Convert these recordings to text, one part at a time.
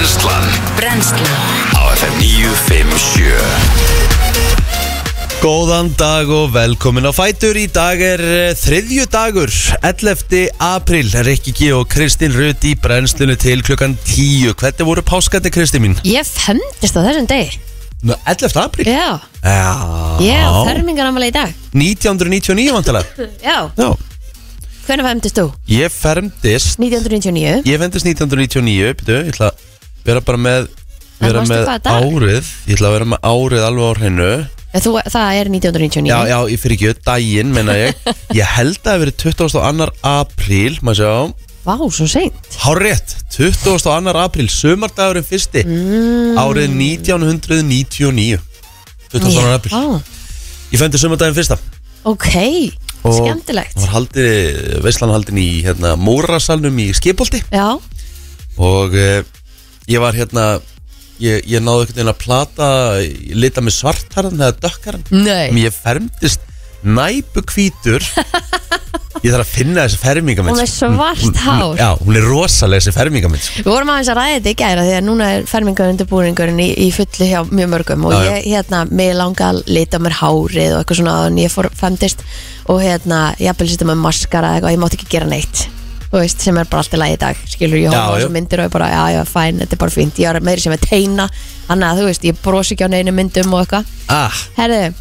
Brennslan Brennslan á FM 957 Góðan dag og velkomin á Fætur Í dag er eh, þriðju dagur 11. april Rikki G og Kristín Rut í brennslunni til klukkan 10 Hvernig voru páskandi Kristín mín? Ég fendist á þessum degi Nú, 11. april? Já, Já ég á þörmingar í dag 1999 vantilega Já, Já hvernig fendist þú? Ég fermdist 1999 Ég fermdist 1999 Býtu, ég ætla að vera bara með En Vera manstu með hvaða dag? árið Ég ætla að vera með árið alveg á hreinu En Þú, það er 1999 Já, já, ég fyrir ekki Dægin, menna ég Ég held að það hafi verið 22. apríl Má sjá Vá, svo seint Hárétt, 22. apríl, sömardagurinn fyrsti Mm. Árið 1999 22. apríl Já, Ég fendi sömardagurinn fyrsta Ok, Og skemmtilegt Það var haldið, veislan haldin í hérna, Mórasalnum í Skipolti Já, Og eh, ég var hérna Ég, ég náði einhvern veginn að plata ég Lita með svartarðan eða dökkarðan nei Ég fermdist næpu hvítur Ég þarf að finna þessi fermingamind Hún er svart hár. Já, hún er rosalega þessi sko. fermingamind Við vorum aðeins að ræða þetta í gæra því að núna er fermingar undirbúningurinn í, í fullu hjá mjög mörgum og Já, já. ég, hérna, mig langa að lita á mér hárið og eitthvað svona en ég fór femtist og hérna, ég að byrja með maskara eða eitthvað, ég mátt ekki gera neitt þú veist, sem er bara allt í lagi í dag skilur, ég Já, hóða já. þessu myndir og ég bara, já, já, fæn, þetta er bara fínt ég er meiri sem að teina, þannig að þú veist, ég brosi ekki á neinu myndum og eitthvað Ah, Herðu,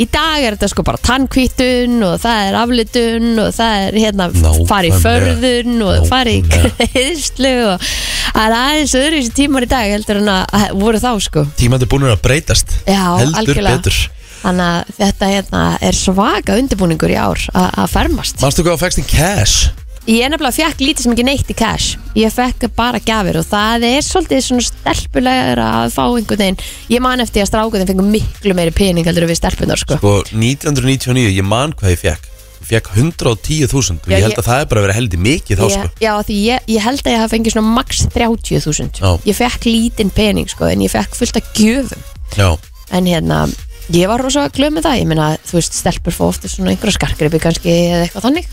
í dag er þetta sko bara tannkvítun og það er aflitun og það er hérna Nákvæmlega. farið í förðun og farið í Nákvæmlega. greiðslu og það er aðeins öðru þessi tímar í dag heldur en að að voru þá sko. tímandi búin að breytast Já, Heldur algjörlega. betur Þannig að þetta hérna er svaka undirbúningur í ár a- að fermast. Manstu hvað á fækstin cash? Ég er nefnilega fekk lítið sem ekki neitt í cash. Ég fekk bara gafir og það er svolítið svona stelpulegur að fá einhvern veginn. Ég man eftir að strákuðin fengið miklu meiri pening heldur en við stelpunar sko. Sko, 1999, ég man hvað ég fekk Ég fekk 110.000 og Já, ég held ég- að það er bara verið heldur mikið þá ég, sko Já, því ég, ég held að ég hafa fengið svona max 30.000 Já. Ég fekk lítinn pening sko En ég fekk fullt af gjöfum Já, En hérna, ég var rosa glöð með það Ég meina, þú veist, stelpur fóð ofta svona einhverja skarkripi kannski eða eitthvað þannig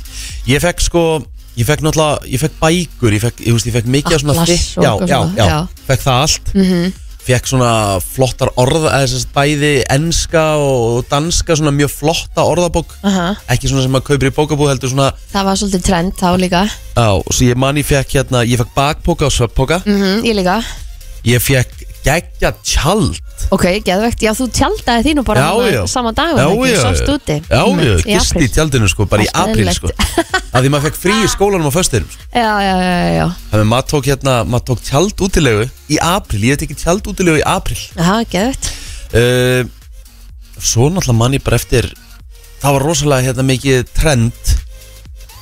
ég fekk sko Ég fekk náttúrulega, ég fekk bækur Ég fekk, ég, veist, ég fekk mikið af svona Atlas þykk og já, eitthvað já, svona, já, já. Mhm. fekk það allt mm -hmm. Fekk svona flottar orða eða sérst bæði enska og danska svona mjög flotta orðabók Aha. Ekki svona sem maður kaupir í bókabúð heldur svona Það var svolítið trend þá líka Já, og svo ég man ég fekk hérna, ég fekk bakpoka og sveppoka mm Ég líka Ég fekk geggja tjald Ok, geðvegt, já þú tjaldaði þínu bara Já, þarna já. sama dag var Já, það ekki? já, Sást úti Já, já, Einmitt, í gist í apríl. tjaldinu sko, bara í Allt apríl eðlilegt. sko Af því maður fekk frí í skólanum á föstinum sko. Já, já, já, já, já Þannig að maður tók hérna, maður tók tjald útilegu í apríl Ég hef tekið tjald útilegu í apríl Já, geðvegt uh, Svo náttúrulega mann ég bara eftir Það var rosalega hérna mikið trend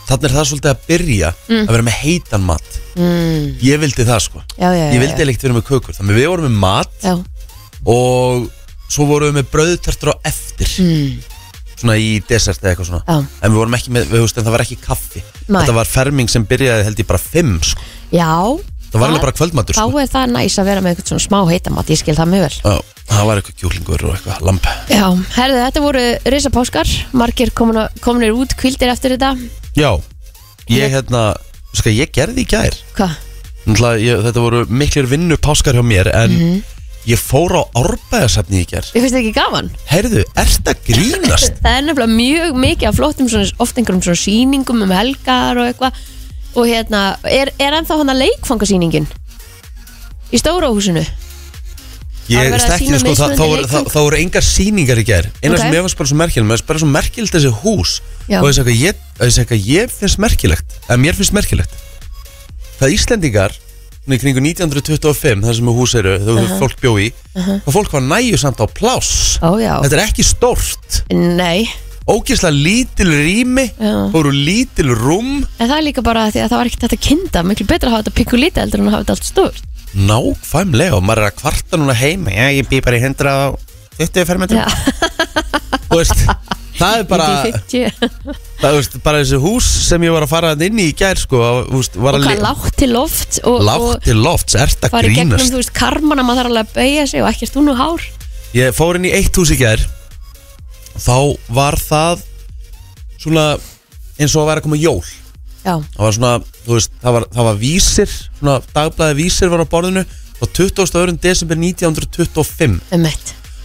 Þannig er það svolítið að byrja Að vera með heitan mat mm, Ég vildi það sko Já, já, já Ég vildi já. eða ekkert vera með kökur Þannig við vorum með mat Já, og svo vorum við með brauðtertur á eftir svona í desert eða eitthvað svona Mm. Já. en við vorum ekki með, við veist, en það var ekki kaffi Nei. þetta var ferming sem byrjaði held ég bara 5 sko. já það var alveg bara kvöldmatur Þá sko. er það næs að vera með eitthvað svona smá heitamat Ég skil það mjög vel Já, það var eitthvað kjúklingur og eitthvað lamp Já, herðu, þetta voru risa páskar Margir komin á- komnir út kvildir eftir þetta já, ég hérna sko, ég gerði í gær Hvað? Náttúrulega, ég, þetta voru miklir vinnu páskar hjá mér en Mhm. ég fór á árbæðasafni í gær Ég finnst þetta ekki gaman heyrðu, ert að grínast Það er nefnilega mjög mikið af flottum svona, oft einhverjum svona sýningum um helgar og eitthvað og hérna, er, er ennþá hann að leikfangasýningin í stóra húsinu Það Ég var verið að stekki sýna sko, það, mismunandi þá, voru, það, leikföng. það voru engar sýningar í gær Einar Ok. sem ég fannst bara svo merkilegt Mér fannst bara svo merkilegt þessi hús Já. Og þessi eitthvað ég, þessi eitthvað ég finnst merkilegt Eða mér finnst merkilegt Það Íslendingar svona í kringu 1925 þar sem hús eru Þegar fólk bjó í Og fólk var næju samt á pláss Ó já, Þetta er ekki stórt nei Ógislega lítil rými Já. Fóru lítil rúm En það er líka bara því að það var ekkert hægt að kynda miklu betra að hafa þetta pikku lítið heldur en að hafa þetta allt stórt Nákvæmlega Og maður er að kvarta núna heima Já, ég bý bara í 120 fermetrum Já, Þú veist, Það er bara í 50 Það, þú veist, bara þessi hús sem ég var að fara þarna inn í í gær, sko, að, þú veist, var Og að hvað lágt til loft og, lágt til lofts, ert og að fara í gegnum, grínast. þú veist, karmana maður þarf alveg að beigja sig og ekkert hún og hár Ég fór inn í eitt hús í gær, þá var það svona eins og að vera að koma jól. Já, Það var svona, þú veist, það var, það var vísir, svona dagblæði vísir var á borðinu, frá 22. desember 1925 um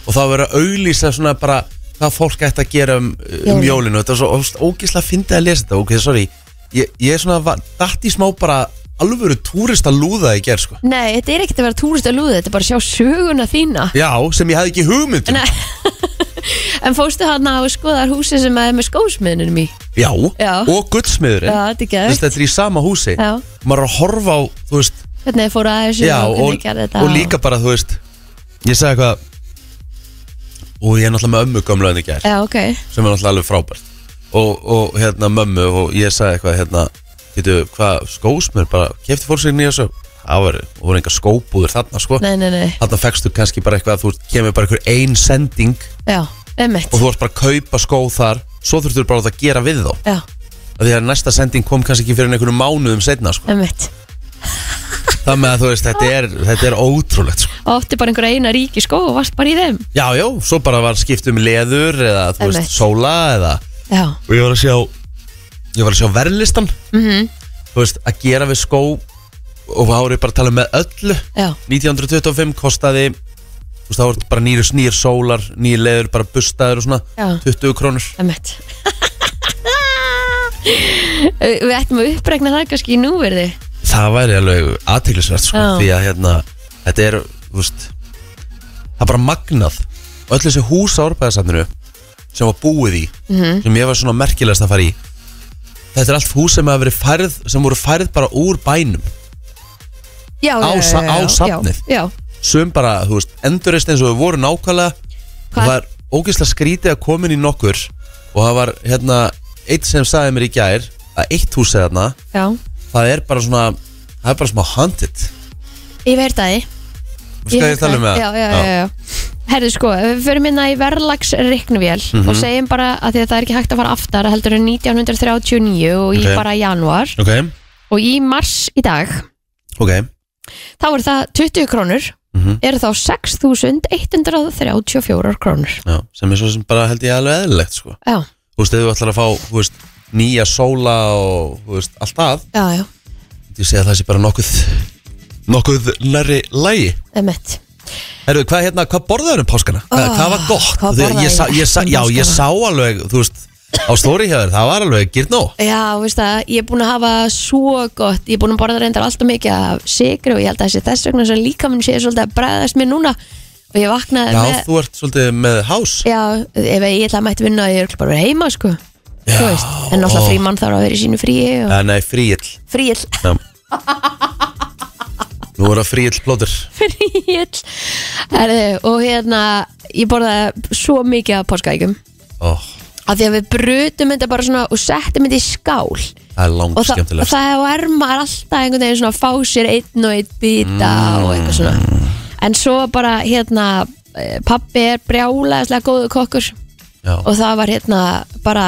og það var verið að auglýsa svona bara hvað fólk ætti að gera um, um Jólin. jólinu þetta er svo ógeðslega- ógeðslega fyndið að lesa þetta ok, sorry, ég, ég er svona va- datt í smá bara alvöru túrista lúða í gerð sko Nei, þetta er ekkert að vera túrist að lúða, þetta er bara að sjá söguna þína Já, sem ég hafði ekki hugmynd um. Nei. En fóstu hann á skoðar húsi sem að er með skósmiðnum í Já, Já. og guldsmiðurinn Já, þetta er Þú veist, geðvægt Þetta er í sama húsi Já. Maður er að horfa á, þú veist Hvernig þið fóru að þessu Já, og og, hvernig gerði þetta og líka bara, þú veist Ég sagði eitthvað Og ég er náttúrulega með ömmu gamla en í gær Já, ok Sem er náttúrulega alveg frábært og, og hérna mömmu og ég sagði eitthvað hérna Getu, hvað skósmur bara Kefti fólk sér nýja svo Það var, það voru enga skóbúður þarna, sko Nei, nei, nei Þarna fekstu kannski bara eitthvað Þú veist, kemur bara einhver ein sending Já, einmitt Og þú varst bara að kaupa skó þar Svo þurftur bara að gera við þá Já, að því að næsta sending kom kannski ekki fyrir en einhverjum mánuðum setna sko. einmitt það með að þú veist, þetta er, þetta er ótrúlegt sko. Og átti bara einhverja eina ríki skó og varst bara í þeim já, já, svo bara var skipt um leður eða þú Einmitt. veist, sóla eða Já, og ég var að sjá ég var að sjá verðlistan mm Mhm. þú veist, að gera við skó og þá voru bara að tala um með öllu já, 1925 kostaði þú veist, þá voru bara nýri snýr sólar nýri leður, bara bustaður og svona Já. 20 krónur einmitt Við ættum að uppregna það kannski í núverði það væri alveg aðtýrlisvert sko, Já. því að hérna, þetta er þú veist, það er bara magnað og öll þessi hús á árbæðasafninu sem var búið í Mhm. sem ég var svona merkilegast að fara í þetta er allt hús sem hafa verið færð sem voru færð bara úr bænum Já, Á já, já, sa- já, á já, safnið. Já, sem bara, þú veist, endurist eins og þau voru nákvæmlega Hvað? og það er ógeðslega skrítið að komin í nokkur og það var, hérna, eitt sem sagði mér í gær að eitt hús eða þarna já það er bara svona, það er bara smá haunted Ég verð það í Þú veist hvað ég er að tala um með Já, já, já, já. Herðu sko, ef við förum inn í verðlagsreiknuvél Mhm. og segjum bara að því að það er ekki hægt að fara aftar heldur en 1939 og í Ok. bara januar Ok, og í mars í dag ok þá er það 20 krónur Mhm. eru þá 6.134 krónur Já, sem er svo sem bara held ég alveg eðlilegt sko. Já, Þú veist, ef þú ætlar að fá þú veist, nýja sóla og þú veist, allt að já, já, Ég segi að það sé bara nokkuð nokkuð nærri lægi emitt Herru, hvað, hérna, hvað borðaður um páskana? Hvað, Ah, hvað var gott? hvað Þegar borðaði ég, sá, ég ég sá, um já, ég páskana? sá alveg, þú veist á stóri hjá þér, það var alveg gyrn nóg Já, veist það, ég er búin að hafa svo gott, ég er búin að borða reyndar alltaf mikið af sigri og ég held að þessi þess vegna sem líkaminn sé svolítið að bregðast mér núna og ég vaknaði Já, með þú ert svolítið með hás Já, ef ég ætla að mætti vinna ég er bara að vera heima sko Já, Þú veist, En náttúrulega frímann þarf að vera í sínu fríi og... Já, Eh, nei, fríill Fríill, Nú er það fríill plótur fríill Herðu, Og hérna Ég borðaði svo mikið af páskaægjum Ó, Af því að við brutum þetta bara svona Og settum þetta í skál það er Og, langt þa og skemmtilegt það er maður alltaf einhvern veginn svona að Fá sér einn og einn bita Og eitthvað Mm. svona En svo bara hérna eh, Pabbi er brjálæðislega góðu kokkur Já, og það var hérna bara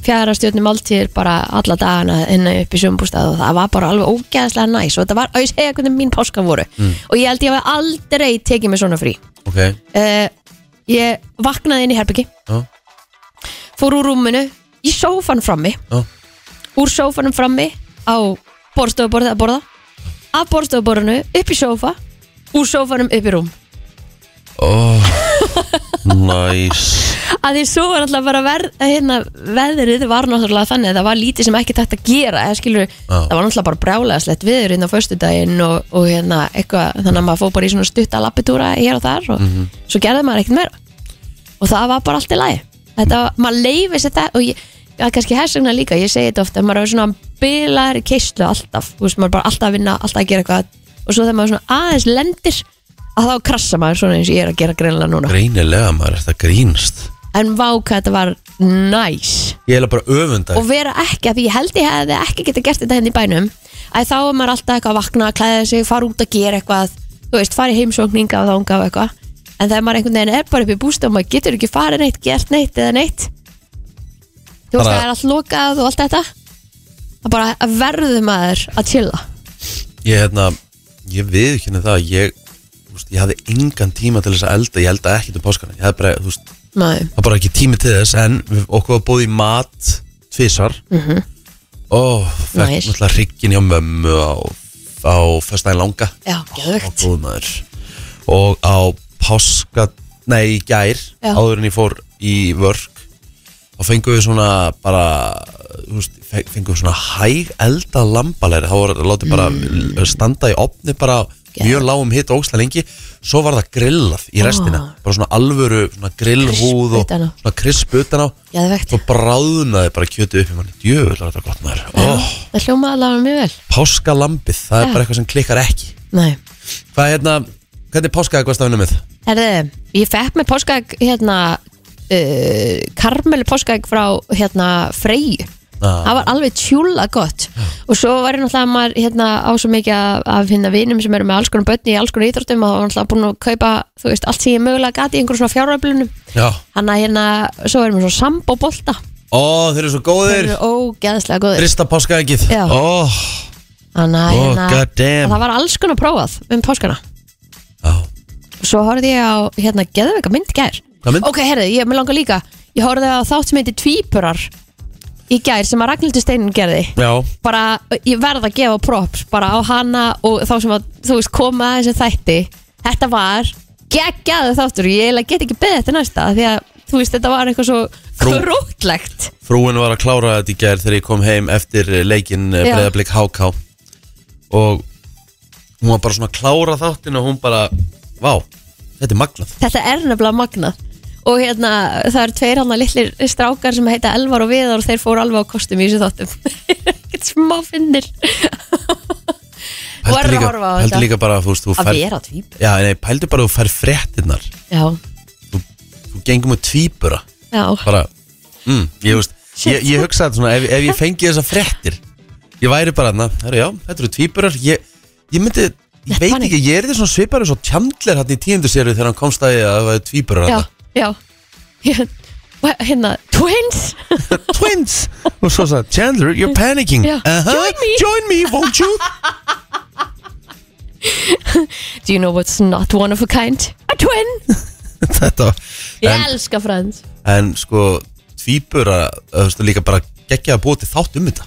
fjara stjórnum alltíður bara alla dagana hérna upp í sumbústað og það var bara alveg ógeðslega næs og þetta var, og ég segja hvernig mín páskar voru og ég held ég hafi aldrei tekið mig svona frí ok uh, ég vaknaði inn í herbyggi Já, fór úr rúminu, í sófan frammi já, úr sófanum frammi á borðstofuborðið að borða af borðstofuborðinu upp í sófa úr sófanum upp í rúm ó Nice að því svo var alltaf bara verð, hérna, veðrið var náttúrulega þannig að það var lítið sem ekki tætt að gera eða skilur, það var náttúrulega bara brjálæðaslegt viður hérna á föstudaginn og, og hérna eitthvað, þannig að maður fór bara í svona stutta lappitúra hér og þar og svo gerði maður ekkert meira og það var bara allt í lagi þetta, var- maður leifis þetta og ég Já, kannski hersugna líka, ég segi þetta ofta maður er svona bilar í keislu alltaf þú veist, maður er bara alltaf að vinna, alltaf að gera eitthvað og svo þegar maður svona aðeins lendir að þá krassa maður svona eins og ég er að gera greinlega núna Greinilega maður, þetta grínst en vá hvað þetta var næs Ég er eiginlega bara öfund og vera ekki, af því ég held ég hefði ekki geta gert þetta henni í bænum að þá er maður alltaf eitthvað að vakna, klæða sig, fara út að gera eitthvað þú veist, fara í heimsókninga og þánga og eitthvað en þegar maður einhvern veginn er bara upp í bústu og maður getur ekki farið neitt, gert neitt eða neitt þú veist, Bara- það er allt lokað og allt þetta það bara að verður maður að chilla Ég, hérna, ég við ekki henni það að Ég, þú veist, ég hafði engan tíma til þess að elda Ég elda ekkert um páskana Ég hafði bara, þú veist, maður, það var bara ekki tími til þess En við- okkur var búið í mat tvisar mm -hmm. Ó, fekk Mhm. Nice. náttúrulega hryggin hjá mömmu Á, á á festæðin langa Já, geðvegt. Ó, góð maður. og á páska nei, í gær, Já. áður en ég fór í vörk þá fengum við svona bara þú veist, fe- fengum við svona hæg elda lambalæri, þá var látið bara Mm. standa í opni bara Geðvegt. mjög lágum hitt og ógstlega lengi svo var það grillað í restina Ó. bara svona alvöru, svona grillhúð Krisp og utan á. svona krisp utan á Geðvegt. svo bráðnaði bara kjötu upp í manni djöfull er þetta gott maður oh, Það hljómaði allavega mjög vel Páskalambið, það er Já. bara eitthvað sem klikkar ekki Nei Hvað er hérna, hvernig páskaði hvað stafinu með? Herðu, ég fekk með páskaegg hérna uh, karmelu páskaegg frá hérna Freyju Ah. það var alveg tjúla gott og svo var ég náttúrulega maður hérna á svo mikið af, af hérna vinum sem eru með alls konum bönni í alls konum íþróttum og var náttúrulega búin að kaupa þú veist allt sem ég mögulega gati í einhverjum svona fjáröflunum Já hann að hérna, svo erum við svo sambóbolta Ó, þeir eru svo þeir góðir eru ógeðslega góðir Rista páskaðingið Já. Ó, hann að Ó, hérna, god damn. það var alls konar prófað um páskana já svo horfði ég á hérna geðveika mynd í gær Hvað mynd? ok, herðu, ég með langar líka ég horfði á þátt sem heitir Tvíburar í gær sem að Ragnhildur Steinin gerði Já, bara, ég verð að gefa props bara á hana og þá sem að þú veist, koma að þessu þætti þetta var geggjaðu þáttur ég eiginlega get ekki beðið þetta næsta af því að þú veist, þetta var eitthvað svo Frú- krútlegt frúin var að klára þetta í gær þegar ég kom heim eftir leikinn Já. breyðablík HK og hún var bara svona að klára þáttin og hún bara, vá, þetta er magnað þetta er nefnilega magnað og hérna, það eru tveir hann litlir strákar sem heita Elvar og Viðar og þeir fóru alveg á kostum í þessu þáttum ekkert smá finnir Pældu Voru að líka- horfa á pældu þetta. líka bara, þú veist, þú að fær vera tvíb Já, nei, pældu bara að þú fær fréttinnar já, Þú gengum með tvíbura já, bara, mm, ég veist Shit. ég, ég hugsaði svona, ef, ef ég fengi þessa fréttir ég væri bara, na, herru já, þetta eru tvíburar ég, ég myndi, ég Þetta veit var ekki, ég er þetta svona svipar eins og tjandler hann í tíundu séru þegar hann komst að því að það var tvíburar já, hann já Ég- hérna, twins Twins, og svo sagði, Chandler, you're panicking Já. "Uh-huh, Join me." join me, won't you do you know what's not one of a kind a twin, þetta, ég en, elska Friends en sko tvíburar, þú veist, líka bara geggja að búa til þátt um þetta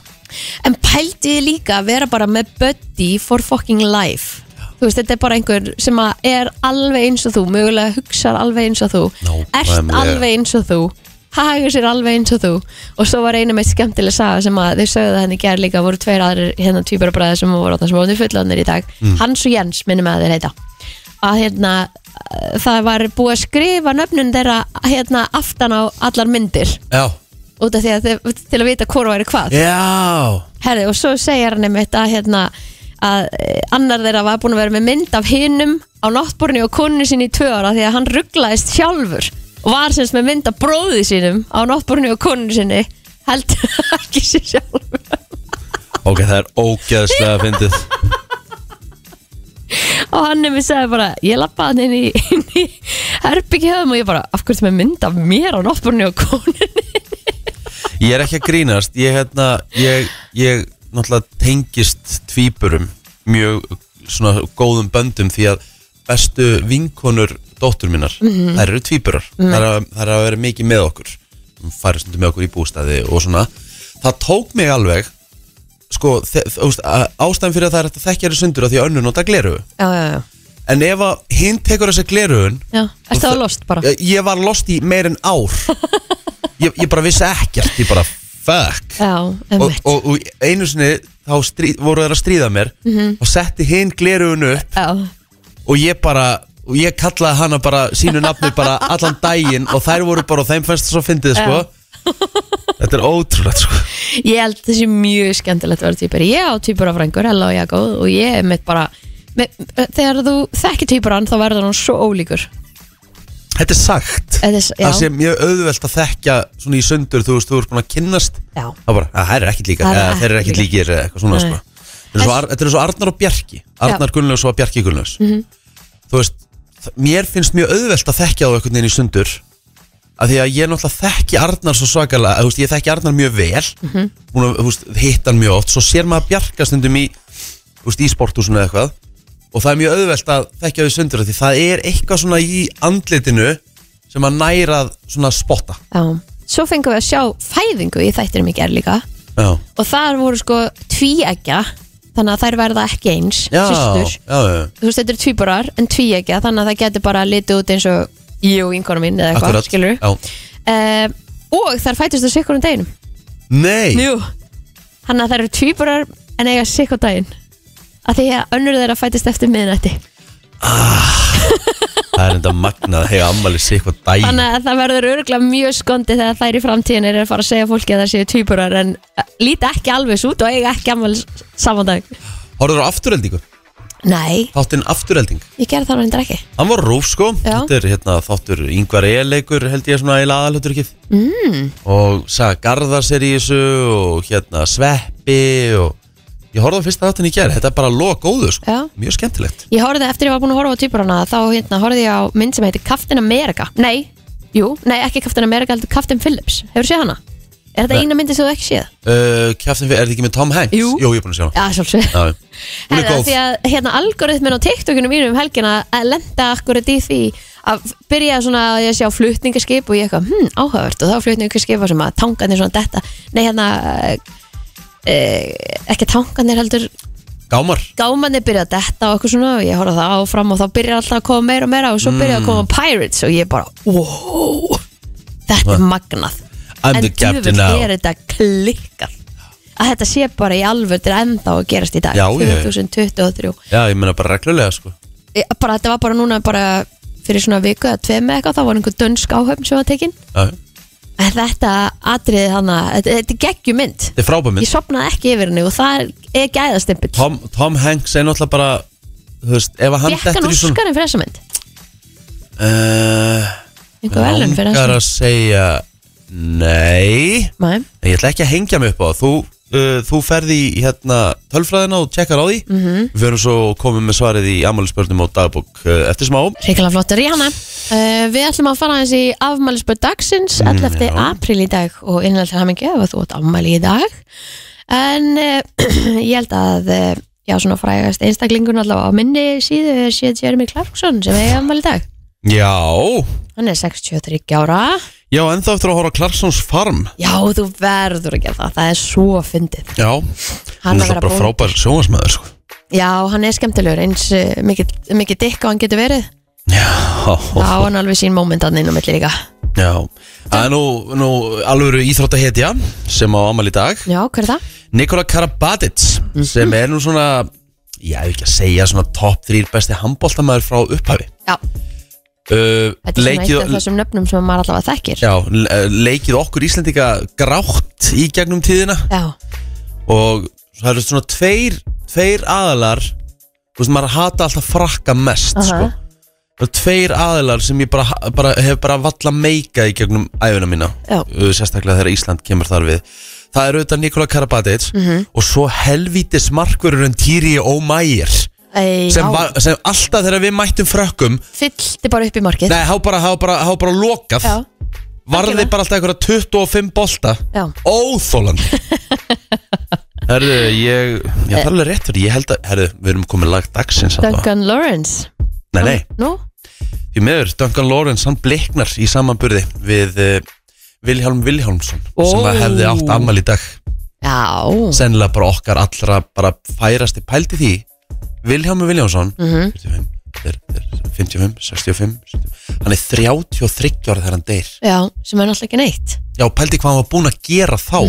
en pældi ég líka að vera bara með buddy for fucking life þú veist, þetta er bara einhver sem að er alveg eins og þú, mögulega hugsar alveg eins og þú Nákvæmlega. ert alveg eins og þú hagur sér alveg eins og þú og svo var einu með skemmtileg saga sem að þau sögðu að henni gerð líka voru tveir aðrir hérna tvíbarabræði sem voru þarna sem voru fullanir í dag Hans og Jens minnum að þeir heita að hérna eh, það var búið að skrifa nöfnun þeirra hérna aftan á allar myndir já, út af því að þeir, til að vita hvora væri hvað já Herði, og svo segir hann einmitt að, hérna, að eh, annar þeirra var búin að vera með mynd af hinum á náttborni og konu sinni í tvö ára því að hann rugglaðist sjálfur og var semst með mynd af bróði sínum á náttborni og konu sinni heldur ekki sér sjálfur ok, það er ógeðslega fyndið og hann nefnir segði bara ég lappaði hann inn í, inn í herbyggjum og ég bara af hverju ertu með mynd af mér á náttborni og konu Ég er ekki að grínast Ég, hérna, ég, ég náttúrulega tengist tvíburum Mjög svona góðum böndum Því að bestu vinkonur Dóttur mínar, þær eru tvíburar mm. Þær hafa- þær hafa verið mikið með okkur Færi stundum með okkur í bústæði og svona Það tók mig alveg Sko, þe- þú veist, að- ástæðan fyrir að það er hægt að þekkja eru sundur af Því að önnur nota gleru já, já, já, En ef að hinn tekur þessa gleruðun já ertu það lost bara Ég, ég var lost í meir en ár ég, ég bara vissi ekkert Ég bara, fuck já, og, emmitt og, og einu sinni þá stríð, voru þær að stríða mér Mhm. og setti hinn glerugun upp já, og ég bara og ég kallaði hana bara sínu nafni bara allan daginn og þær voru bara og þeim fannst það svo fyndið sko þetta er ótrúlegt sko Ég held að þessi mjög skemmtilegt að vera tvíburi Ég á tvíbura frængur, Ella og Jakob og ég er mitt bara með, þegar þú þekkir tvíburan þá verður hann svo ólíkur þetta er sagt Þetta er s- já. það sé mjög auðvelt að þekkja svona í sundur þú veist þú ert búin að kynnast Já. það bara að þær er ekkit líkar Þær eru eða þeir eru ekkit ekkit líkir eða eitthvað svona Nei. sko Þetta er svo Ar- þetta er svo Arnar og Bjarki Arnar Gunnlaus og Bjarki Gunnlaus Mhm. þú veist þ- mér finnst mjög auðvelt að þekkja þá einhvern veginn í sundur af því að ég náttúrulega þekki Arnar svo svakalega þú veist ég þekki Arnar mjög vel mm Mhm. -hmm. þú veist hitt hann mjög oft svo sér maður Bjarka stundum í þú veist í sporthúsinu eða eitthvað og það er mjög auðvelt að þekkja þau sundur af því það er eitthvað svona í andlitinu sem að næra svona að spotta Já. Svo fengum við að sjá fæðingu í þættinum í gerð líka Já. og þar voru sko tvíegja þannig að þær verða ekki eins já, systur, já, já, þú veist þetta eru tvíburar en tví ekki, þannig að það getur bara litið út eins og ég og vinkonu mín eða eitthvað, akkurat skilur já. um, og þær fætist það sikkur um daginn Nei, Jú Þannig að þær eru tvíburar en eiga sikk á daginn að því að önnur þeirra fætist eftir miðnætti það er enda magnað að hega ammali sig eitthvað dæn Þannig að það verður örgulega mjög skondi þegar þær í framtíðin eru að fara að segja fólki að það séu tvíburar en eh, líta ekki alveg svo út og eiga ekki ammali saman dag Horður á afturheldingu, Nei, þáttinn afturhelding ég gerði það reyndar ekki Hann var á rúf sko, Já. þetta er hérna þáttur yngvar eleikur held ég svona í laðalötur ekki mm. Og sagði Garðars er í þessu og hérna Sveppi og Ég horfði á fyrsta þáttin í gær, þetta er bara loka góður sko, Já. mjög skemmtilegt Ég horfði eftir ég var búin að horfa á tvíburana þá hérna horfði ég á mynd sem heitir Captain America Nei, jú, nei ekki Captain America heldur Captain Phillips, hefur séð hana? Er þetta Nei. eina myndi sem þú ekki séð? uh, Kjaftin fyrir, er þetta ekki með Tom Hanks? Jú. Jú, ég er búin að sjá hana Já, svolítið Já, hún er Herra, góð því að hérna algoritmin á TikTokinu mínum um helgina að lenda akkurat í því að byrja svona að ég sjá flutningaskip og ég eitthvað, hm, áhugavert og þá flutningaskipa sem að tangarnir svona detta nei hérna e, ekki tangarnir heldur Gámar gámanir byrja að detta og eitthvað svona og ég horfa það áfram og þá byrjar alltaf að koma meira og meira og svo byrja Mm. að koma pirates og ég bara, wow þetta er magnað I'm the en captain now. er þetta klikkað að þetta sé bara í alvöldur ennþá að gerast í dag Já, ég- 2023 Já, ég meina bara reglulega sko Ég- bara, þetta var bara núna bara fyrir svona viku eða tveim eða eitthvað, þá var einhver dönsk áhöfn sem var tekin Já, já. en þetta atriði hana, þetta, þetta er geggjumynd Þetta er frábæmynd ég sopnaði ekki yfir henni og það er, er gæðastimpill Tom, Tom Hanks er náttúrulega bara Þú veist, ef að hann Gekkan dettur í svona Óskarinn fyrir þessa mynd uh, einhver velun fyrir Langar þessa að segja Nei mynd Nei. En Ég ætla ekki að hengja mig upp á það. Þú, uh, þú ferði í hérna, tölfræðina og tjekkar á því -hmm. Við verum svo komið með svarið í amálisbörnum og dagbók uh, eftir smá Ríkilega flottur í hana uh, Við ætlum að fara eins í afmælisbörn dagsins 11. Mm, já. apríl í dag og innlega til hamingi ef að þú átt afmæli í dag en uh, ég held að uh, já, svona frægast einstaklingun allavega á minni síðu er séð Jeremy Clarkson sem er afmæli í dag Já Hann er 63 ára Já, ennþá eftir að horfa á Klarsons Farm Já, þú verður að gera það, það er svo fyndið Já, Hann að hún er svo vera bara bóndi. frábær sjónvarsmaður sko. Já, hann er skemmtilegur eins uh, mikið, mikið dikk og hann getur verið Já, Já, hann alveg sín mómentan inn á milli líka já Það er nú, nú alvöru íþróttahetja sem á amal í dag Já, hver er það? Nikola Karabatic sem er nú svona já, ég vil ekki að segja svona top 3 besti handbóltamæður frá upphafi Já, uh, þetta er svona eitt af leikið, þessum nöfnum sem maður allavega þekkir já, le- leikið okkur Íslendinga grátt í gegnum tíðina Já, og það eru svona tveir, tveir aðalar þú veist, maður hata alltaf frakka mest Aha. sko. það eru tveir aðalar sem ég bara, bara hef bara valla meika í gegnum æfuna mína Já. Uh, sérstaklega þegar Ísland kemur þar við það eru auðvitað Nikola Karabatic Mhm. og svo helvítis markverurinn Týri Ómægir Ei, sem, já, var- sem alltaf þegar við mættum frökkum fyllti bara upp í markið nei, hann bara, hann bara, hann bara lokað Já, varði algjörlega. bara alltaf einhverja 25 bolta já, óþólandi Herðu, ég Já, það er alveg rétt fyrir, ég held að Herðu, við erum komið lag dagsins alltaf. Duncan Lawrence Nei, nei, Nú, því meður, Duncan Lawrence hann bliknar í samanburði við uh, Vilhjálm Vilhjálmsson sem að hefði átt ammal í dag já, sennilega bara okkar allra bara færasti pældi því Vilhjálmur Vilhjálmsson mm 45, þeir- þeir- 55, 65 70. hann er 33 ára þegar hann deyr já, sem er náttúrulega ekki neitt já, pældi hvað hann var búinn að gera þá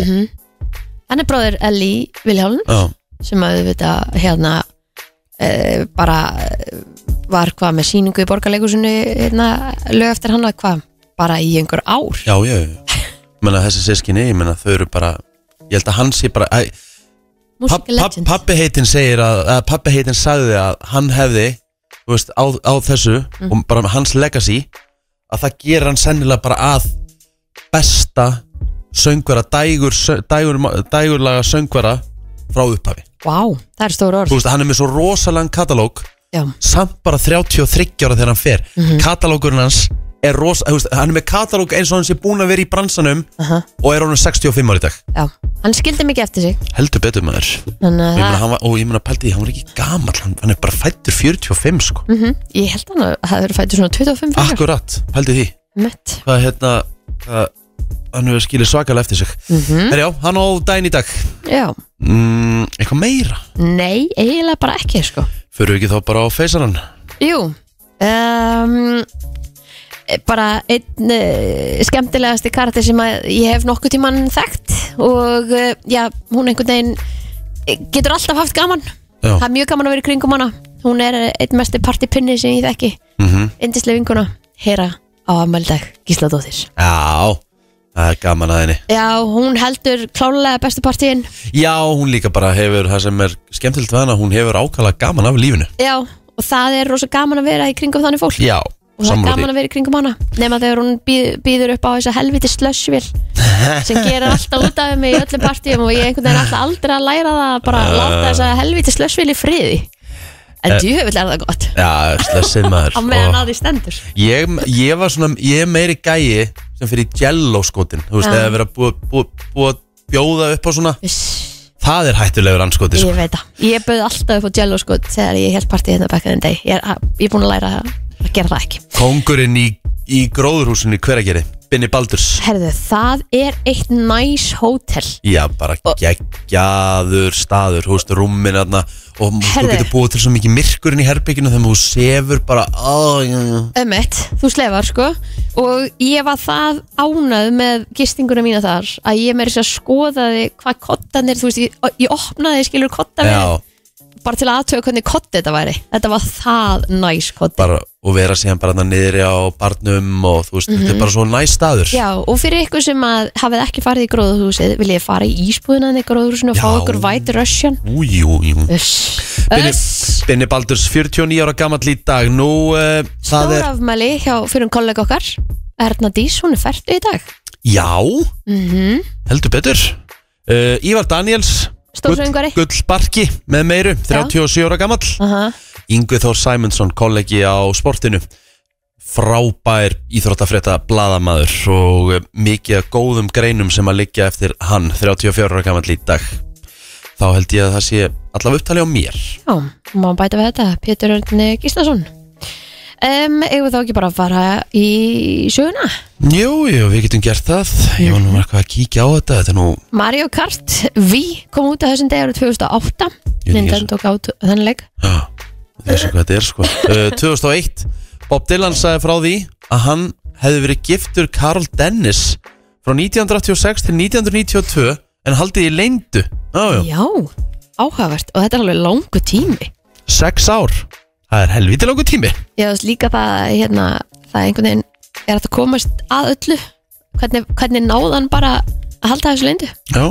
Hann er bróðir Ellie Vilhjálm já, sem að við vita hérna e, bara eh, var hvað með sýningu í borgarleikusinu hérna, lög eftir hann að hvað bara í einhver ár já, já, já. Ég meina, þessi sískinni, ég meina, þau eru bara ég held að hann sé bara æ, papp, Music papp, Legend pappi heitin segir að, að pappi heitin sagði að hann hefði þú veist, á, á þessu og bara hans legacy að það gerir hann sennilega bara að besta söngvara dægur, sö- dægur, dægurlaga söngvara frá upphafi Vá, það er stór orð þú veist, hann er með svo rosalega katalóg Já, samt bara 33 ára þegar hann fer katalógurinn hans er rosa, þú veist, hann er með katalóg eins og hann sé búin að vera í bransanum aha, og er honum 65 ára í dag já Hann skildi mikið eftir sig heldur betur maður Þannig að Og ég meina, það, hann var, og ég meina pældi því, hann var ekki gamall hann, hann er bara fættur 45 sko mm ég held hann að það verið fættur svona 25 fyrir akkurat, pældi því Mett, hvað hérna Mhm. hvað, hann hefur skilið svakalega eftir sig mm -hmm. herjá, hann á dæn í dag já mm, eitthvað meira Nei, eiginlega bara ekki sko Fyrir ekki þá bara á feysaran Jú um, Bara einn uh, skemmtilegasti karakter sem að ég hef nokkuð tíman þekkt og uh, já, hún einhvern veginn eh, getur alltaf haft gaman Já. Það er mjög gaman að vera í kringum hana Hún er eh, einn mesti partipinni sem ég þekki mm Indislega vinguna Hera á afmældag Gísladóttir Já, það er gaman að henni Já, hún heldur klálega bestu partíin Já, hún líka bara hefur það sem er skemmtilegt við hana, hún hefur ákala gaman af lífinu Já, og það er rosa gaman að vera í kringum þannig fólk Já, og það er sammála gaman því að vera í kringum hana nema þegar hún býð- býður upp á þessa helviti slössvél sem gerir alltaf út af mig í öllum partíum og ég einhvern veginn alltaf aldrei að læra það bara Uh. láta þessa helviti slössvél í friði en djúhuvill er það gott Já, slessið maður á meðan Og að því stendur ég, ég var svona, ég er meiri gæi sem fyrir jello skotin Þú veist, Já. eða verið að búa, búa, búa að bjóða upp á svona Uss, Það er hættulegur anskoti sko. ég veit það ég bauð alltaf upp á jello sko þegar ég held partíð hérna back in the day ég er, ég er búin að læra að að gera það ekki Kongurinn í, í gróðurhúsinu í hveragerði Binni Baldurs herðu, það er eitt næs hótel Já, bara Og- geggjaður staður, húst, rúmmin aðna og þú Herðu. getur búið til svo mikið myrkurinn í herbygginu þegar þú sefur bara ó, já, já. Ömmett, þú slefar sko og ég var það ánað með gistinguna mína þar að ég meiri sér að skoðaði hvað kottanir þú veist, ég, ég opnaði skilur kotta já, bara til að aðtöga hvernig kotti þetta væri þetta var það næs kotti bara og vera síðan bara þarna niðri á barnum og þú veist, þetta er bara svo næ staður Mhm. Já, og fyrir ykkur sem að hafið ekki farið í gróðuhúsið vil ég fara í ísbúðinan í gróðuhúsinu og fá Já. ykkur White Russian Ú, jú, jú Uss, Binni, uss Binni Baldurs, 49 ára gamall í dag Nú, uh, það er Stórafmæli hjá fyrir um kollega okkar Erna Dís, hún er fært í dag Já, heldur betur uh, Ívar Daniels Stórsöngvari. Gull- Gullbarki með meiru 37 ára gamall Aha. Yngvi Þór Sæmundsson, kollegi á sportinu frábær íþróttafrétta bladamaður og eh, mikið af góðum greinum sem að liggja eftir hann 34 ára gamall í dag þá held ég að það sé allavega upptali á mér Já, má bæta við þetta, Pétur Örn Gíslason um, Eigum við þá ekki bara að fara í söguna? Jú, jú, við getum gert það ég var nú eitthvað að kíkja á þetta þetta er nú, Mario Kart V kom út á þessum degur 2008 Ég veit ekki Nintendo gátt þannleik já, það er svo hvað þetta er sko uh, 2001, Bob Dylan sagði frá því að hann hefði verið giftur Karl Dennis frá 1986 til 1992 en haldið í leyndu já, já. Já, áhugavert og þetta er alveg langu tími sex ár Það er helvítið langur tími Ég veist líka það hérna, það einhvern veginn er hægt að komast að öllu hvernig, hvernig náðan bara að halda þessu lindu Já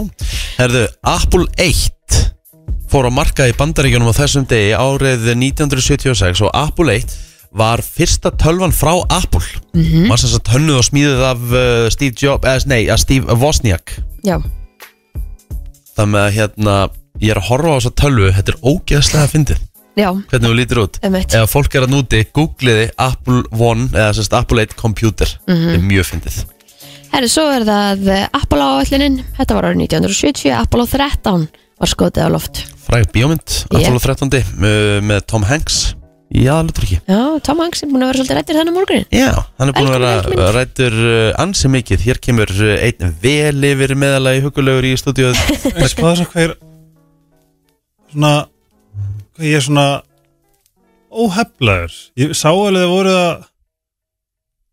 Herðu, Apple 1 fór á markað í bandaríkjunum á þessum degi árið 1976 og Apple 1 var fyrsta tölvan frá Apple mm -hmm. Var þess að tönnuð og smíðið af uh, Steve Jobs, eh, nei, af Steve Wozniak Já, Það með að hérna, ég er að horfa á þessa tölvu, þetta er ógeðslega fyndið já, Hvernig þú lítir út Einmitt. Ef fólk er að núti, googliði Apple 1 eða sérst Apple 1 computer Þetta er mjög fyndið Herri, svo er það eh, Apollo áallunin, þetta var árið 1970 Apollo 13 var skotið á loft fræg bíómynd, Yeah. Apollo 13 uh, með Tom Hanks í aðlutryggi Já, Tom Hanks er búin að vera svolítið rættir þannig morgunin Já, hann er búin að Velkomin, vera velkomin. rættur uh, ansi mikið Hér kemur uh, einn vel yfir meðalagi hugulegur í stúdíuð Ég skoða þess að hvað er svona hvað ég er svona óheflaður ég sá alveg það voru það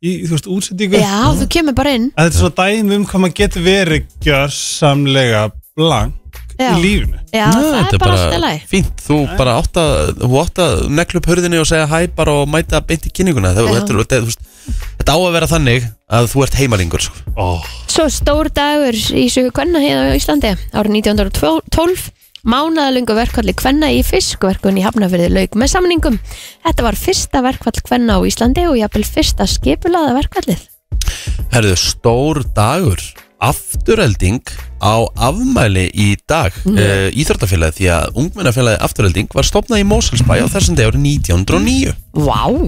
í þú veist útsendingu Já, þú kemur bara inn að þetta er svo dæmi um hvað maður getur verið gjörsamlega blank Já, í lífinu já það er bara alltaf læg fínt Þú bara átt að, þú átt að neglu upp hurðinni og segja hæ bara og mæta beint í kynninguna Það, Já. þetta, er- þetta, er- þú veist, þetta á að vera þannig að þú ert heimalingur sko. oh. Svo stór dagur í sögu kvenna hérna á Íslandi árið 1912 Mánaðalungu verkvalli kvenna í fiskverkun í Hafnafyrði lauk með samningum Þetta var fyrsta verkvall kvenna á Íslandi og jafnvel fyrsta skipulaða verkvallið Herðu, stór dagur Afturölding á afmæli í dag Mhm. mm. Íþróttafélagi því að ungmennafélagi Afturölding var stopnað í Mósalsbæ á þessum dag árið 1909 Vá wow.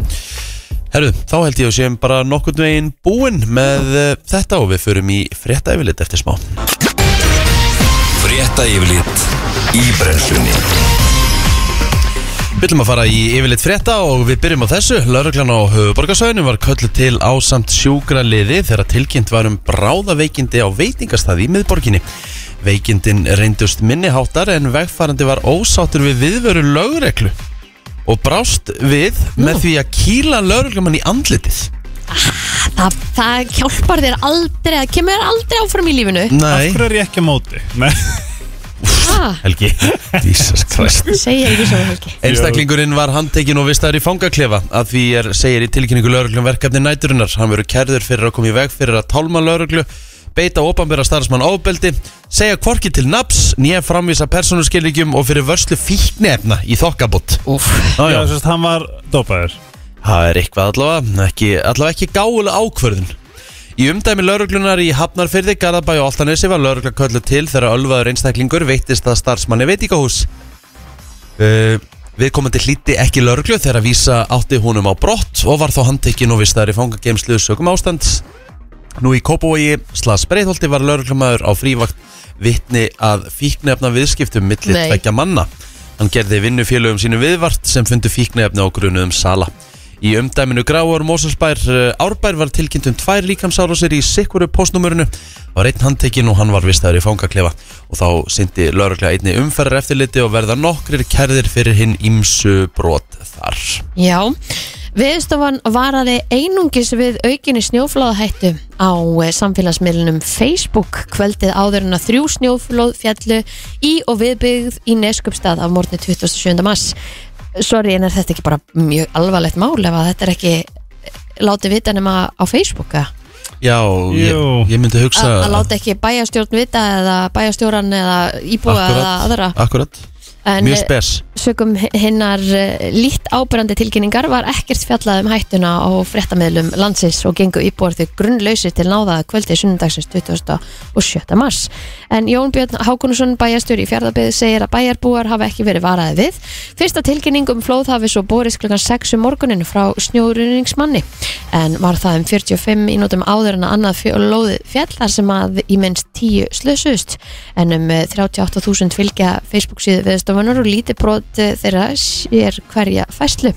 Herðu, þá held ég að séum bara nokkurn veginn búinn með uh, þetta og við förum í frétta yfirlit eftir smá Frétta yfirlit í brennslunni Við viljum að fara í yfirleitt frétta og við byrjum á þessu. Lörglan á höfuborgarsvæðinu var köllu til ásamt sjúkraliði þegar tilkynnt var um bráðaveikindi á veitingastæði í miðborginni. Veikindin reyndust minniháttar en vegfarandi var ósáttur við viðveru lögreglu og brást við með því að kýla lögreglumann í andlitið. það, það hjálpar þér aldrei það kemur þér aldrei áfram í lífinu Af Nei, hverju er ég ekki á móti? Nei, ha, Helgi, Jesus Christ. segja ekki svona helgi Einstaklingurinn var handtekinn og vistaður í fangaklefa að því er segir í tilkynningu lauruglum verkefni næturinnar. Hann verður kærður fyrir að koma í veg fyrir að tálma lauruglu, beita opanbera starfsmann ábeldi, segja kvorki til naps, nýja framvísa persónuskilíkjum og fyrir vörslu fíknefna í þokkabott. Úf, já, Nájá, þess að hann var dopaður það er eitthvað allavega, ekki, allavega ekki gáulega ákvörðun. Í umdæmi lauruglunar í Hafnarfyrði, Garðabæ og Altanesi var laurugla köllu til þegar ölvaður einstaklingur veittist að starfsmanni veitingahús. Uh, viðkomandi hlíti ekki lauruglu þegar að vísa átti húnum á brott og var þá handtekinn og vistaður í fangageimslu sögum ástands. Nú í Kópavogi slags breytholti var lauruglumæður á frívakt vittni að fíknefna viðskiptum millir Nei. tvekja manna. Hann gerði vinnufélögum sínu viðvart sem fundu fíknefna á grunuðum sala. Í umdæminu Gráar Mósalsbær eh, Árbær var tilkynnt um tvær líkamsárásir í sikkuru postnúmurinu var einn handtekinn og hann var vistaður í fangaklefa og þá syndi lauruglega einni umferðar eftirliti og verða nokkrir kærðir fyrir hinn ímsu brot þar. já Viðstofan varaði einungis við aukinni snjóflóðahættu á eh, samfélagsmiðlunum Facebook kvöldið áður en að þrjú snjóflóð fjallu í og viðbyggð í Neskupstað af morgni 27. mars. Sorry, en er þetta ekki bara mjög alvarlegt mál ef að þetta er ekki eh, látið vita nema á Facebook? eða? Já, ég, Jú. ég myndi hugsa að að láta ekki bæjastjórn vita eða bæjastjóran eða íbúa eða aðra Akkurat, akkurat, en eh, mjög spes. sögum hinnar eh, lítt ábyrrandi tilkynningar var ekkert fjallað um hættuna á fréttameðlum landsins og gengu íbúar þau grunnlausir til náða kvöldi sunnundagsins 27. mars en Jón Björn Hákonusson bæjastjóri í fjárðabíð segir að bæjarbúar hafa ekki verið varaði við fyrsta tilkynning um flóð hafi svo borist klukkan 6 um morgunin frá snjóruningsmanni en var það um 45 mínútum áður en að annað lóði fjall þar sem að í minnst 10 slösust en um eh, 38.000 fylgja Facebook síðu viðstofunar og lítið brot eh, þeirra sér hverja fæslu.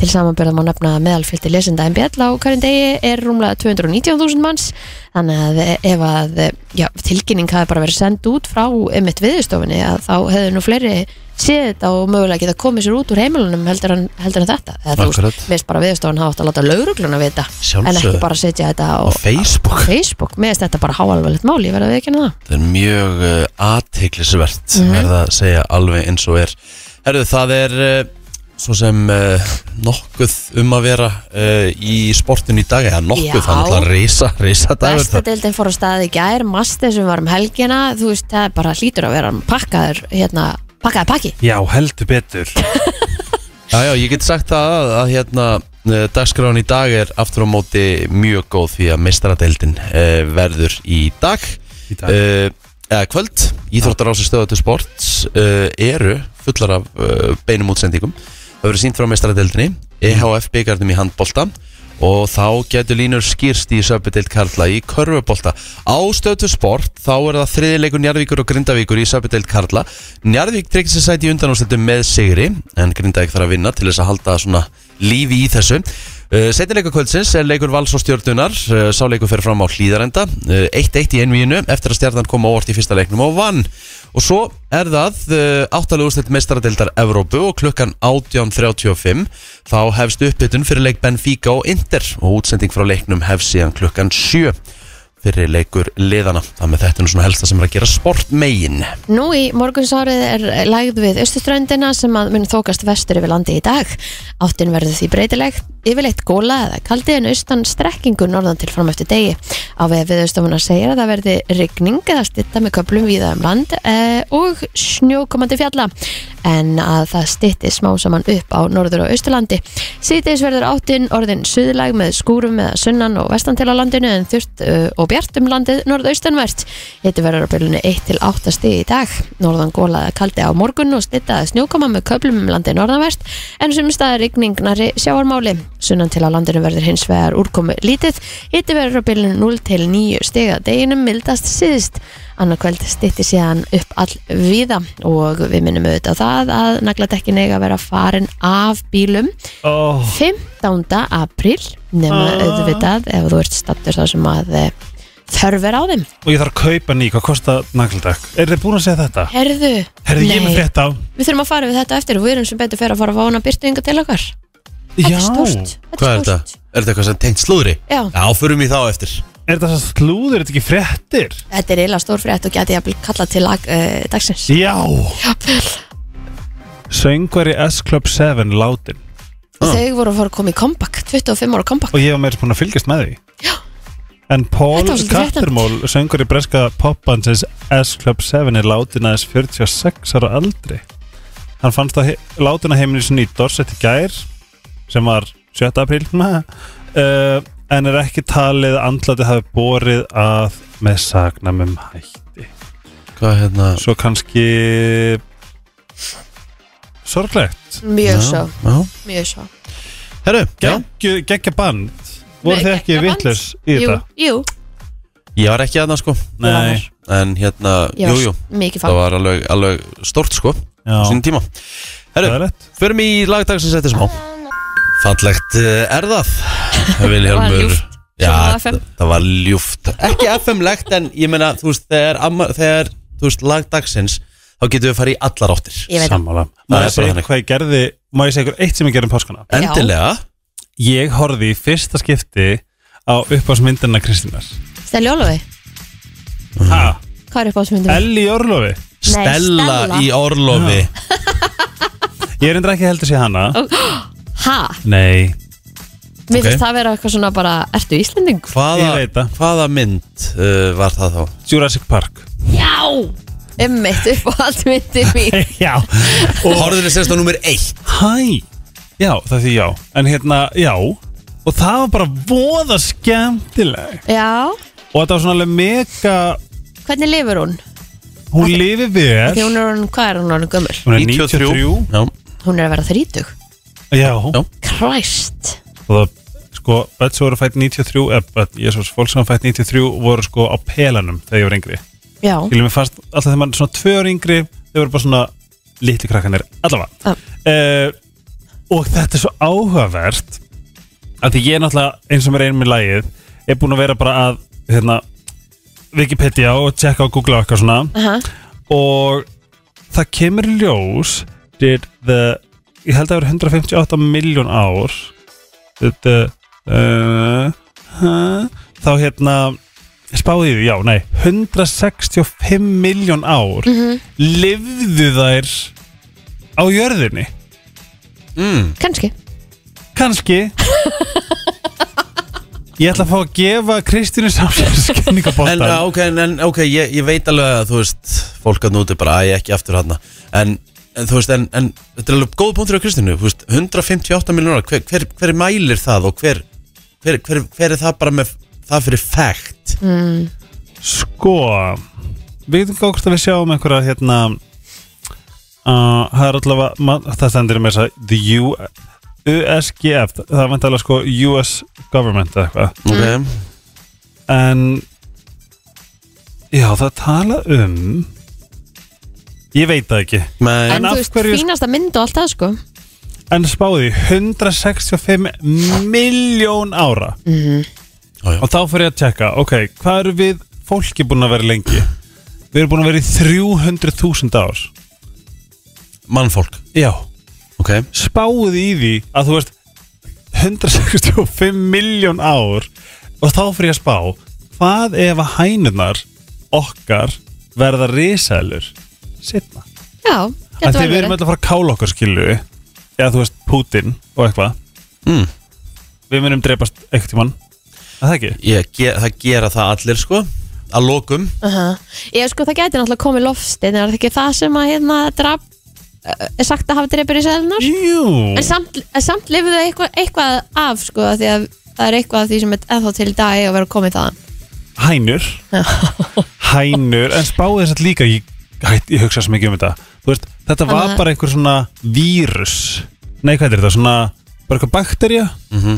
Til samanbörða má nefna að meðalfjöldi lesenda MBL á hverjum degi er rúmlega 219.000 manns þannig að eh, ef að eh, já, tilkynning hafi bara verið send út frá emitt viðstofunni að þá hefðu nú fleiri séð þetta og mögulega geta komið sér út úr heimilunum heldur en, heldur en þetta eða þú Akkurat. veist, veist bara viðstofan hafa átt að láta laurugluna vita en Sjálfsögðu. ekki bara setja þetta á, á Facebook Facebook, mér finnst þetta bara háalvarlegt mál, ég verði að viðkynna það Það er mjög uh, aðteglisvert mm Mhm. verða að segja alveg eins og er Herðu, það er uh, svo sem uh, nokkuð um að vera uh, í sportinu í dag eða nokkuð, Já. það er náttúrulega reysa reysa dagur Besta það deildin fór á staði í gær, master sem var um helgina þú veist, það er bara hlýtur að vera pakkaður, hérna, pakkaður pakki Já, heldur betur Já, já, ég get sagt það að, að hérna uh, dagskráin í dag er aftur á móti mjög góð því að mestaradeildin uh, verður í dag Í dag. uh, eða kvöld Íþróttarási stöða til sports uh, eru fullar af uh, beinum útsendingum það verður sínt frá meistaradeildinni E EHF byggarnum í handbolta og þá getur línur skýrst í söpudeild Karla í körfubolta á stöðtu sport þá er það þriðileikur Njarðvíkur og Grindavíkur í söpudeild Karla Njarðvík tryggir sér sæti í undanúrstöldum með sigri en Grindavík þarf að vinna til þess að halda svona lífi í þessu Setnileikur kvöldsins er Eh, leikur Vals og Stjörnunar Eh, Sá leikur fer fram á hlýðarenda Eh, 1-1 í einvíinu eftir að stjarnan kom á óvart í fyrsta leiknum og vann Og svo er það áttalega úrstilt meistaradeildar Evrópu og klukkan 18.35 Þá hefst uppbytun fyrir leik Benfica og Inter Og útsending frá leiknum hefst síðan klukkan 7 Fyrir leikur liðana Það með þetta er nú svona helsta sem er að gera sport megin Nú í morgunsárið er lægð við östuströndina sem að mun þókast vestur yfir landi í dag. Áttin verður því breytilegt, yfirleitt góla eða kaldi en austan strekkingu norðan til fram eftir degi. Á veð við östumuna segir að það verði rigning eða stitta með köplum víða um land eh, og snjókomandi fjalla en að það stitti smá saman upp á norður og austurlandi. Síðdeis verður áttin orðin suðlæg með skúrum eða sunnan og vestan til á landinu en þurft uh, og bjart um landið norðaustanvert. Þetta verður á byrjunni 1 til 8 stig í dag. Norðan gólaði kaldi á morgun og stittaði snjókoma með köplum um landið norðanvert en sem staði rigning nari sjáarmáli. Sunnan til á landinu verður hins vegar úrkomu lítið. Þetta verður á byrjunni 0 til 9 stig að deginum mildast síðist. Annarkvöld stitti síðan upp all viða og við minnum auðvitað á það að nagladekkin eiga að vera farin af bílum oh. 15. apríl nema Ah. auðvitað ef þú ert stattur þar sem að eh, þörf er á þeim og ég þarf að kaupa ný, hvað kostar nagladekk? Er þið búin að segja þetta? Herðu, Herðu, ég er með nei, frétt á við þurfum að fara við þetta eftir og við erum sem betur fyrir að fara að fá hana byrtu yngar til okkar Þetta er stórt Já, þetta Hvað er stórt. þetta? Er þetta eitthvað sem tengt slúðri? Já, Já, förum í þá eftir er þetta svo slúður, er þetta ekki fréttir? þetta er eiginlega stór frétt og geti ég að kalla til lag uh, dagsins Já Jafnvel. Söngveri S Club 7 látin Ah. Þau voru að fara að koma í comeback 25 ára comeback og ég var meira búin að fylgjast með því En Paul Þetta var svolítið Kattermól, söngveri breska popbandsins S Club 7 er látin aðeins 46 ára aldri Hann fannst á látina heiminu sinni í Dorset í gær sem var 7. apríl uh, en er ekki talið að andlati hafi borið að með sagnamum hætti Hvað hérna? svo kannski sorglegt Mjög svo, Já mjög svo Herru, já Geggju- geggja band voru Nei, þið ekki geggjað band. vitlaus í Jú, þetta? jú, Ég var ekki aðna sko Nei, var- En hérna, ég var jú, jú mikið Það fann var alveg, alveg stort sko já, Sýn tíma það Herru, er rétt förum í lagdagsins eftir smá Fallegt eh, er það Það var Vilhelmur ljúft. Já, Svona FM. það það var ljúft Ekki FM-legt en ég meina Þú veist, þegar, amma- þegar þú veist, lagdagsins Þá getum við farið í allar áttir Ég veit það Sammála Það Má er ég bara segja þannig. hvað ég gerði Má ég segja ykkur eitt sem ég gerði um páskana Já. Endilega Ég horfði í fyrsta skipti á uppásmyndina Kristínar Stæli Ólofi, Mm. Ha, hvað er upp á þessu myndum? Elli Orlofi Stella, Stella. í orlofi Ég er endur ekki heldur sér hana Ha, Nei, mér Ok. finnst það vera eitthvað svona bara Ertu Íslending? hvaða, Ég veit það. hvaða mynd uh, var það þá? Jurassic Park Já, emmitt upp á allt myndum mín Já, og Horður þið sérst á nummer 1 Hæ, já, það því já En hérna, já Og það var bara voða skemmtileg Já, Og þetta var svona alveg mega hvernig lifur hún? Hún lifi vel Því hún er hún, hvað er hún orðin gömul? Hún er 93 Já, Hún er að vera þrítug Já, Já. Christ og það sko, börn sem voru fætt 93 eða börn, ég svo fólk sem var fætt 93 voru sko á pelanum þegar ég var yngri Já, Skilum við fast, alltaf þegar maður er svona tvö ára yngri þau voru bara svona litli krakkanir allavega Ah. uh, og þetta er svo áhugavert að því ég náttúrulega eins og mér einum í lagið er búin að vera bara að hérna, Wikipedia og tjekka og googla og eitthvað svona aha, og það kemur í ljós did the ég held að það eru 158 miljón ár did the uh, huh, þá hérna spáði því, já, nei 165 miljón ár lifðu þær á jörðinni mm, kannski kannski ég ætla að fá að gefa Kristínu En samsæðiskenningabotta uh, ok, en, en, ok, ég, ég veit alveg að þú veist Fólk að núti bara, æ, ekki aftur hana En, en þú veist, en, en Þetta er alveg góð punktur á Kristinu þú veist, 158 miljonar, hver, hver, hver mælir það Og hver, hver, hver, hver er það bara með Það fyrir fact Sko Við veitum hvað hvort að við sjáum einhverja hérna uh, Það er allavega man, Það stendur með þess að The U, USGF Það er vantalega sko US Government eða eitthvað Ok, En Já það tala um Ég veit það ekki með En, af þú veist, hverju- fínasta mynd og allt það sko En spáði 165 miljón ára Ó, já. Og þá fyrir ég að tjekka Ok, hvað eru við fólki búin að vera lengi? Við erum búin að vera í 300.000 ár Mannfólk, Já ok spáið í því að þú veist 165 miljón ár og þá fyrir ég að spá hvað ef að hænunar okkar verða risælur setna Já, en getur þegar vel við verið erum alltaf að fara að kála okkar skilu eða þú veist Putin og eitthvað mm. við munum dreipast eitthvað tímann að það ekki ég, ge, Það gera það allir, sko Að lokum Aha. Ég sko það gæti náttúrulega komið loftsteinn er það ekki það sem að hérna draf er sagt að hafa dreipir í sælunar en Jú, samt, en samt lifið þau eitthvað, eitthvað af sko af því að það er eitthvað af því sem er ennþá til í dag að vera komið þaðan hænur hænur, en spáði þess að líka ég, hætt, ég hugsa svo mikið um þetta Þú veist, þetta var Þannig að- bara einhver svona vírus nei hvað er þetta, svona bara eitthvað bakterja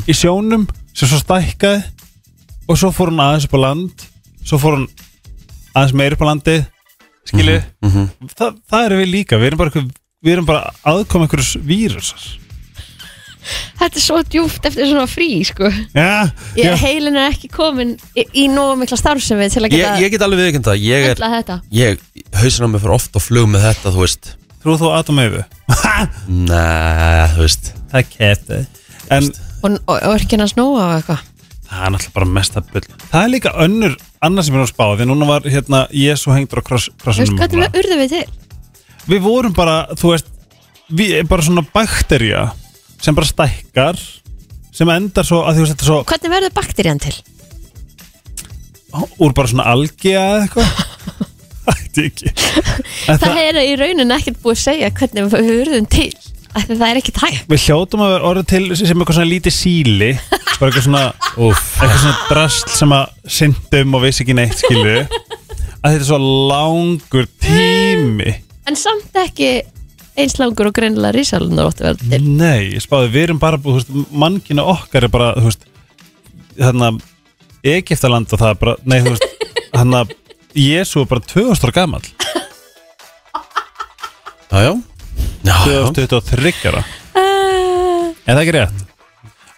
í sjónum sem svo stækkaði og svo fór hún aðeins upp á land svo fór hún aðeins meir upp á landi skilju, mhm. Þa, það erum við líka við erum bara, eitthvað, við erum bara aðkoma einhvers vírusar Þetta er svo djúft eftir svona frí sko. Já, ég, já. Heilin er ekki komin í, í nógu mikla starfsemi til að Ég, geta ég get alveg viðkynnt það, ég er, öll að þetta ég, hausin á mig fyrir oft á flug með þetta, þú veist, Trú þú Adam Eyfi? næ, þú veist, Það er eh. kefi En og, og, og er ekki hann að snúa og eitthvað það er náttúrulega bara mesta bull Það er líka önnur, annars sem er á spá Því núna var hérna, ég svo hengtur á kross, Þú veist krossunum hvað við urðum við til Við vorum bara, þú veist Við erum bara svona bakterja Sem bara stækkar Sem endar svo, að því þú veist þetta er svo Hvernig verður bakterían til? Úr bara svona algi eða eitthvað Ætti ekki En Það er í rauninni ekkert búið að segja hvernig við urðum til af því Það er ekkert hægt Við hljótum að vera orðið til sem eitthvað svona lítið síli bara eitthvað svona, eitthvað svona drast sem að syndum og vissi ekki neitt skilu að þetta er svo langur tími En samt ekki eins langur og greinilega rísalunar óttu verður til Nei, ég spáði, við erum bara þú veist, mannkina okkar er bara þú veist, þarna Egiptaland og það er bara, nei þú veist þarna, Jésu er bara 2000 ára gamall já, já, já, já, 2023 ára Mm. uh, En það er ekki rétt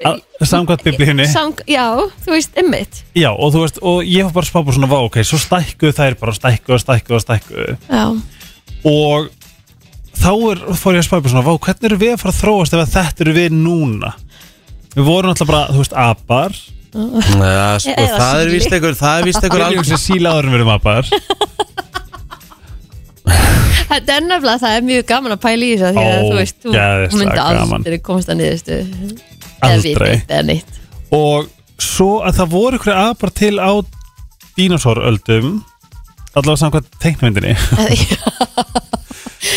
Að- Samkvæmt biblíunni sang, Já, þú veist, ymmit Já, og þú veist, og ég var bara að spá bara svona vá, ok, svo stækkuðu þær bara, stækkuðu, stækkuðu, stækkuðu Já, og þá er, fór ég að spá bara svona vá, hvernig eru við að fara að þróast ef að þetta eru við núna Við vorum alltaf bara, þú veist, apar já, sko, Eða það er síli. víst einhver, það er víst einhver Við erum alveg, sem sílaður en við erum apar þetta er nefnilega það er mjög gaman að pæla í þessu af því að þú veist, Ógeðslega þú myndi gaman. aldrei komast að niðurstu Aldrei. eða neitt og svo að það voru ykkur apar til á dínásóröldum allavega samkvæmt teiknmyndinni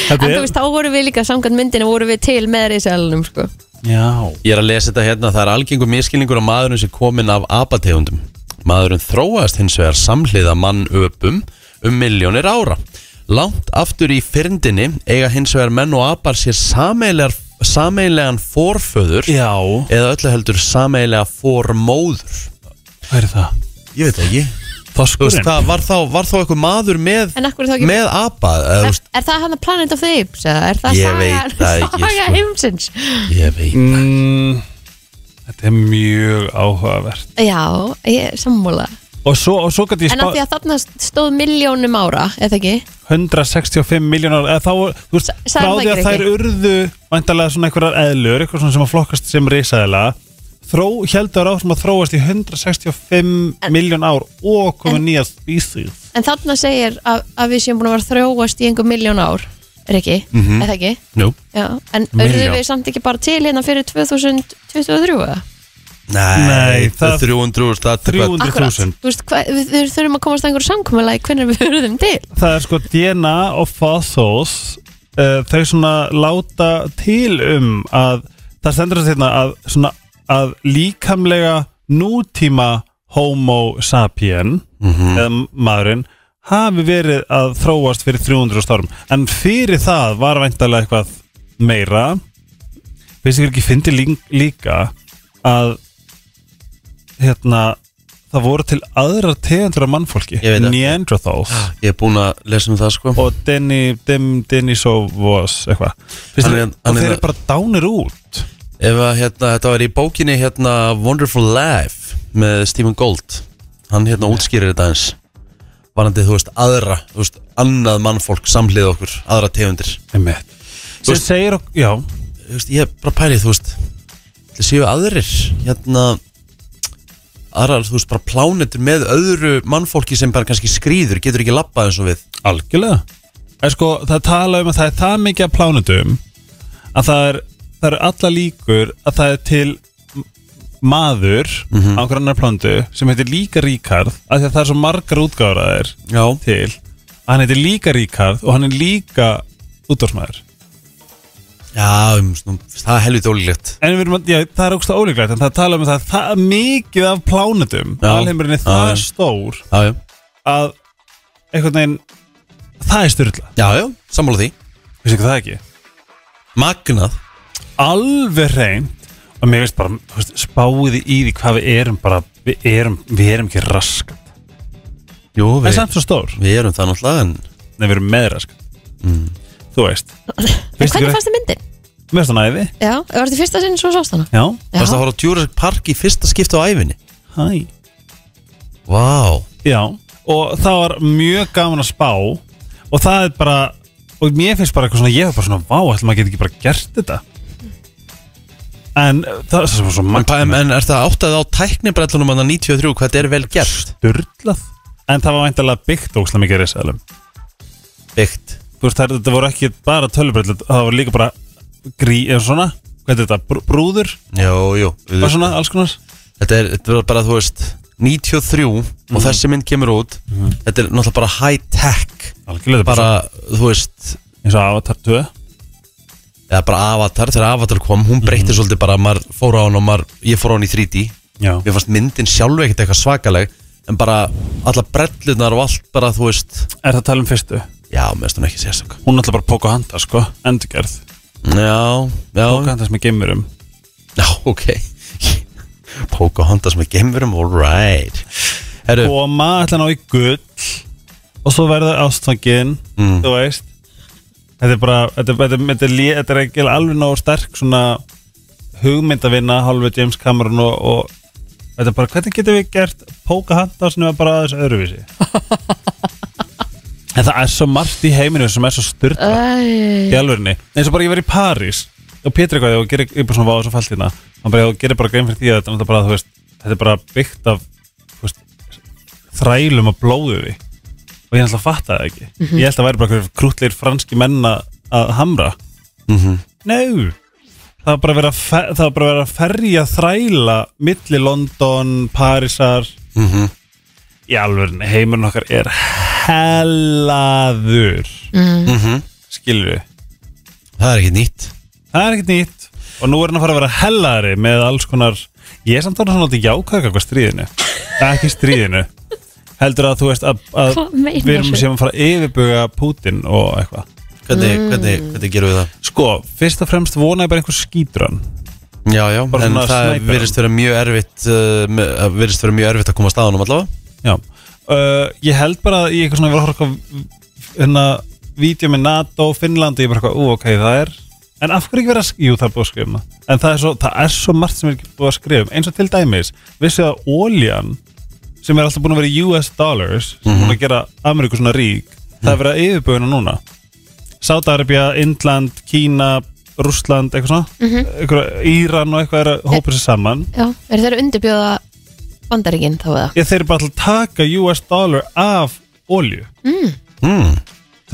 En Þetta þú er, veist, þá vorum við líka samkvæmt myndinu vorum við til með rísalunum sko. já, ég er að lesa þetta hérna, það er algengur miskilningur á maðurinn sem komin af apategundum. Maðurinn þróaðist hins vegar samhliða mannöpum um miljónir ára. Langt aftur í fyrndinni eiga hins vegar menn og apar sér sameilegar, sameilegan forföður já, eða öllu heldur sameilega formóður hvað er það? ég veit ekki þú veist, Þorskurinn? það var þá, var þá eitthvað maður með, En af hverju þá ekki- með apa eða, þú er, veist, er það hann að Planet of the Apes? eða Er það Ég saga- veit það ekki, saga sko. heimsins? ég veit Mm, þetta er mjög áhugavert Já, ég er sammála og svo, og svo gæti ég En af því spá að þarna stóð miljónum ára, eða ekki? 165 miljónar eða þá, þú veist, S- sagði frá það því að ekki, þær Rikki? urðu vantarlega svona einhverjar eðlur, eitthvað svona sem að flokkast sem risaðila þró, heldur áfram að þróast í 165 miljón ár og komið nýja spísið En þarna segir að, að við séum búin að vera að þróast í einhver miljón ár, er ekki? Mhm. Eða ekki? nú, Já, en Milljón. auðvitað við samt ekki bara til hérna fyrir 2023 eða? Nei, nei, það- það 300, það er 300. hvað- Akkurat, 100.000. þú veist, hva, við, við þurfum að komast að einhverju samkomulega hvernig við verðum til það er sko DNA og fossils uh, þau svona láta til um að það stendur þess hérna að, svona, að líkamlega nútíma homo sapien Mhm. eða maðurinn hafi verið að þróast fyrir 300 storm en fyrir það var væntalega eitthvað meira finnst ykkur ekki fyndi lí- líka að hérna það voru til aðra tegundur af mannfólki Ég veit það. Neanderthals ég er búin að lesa um það sko og Denny, Dim, Denisov was eitthvað Fyrst Hann er- þér- hann og er- þeir eru bara dánir út ef að hérna, þetta var í bókinni hérna Wonderful Life með Stephen Gold hann hérna útskýrir þetta eins varandi, þú veist, aðra, þú veist, annað mannfólk samhlið okkur, aðra tegundir einmitt Þú sem veist- segir ok- já, þú veist, ég er bara pælið, þú veist það séu aðrir hérna aðrar, þú veist, bara plánetur með öðru mannfólki sem bara kannski skrýður, getur ekki labbað eins og við algjörlega er, sko, það tala um að það er það mikið af plánutum að það er það eru alla líkur að það er til m- maður Mhm. á einhver annar plándu sem heitir líka Ríkard af því að það er svo margar útgáraðir já, til að hann heitir líka Ríkard og hann er líka útdórsmaður já um, svona, það er helviti ólíklegt En við erum að, já, það er ógstlega ólíklegt en það tala um það, það mikið af plánutum Já. alheimurinn er það Já, já. stór já, já, að einhvern veginn það er styrla, já, já, sammála því við séum það ekki magnað, alveg reynd og mér veist bara, þú veist, spáði í því hvað við erum bara, við erum við erum ekki raskat, jú, en við, samt svo stór við erum það náttúrulega en Mm. en við erum með raskat þú veist En Veistu hvernig hver- fannst þið myndin? Mér finnst það næði Já, var þetta í fyrsta sinn svo sást hana? Já, Já, Varst að horfa á Jurassic Park í fyrsta skipti á æfinni hæ Vá Já, og það var mjög gaman að spá Og það er bara Og mér finnst bara eitthvað svona Ég er bara svona, vá, ætlum maður geti ekki bara gert þetta En uh, það er svo, svo En, magna en, en er það áttað á tæknibrellunum að 93 hvað þetta er vel gert Durlað En það var væntalega byggt ókslega mikið risaðalum byggt Þú veist, það þetta voru ekki bara tölubrellu Það voru líka bara grí, eða svona Hvað er þetta, brú, brúður Jó, jó Og svona, alls konar Þetta er, þetta er bara, þú veist 93 og þessi mynd kemur út Þetta er náttúrulega bara high tech Algjörlega þetta er Mhm. Bara, þú veist bara eins og Avatar 2 eða bara Avatar, þegar Avatar kom hún breytti svolítið bara, maður fór á hann og maður, ég fór á hann í 3D Já, mér fannst myndin sjálf ekkert eitthvað svakaleg en bara alla brellunar og allt bara, þú veist, er það að tala um fyrstu? já, mér finnst hún ekki sérstök Hún er alltaf bara Pocahontas, sko, endurgerð já, já, Pocahontas með geimurum já, ok Pocahontas með gemurum, alright herru, og maður ætla að ná í gull og svo verður ástfangin Mm. þú veist þetta er bara, þetta, er- þetta, er- þetta, er lé- þetta er ekki alveg nóg sterk svona hugmyndavinna hálfu James Cameron og, og þetta er bara, hvernig getum við gert Pocahontas nema bara aðeins öðruvísi en það er svo margt í heiminu sem er svo styrta Æ, í alvörinni eins og bara ég verið í París og Pétur eitthvað og gerir ég bara svona váð svo fallt hérna hann bara ég gerir bara grein fyrir því að þetta er náttúrulega bara þú veist þetta er bara byggt af þú veist, þrælum og blóðuði og ég ætla að fatta það ekki ég held að það væri bara krútleir franski menna að hamra mhm. Nei Það var bara verið að, fe- það var bara verið að ferja þræla milli London, Parísar Mhm. í alvörinni heimurinn okkar er hellaður mhm, skilur við það er ekki nýtt Það er ekkert nýtt Og nú er hann að fara að vera hellari með alls konar Ég er samt orðinn svona alltaf jákvæk eitthvað stríðinu Nei, Ekki stríðinu Heldur að þú veist að, að Hvað meinar við erum þú? sem að fara að yfirbuga Putin og eitthvað hvernig, hvernig, hvernig gerum við það Sko, fyrst og fremst vona ég bara einhver skýtran já, já, Bara en svona það sniper. virðist vera mjög erfitt uh, með- það virðist vera mjög erfitt að koma að staðanum allavega Já uh, Ég held bara að ég eitthvað svona var að horfa á eitthvað hérna Vídeó með NATO, Finnland og ég bara eitthvað, ú ok, það er En af hverju ekki vera að skrifa, jú það er búið að skrifa um það En það er svo, það er svo margt sem er ekki búið að skrifa um Eins og til dæmis, vissu að óljan Sem er alltaf búin að vera í US dollars Sem er búin að gera Ameríku svona rík Það er verið að yfirbúina núna Sátarabja, Indland, Kína Rússland, eitthvað svona eitthvað, Íran og eitthvað er að hópa sér saman já, er þeir að undirbjóða bandaríkin þá eða? ég þeir eru bara til að taka US dollar af olju mm.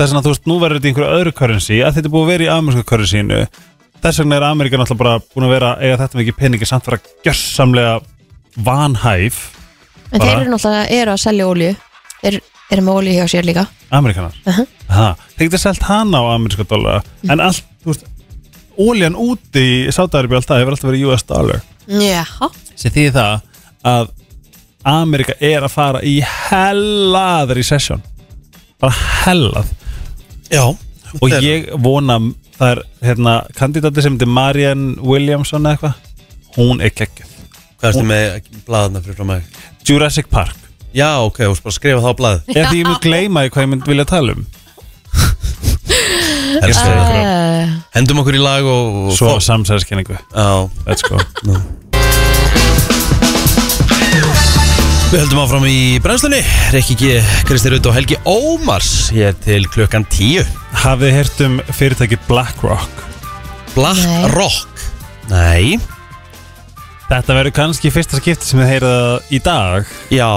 þess vegna þú veist, nú verður þetta í einhverju öðru currency að þetta er búið að vera í ameríska currencyinu þess vegna er Ameríkan alltaf bara búin að vera eiga þetta mikið peningi samt vera gjörsamlega vanhæf En Bara- þeir eru náttúrulega eru að selja ólíu Þeir eru með ólíu hjá sér líka Ameríkanar uh þeir geta selt hana á ameríska dollara en allt, þú veist oljan úti í Sátaðarbi alltaf hefur alltaf verið US dollar Jaha sem því það að Amerika er að fara í hellaður í session bara hellað já, og ég vona það er hérna kandidati sem heitir Marianne Williamson eða eitthvað hún er kekkjöf hvað erstu með blaðna fyrir frá mig Jurassic Park já, ok, þú veist bara skrifa það á blaðið er því ég mun gleyma því hvað ég mynd vilja tala um Herru, uh, Hendum okkur í lag og og svo fá- samsæðiskenningu Já, let's go við höldum áfram í brennslunni Rikki G, Kristi Rutt og Helgi Ómars Hér til klukkan 10 hafið þið heyrt um fyrirtæki BlackRock Black Nei. Rock Nei þetta verður kannski fyrsta skipti sem þið heyrið það í dag Já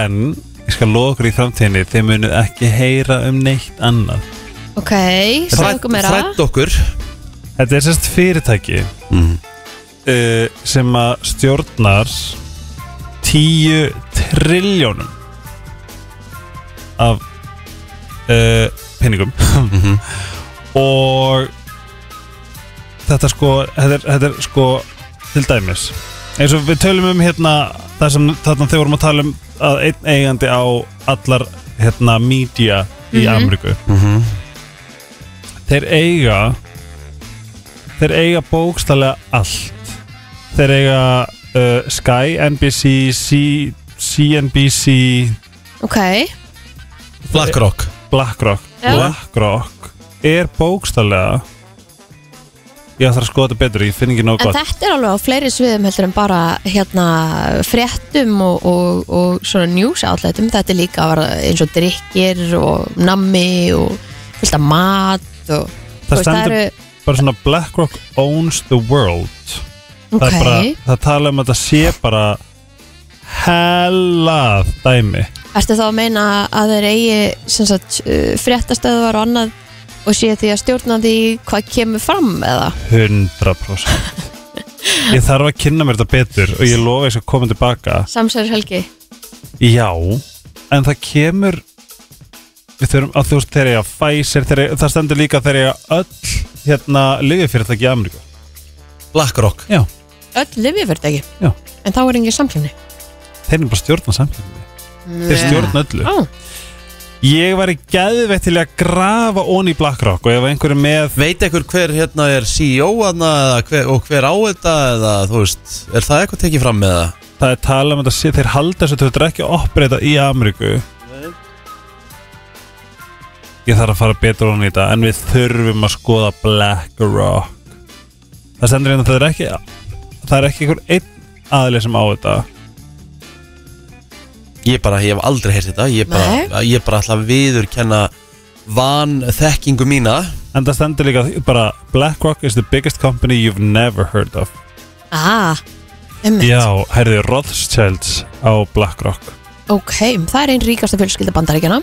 en ég skal loka okkur í framtíðinni þið munið ekki heyra um neitt annað Ok, sagði okkur meira Þrætt okkur þetta er sérst fyrirtæki mm. uh, sem að stjórnar 10 trilljónum af uh, penningum og þetta sko þetta er, þetta er sko til dæmis eins og við tölum um hérna það sem þarna þegar vorum að tala um að einn eigandi á allar hérna media í Ameríku þeir eiga þeir eiga bókstallega allt þeir eiga uh, Sky, NBC, C, CNBC Ok, Black Rock BlackRock Já. BlackRock er bókstallega Ég þarf að skoða þetta betur, ég finn ekki nóg En gott þetta er alveg á fleiri sviðum heldur en bara hérna fréttum og, og, og svona news outletum þetta er líka að vera eins og drikkir og nammi og fylgta mat og þú Það veist, stendur bara svona BlackRock owns the world Það er ok, bara, það tala um að það sé bara hellað dæmi ertu þá að meina að þeir eigi sem sagt uh, fréttastöðvar og annað og sé því að stjórna því hvað kemur fram eða 100% Ég þarf að kynna mér þetta betur og ég lofa þess að koma tilbaka samsæður helgi Já, en það kemur við þurfum að þú veist þegar ég að Pfizer, þegar ég, það stendur líka þegar ég að öll hérna lifið fyrir það ekki Ameríku BlackRock Já, öll lifið verður ekki Já. en þá er engin samkjöfni þeir eru bara stjórna samkjöfni Þeir stjórna öllu Ó, Ég væri geðveitt til að grafa onni í BlackRock og ef einhverju með Veit ekkur hver hérna er CEO hana, eða hver, og hver á þetta eða þú veist, er það eitthvað tekið fram með það? það er tala um þetta sé þeir halda þessu þetta er ekki að oppreita í Ameríku Ég þarf að fara betur onni í þetta en við þurfum að skoða BlackRock Það stendur hérna það er ekki það er ekki einhver einn aðlið sem á þetta Ég bara, ég hef aldrei heyrt þetta ég bara, ég bara ætla að viðurkenna vanþekkingu mína En það stendur líka bara BlackRock is the biggest company you've never heard of ah, einmitt. Já, herði Rothschilds á BlackRock ok, það er einn ríkasta fjölskylda bandaríkjana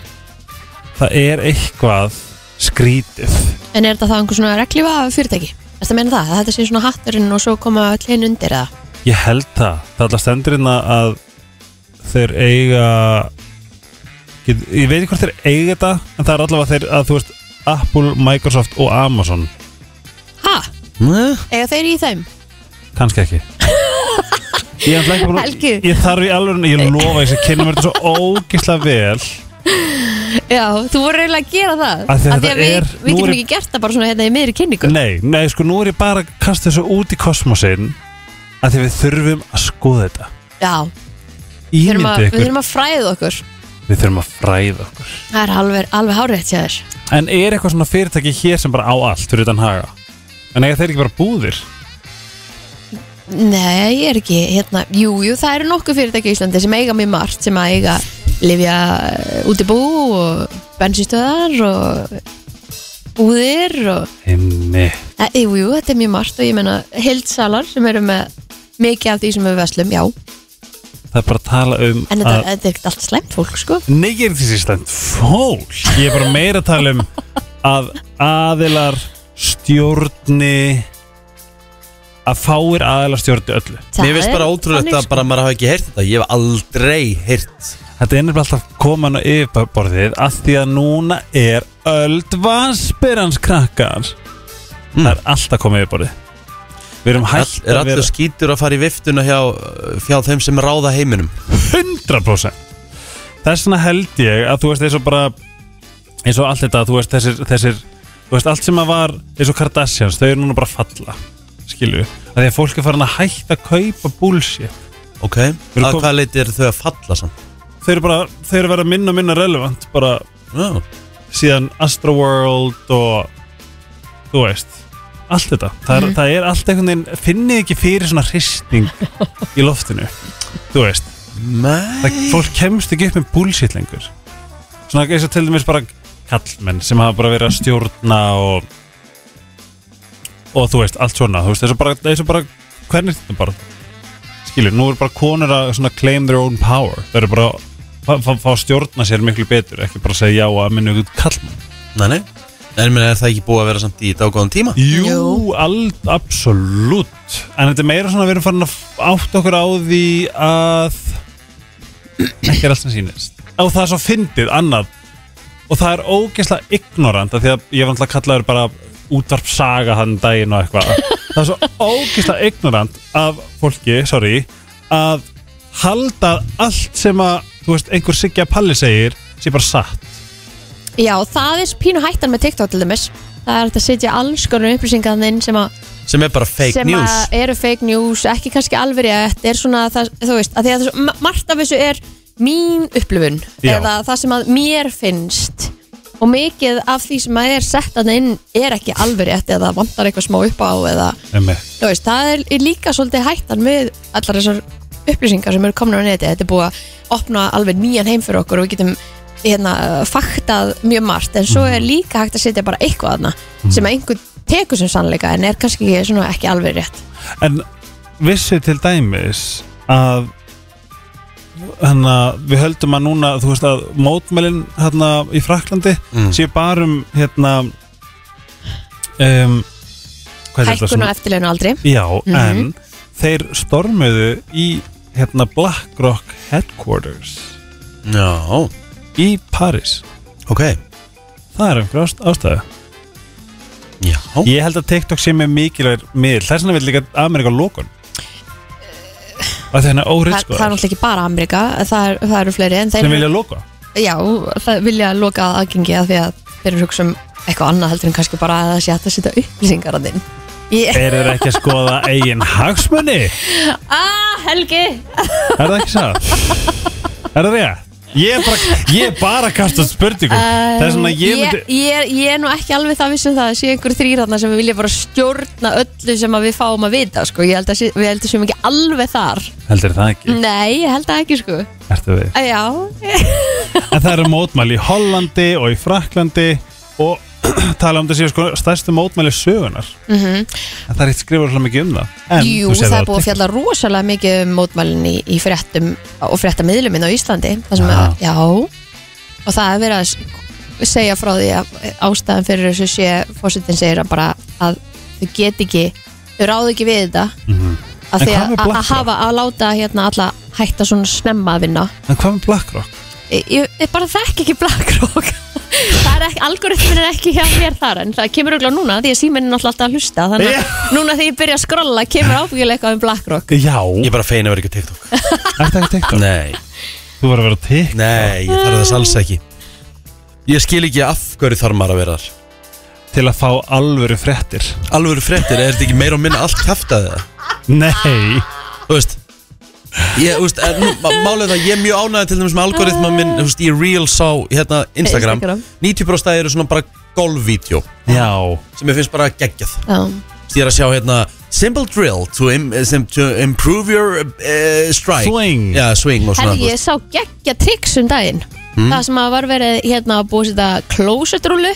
Það er eitthvað skrítið En er þetta þá einhver svona reglífa fyrirtæki? Þetta meina það, að þetta sé svona hatturinn og svo koma öll hinn undir eða? Ég held það, það alltaf stendur hérna að þeir eiga Ég ég veit ekki hvort þeir eiga þetta En það er allavega þeir að þú veist Apple, Microsoft og Amazon Ha? Nei. Ega þeir í þeim? Kanski ekki Ég, ætla ekki búin, Helgi. ég þarf í alveg, ég lofa þess að kynna mér þetta svo ógislega vel Já, þú voru eiginlega að gera það Af því að Af þetta við, er- við nú getum er- ekki gert það bara svona hérna í miðri kynningu Nei, nei, sko nú er ég bara að kasta þessu út í kosmosin að því við þurfum að skoða þetta Já, við þurfum, að, Ímyndi við ykkur, þurfum að fræða okkur við þurfum að fræða okkur Það er alveg, alveg hárétt hjá þér En er eitthvað svona fyrirtæki hér sem bara á allt fyrir utan haga? En eiga þeir ekki bara búðir? Nei, ég er ekki, hérna, jú, jú, það eru nokkuð fyrirtæki í Íslandi sem eiga mjög margt sem að eiga eh, lifja útibú og bensinstöðar og búðir og Himmi Eh, Jú, jú, þetta er mjög margt og ég menna heildsalar sem eru með mikið af því sem við veslum, já en Það er bara að tala um þetta, Ah. að þetta er ekkert allt slæmt fólk, sko Nei, ég er því sýsland fólk Ég er bara meira að tala um að aðilar stjórni að fáir aðilar stjórni öllu Það Mér finnst er bara ótrúlegt þannig, sko. að bara maður hafa ekki heyrt þetta Ég hef aldrei heyrt Þetta er nefnilega alltaf koman á yfirborðið af því að núna er öld vaspirans krakkans Mm. Það er alltaf komið yfirborðið Við erum All, hægt Er að allur vera skítur að fara í viftuna hjá, hjá þeim sem ráða heiminum 100% Þess vegna held ég að þú veist eins og bara eins og allt þetta, þú veist þessir, þessir þú veist allt sem að var eins og Kardashians þau eru núna bara að falla skilju, að því að fólk er farin að hægt að kaupa bullshit Ok, Við erum að kom- hvað leiti eru þau að falla samt? þau eru bara, þau eru að vera minna og minna relevant bara Já, síðan Astroworld og þú veist allt þetta, það er, það er allt einhvern veginn finnið ekki fyrir svona hristing í loftinu, þú veist Nei það, fólk kemst ekki upp með bullshit lengur svona eins og til dæmis bara kallmenn sem hafa bara verið að stjórna og og þú veist, allt svona, þú veist, eins og bara, eins og bara hvernig þetta bara skilur, nú eru bara konur að svona claim their own power, þau eru bara að fá- fá- fá að stjórna sér miklu betur, ekki bara að segja já að minna ykkur kallmenn Nei, nei En ég meina, er það ekki búið að vera samt í dágóðan tíma? Jú, Jú. allt, absolutt En þetta er meira svona að við erum farin að átta okkur á því að ekki er allt sem sýnist Og það er svo fyndið, annað Og það er ógeðslega ignorant af Því að ég var alltaf að kalla þér bara útvarp saga hann daginn og eitthvað Það er svo ógeðslega ignorant af fólki, sorry að halda að allt sem að þú veist, einhver Sigja Palli segir sé bara satt Já, það er pínu hættan með TikTok til dæmis Það er hægt að setja alls konar upplýsingar þinn sem, að, Sem er bara fake sem news að eru fake news, ekki kannski alveg rétt er svona, það, þú veist, að því að það, er svo- ma- margt af þessu er mín upplifun Já. eða það sem að mér finnst og mikið af því sem að er sett að inn er ekki alveg rétt eða vantar eitthvað smá upp á eða, Einmitt. þú veist, það er, er líka svolítið hættan við allar þessar upplýsingar sem eru komnar á neti þetta er búið að opna alveg nýjan heim fyrir okkur og við getum hérna, faktað mjög margt en svo Mhm. er líka hægt að setja bara eitthvað aðna sem að einhver tekur sem sannleika en er kannski svona ekki alveg rétt En vissu til dæmis að hana, við höldum að núna þú veist að mótmælin hana, í Fraklandi Mm. séu bara um hérna um, hvað er þetta hækkun og svona- eftirleinu aldrei Já, Mhm. en þeir stormuðu í hérna BlackRock headquarters Já, í Paris ok Það er einhver ást- ástæða Já, Ég held að TikTok sé með mikilvægur miðl Það er svona vil líka Amerika lókun Það er hérna Eh, það, óriðsko það er náttúrulega ekki bara Amerika það, er, það eru fleiri en þeir sem vilja lóka já, það vilja loka aðgengi að því að þeir eru hugsa um eitthvað annað heldur en kannski bara að það sé hægt að setja upplýsingar að þinn yeah. Þeir eru ekki að skoða eigin hagsmunni Er Ah, Helgi! það ekki satt? Er það rétt? Ég er bara, ég er bara að kasta spurningum Það er svona að ég Um, ég, myndi ég, er- ég er nú ekki alveg það vissum það að sé einhver þrýratna sem vilja bara stjórna öllu sem að við fáum að vita sko. ég held að sé, við heldum sem ekki alveg þar Heldur það ekki? Nei, ég held að ekki sko Ertu við? Æ, Já, En það eru mótmæli í Hollandi og í Fraklandi og tala um þessi sko stærstu mótmæli sögunar En það er eitt skrifur hlum mikið um það en, Mhm. jú, þú sérð það er búið að á fjalla rosalega mikið um mótmælin í, í fréttum og fréttamiðlum inn á Íslandi það sem Aha. að, já og það er verið að s- segja frá því að ástæðan fyrir þessu sé fórsetin segir að bara að þau get ekki þau ráðu ekki við þetta Mhm. að En því hvað að með að BlackRock? hafa að láta hérna alla hætta svona snemma að vinna TikTok. En hvað með BlackRock? ég, ég, ég bara þekk ekki BlackRock það er ekki, algoritmin er ekki hjá mér þar en það kemur auðvitað núna því að síminn er náttúrulega alltaf að hlusta þannig að núna þegar ég byrja að skrolla kemur ábyggilega eitthvað um BlackRock Já, ég er bara feina að vera ekki á TikTok er það ekki TikTok? Nei, Þú voru að vera á TikTok nei, ég þarf þess alls ekki Ég skil ekki af hverju þarf maður að vera þar til að fá alvöru fréttir Alvöru fréttir, er þetta ekki meira og minna allt kæftað það? Nei, Ah. Þú veist Ég, þú veist, en nú, má- málið er það, ég er mjög ánægð til dæmis með algoritma minn, þú veist, í Reels á hérna, Instagram, Instagram. 90% af þeir eru svona bara golfvídeó já sem ég finnst bara geggjað Já. Þú veist, ég er að sjá hérna simple drill to, im, sem, to improve your uh, strike Swing. já swing og svona Hmm? herri ég sá geggja triks um daginn það sem að var verið hérna að búið þetta klósetrúlu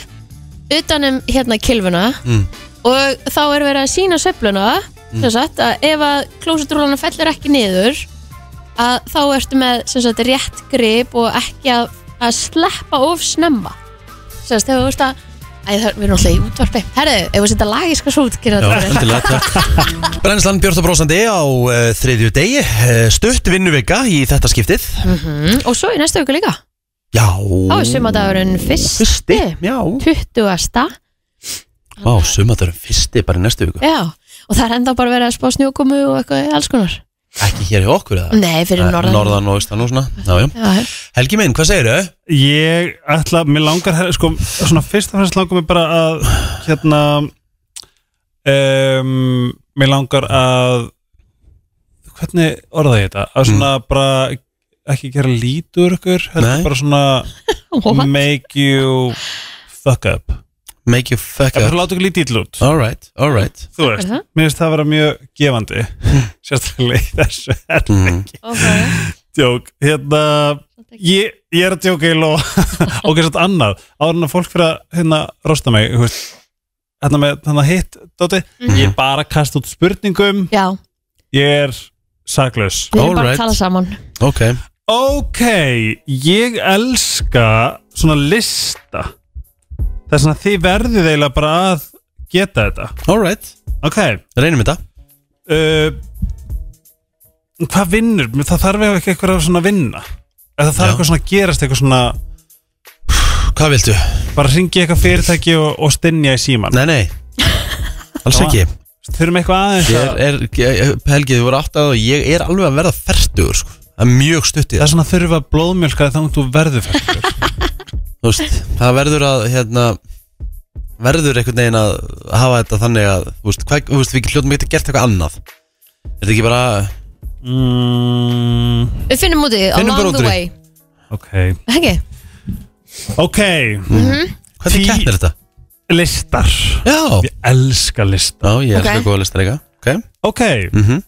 utan um hérna kilfuna Mm. og þá er verið að sína söfluna Hmm. sem sagt að ef að klósetrúlana fellur ekki niður að þá ertu með sem sagt rétt grip og ekki að, að sleppa of snemma sem sagt ef þú veist að Æ, það, við erum alltaf í útvarpi. Herðu, ef við setja lagiska sút, gerða Já, þetta fyrir. endilega, takk. Brennslan Björn og Brósandi á uh, þriðju degi uh, stutt vinnuvika í þetta skiptið Mm, Og svo í næstu viku líka. já Þá er sumadagurinn fyrsti fyrsti. já 20. á sumatarum fyrsti bara í næstu viku Já, og það er enda bara verið að spá snjókomu og eitthvað alls konar. ekki hér hjá okkur eða Nei, fyrir Eh, Mm, norðan. norðan og austan og svona já, já. Já, Helgi minn hvað segirðu? Ég ætla, mér langar sko, svona fyrst og fremst langar mér bara að hérna um, mér langar að hvernig orða ég þetta Mm. að svona bara ekki gera lítur ykkur, heldur Nei. bara svona What? make you fuck up make you fuck ég bara up láta ykkur lítið út alright alright þú veist, Mhm. mér finnst það vera mjög gefandi sérstaklega í þessu mm. Okay. djók, hérna ég, ég er að djóka í ló ok, svo annað, áður en að fólk fyrir að hérna rosta mig, þú veist hérna með hérna hitt, Dóti ég er bara að kasta út spurningum Já, ég er saklaus við erum bara Alright. að tala saman. ok ok, ég elska svona lista það er svona þið verðið eiginlega bara að geta þetta alright ok, reynum þetta uh, hvað vinnur það þarf ekki eitthvað svona að vinna eða það þarf Já. eitthvað svona að gerast eitthvað svona hvað viltu? bara ringi eitthvað fyrirtæki og, og stinja í síman nei nei alls Já. ekki þurfum eitthvað aðeins Ég að, er, er, Helgi, þú voru átt að ég er alveg að verða færtugur sko. Það er mjög stutt í það það er svona þurfa blóðmjölka þannig þú verður fættur Þú veist, Það verður að hérna, verður einhvern veginn að hafa þetta þannig að þú veist, hvað, þú veist, við hljóðum ekki að gert eitthvað annað Er þetta ekki bara mm, Við finnum út í því, Finnum bara along út the úr því. way. ok Hengi, Ok, Hvernig Tí- keppnir þetta? listar Já, Ég elska listar já ég Ok. elskar góða listar líka Ok, Ok, mhm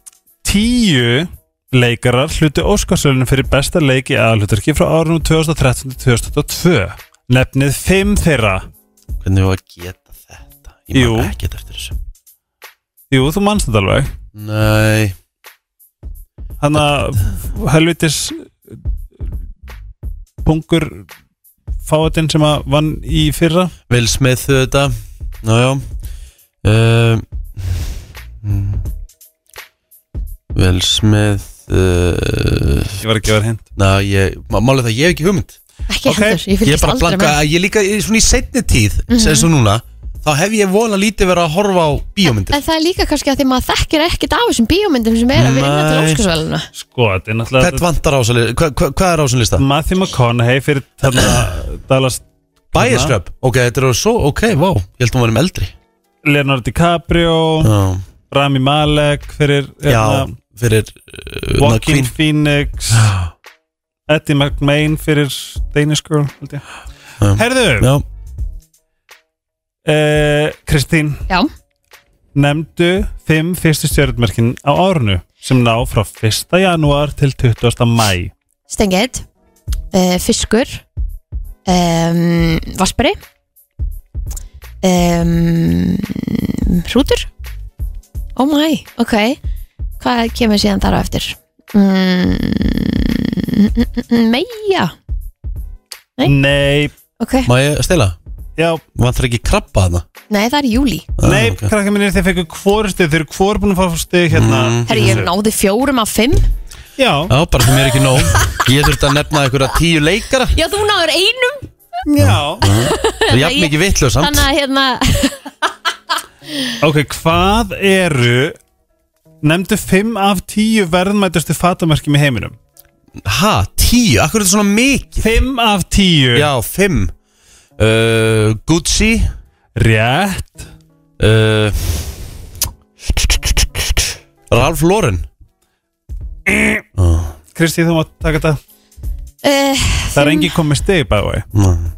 tíu leikarar hluti Óskarsölinu fyrir besta leik í aðalhutverki frá árunum 2013-2022 Nefnið fimm þeirra Hvernig við varum að geta þetta? Ég Jú. maður ekki eftir þessu Jú, þú manst þetta alveg Nei, Hanna helvitis pungur fáatinn sem að vann í fyrra Will Smith þetta Nájá um, hmm. Will Smith uh, Ég var ekki að vera hint Ná, ég, má- málið það, ég hef ekki hugmynd Ekki Ok, heldur, ég Ég er fylgist bara að aldrei blanka, með Mhm. ég líka, ég, svona í setni tíð mm sem svo núna, þá hef ég vola lítið verið að horfa á bíómyndir En það er líka kannski að því maður þekkir ekkert af þessum bíómyndum sem er að vinna til Nei. óskarsvæluna Sko, þetta Hvert er náttúrulega vantar á ásali, hva, hva, hvað er á ásali lista? Matthew McConaughey fyrir þarna Dallas Bias Club, ok, þetta eru svo, ok, vá Ég held hún var um eldri Leonardo DiCaprio Já, Rami Malek fyrir já hérna, fyrir uh, na, Joaquin Queen Phoenix Eddie McMahon fyrir Danish Girl held ég. Já. Herðu, Já, eh, Kristín Já, nefndu fimm fyrstu stjörnmerkin á árunu sem ná frá 1. janúar til 20. mæ stengið uh, Fiskur um, Vaspari um, Hrútur Oh my, ok Hvað kemur síðan þar á eftir? Mm, mm, mm, meja Nei. Nei, Ok, má ég stela? já, Vantar ekki krabba þarna? nei það er júli nei, Ah, ok. okay. krakka minni þeir fekku kvorustu, þeir eru kvor búin að fá stig hérna Mm. Herri, ég náði fjórum af fimm Já, Já, bara því mér er ekki nóg Ég þurfti að nefna einhverja tíu leikara Já, þú náður einum já Það er jafn mikið vitlu samt Þannig að hérna Ok, hvað eru nefndu fimm af tíu verðmætustu fatamerkjum í heiminum Ha, tíu, akkur er þetta svona mikið? Fimm af tíu Já, fimm uh, Gucci Rétt uh, Ralph Lauren Kristi, þú mátt taka þetta uh, Það er engin komið stig, by the way Nei.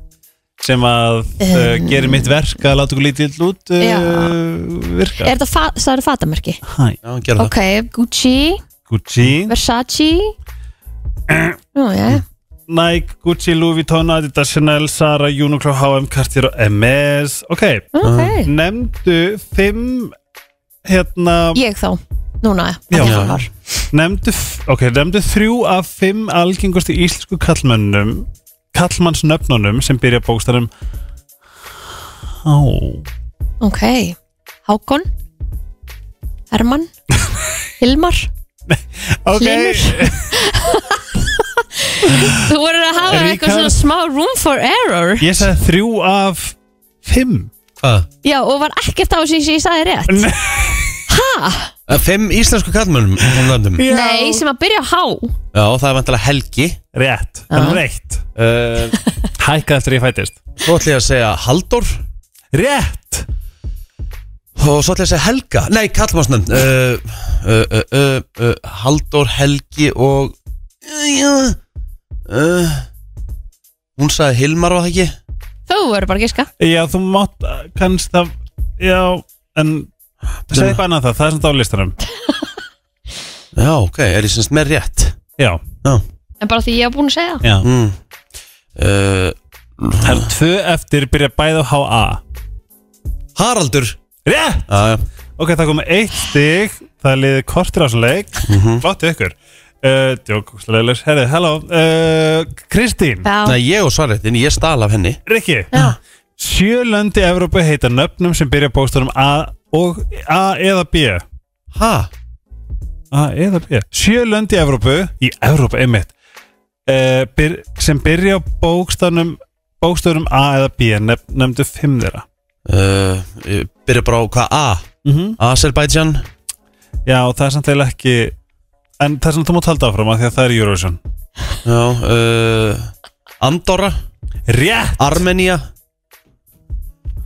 sem að uh, gerir mitt verk að láta okkur lítið út Um. Já. uh, virka Er þetta fa það eru fatamerki? Hæ, Já, hann gerði Ok, Gucci, Gucci, Versace Nú, já Nike, Gucci, Louis Vuitton, Adidas, Chanel, Zara, Uniqlo, H&M, Cartier og MS Ok, Ok, nefndu fimm hérna, ég þá Núna, að Já. ég það var nefndu f- ok, nefndu þrjú af fimm algengustu íslensku kallmönnum kallmannsnöfnunum sem byrja bókstæðum Há Ok, Hákon Hermann Hilmar, Ok, Hlynur Þú voru að hafa Ríkharð. eitthvað svona smá room for error ég sagði þrjú af fimm Hvað? Já, og var ekkert á þessu sem ég sagði rétt Nei. Eh, Fimm íslensku kallmönnum hún nefndum. Nei, sem að byrja á H Já, það er vantilega Helgi Rétt, hann er eitt uh, Hækkað eftir ég fættist Svo ætla ég að segja Halldór Rétt Og svo ætla ég að segja Helga Nei, kallmannsnefnd uh, uh, uh, uh, uh, Halldór, Helgi og uh, uh, Hún sagði Hilmar var það ekki? Þú voru bara að giska Já, þú mátt uh, kannski það Já, en Segð eitthvað annað það, það er samt á listanum Já, ok, er ég semst með rétt Já, Já En bara því ég var búin að segja það já mm. uh, Það eru tvö eftir byrja bæði á H.A. Haraldur Rétt! Já, já Ok, það kom eitt stig Það er liðið kortur á svo leik Flott hjá ykkur uh, Djókúksleilis, herri, hello uh, Kristín, Já, Nei, ég og svarið, en ég stal af henni Rikki Já. Sjö löndi Evrópu heita nöfnum sem byrja bókstunum A og A eða B Ha? A eða B Sjö löndi Evrópu Í Evrópu, einmitt uh, byr, sem byrja bókstunum bókstunum A eða B nef, nefndu fimm þeirra Uh, ég byrja bara á hvað A mm Mhm. Azerbaijan Já, það er samt eða ekki En það er samt þú mátt halda áfram af því að það er Eurovision Já, uh, Andorra Rétt! Armenia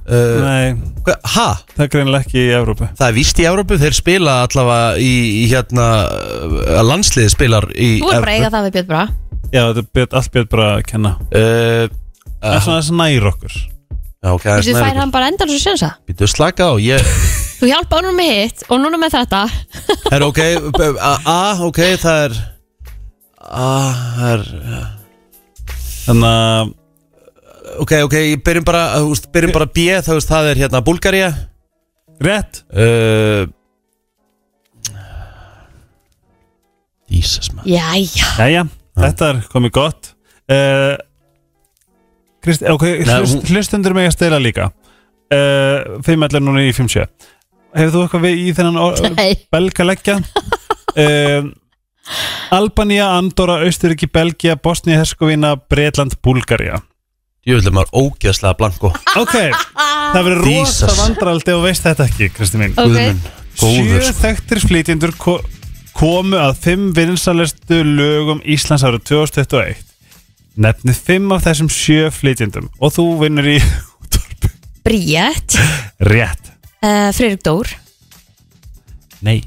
uh, Nei, hva, Ha? það er greinilega ekki í Evrópu Það er víst í Evrópu, þeir spila allavega í, í hérna uh, landsliði spilar í þú voru bara að Evrópu. eiga það við Björn Bra Já, þetta er björn, allt björn bara að kenna uh, Það er svona þess nær okkur Já, ok, það er Þú fær snæður hann bara endan svo sjensa Býtu slaka á, ég Þú hjálpa honum með hitt og núna með þetta Það er ok, b- a, a, ok, það er A, það er Þannig að Ok, ok, ég byrjum bara, þú veist, byrjum bara B, það, veist, það er hérna Búlgaría Rétt uh, Jesus maður Jæja, Jæja, þetta er komið gott uh, Krist, eh, ok, hlust, hún- hlustundur mig að stela líka uh, 5.11 núna í 5.7 Hefur þú eitthvað við í þennan or- nei belga leggja? uh, Albanía, Andorra, Austuríki, Belgia, Bosnía, Herskovína, Bretland, Búlgaria Ég vil maður ógeðslega blanko Ok, það verður rosa Jesus. vandraldi og veist þetta ekki, Kristi mín Ok, Guðmund, góður Sjö sko. þekktir flytjendur ko komu að fimm vinsalestu lögum Íslands árið 2021 Nefnið fimm af þessum sjö flytjendum og þú vinnur í Bríett rétt uh, Friðrik Dór Nei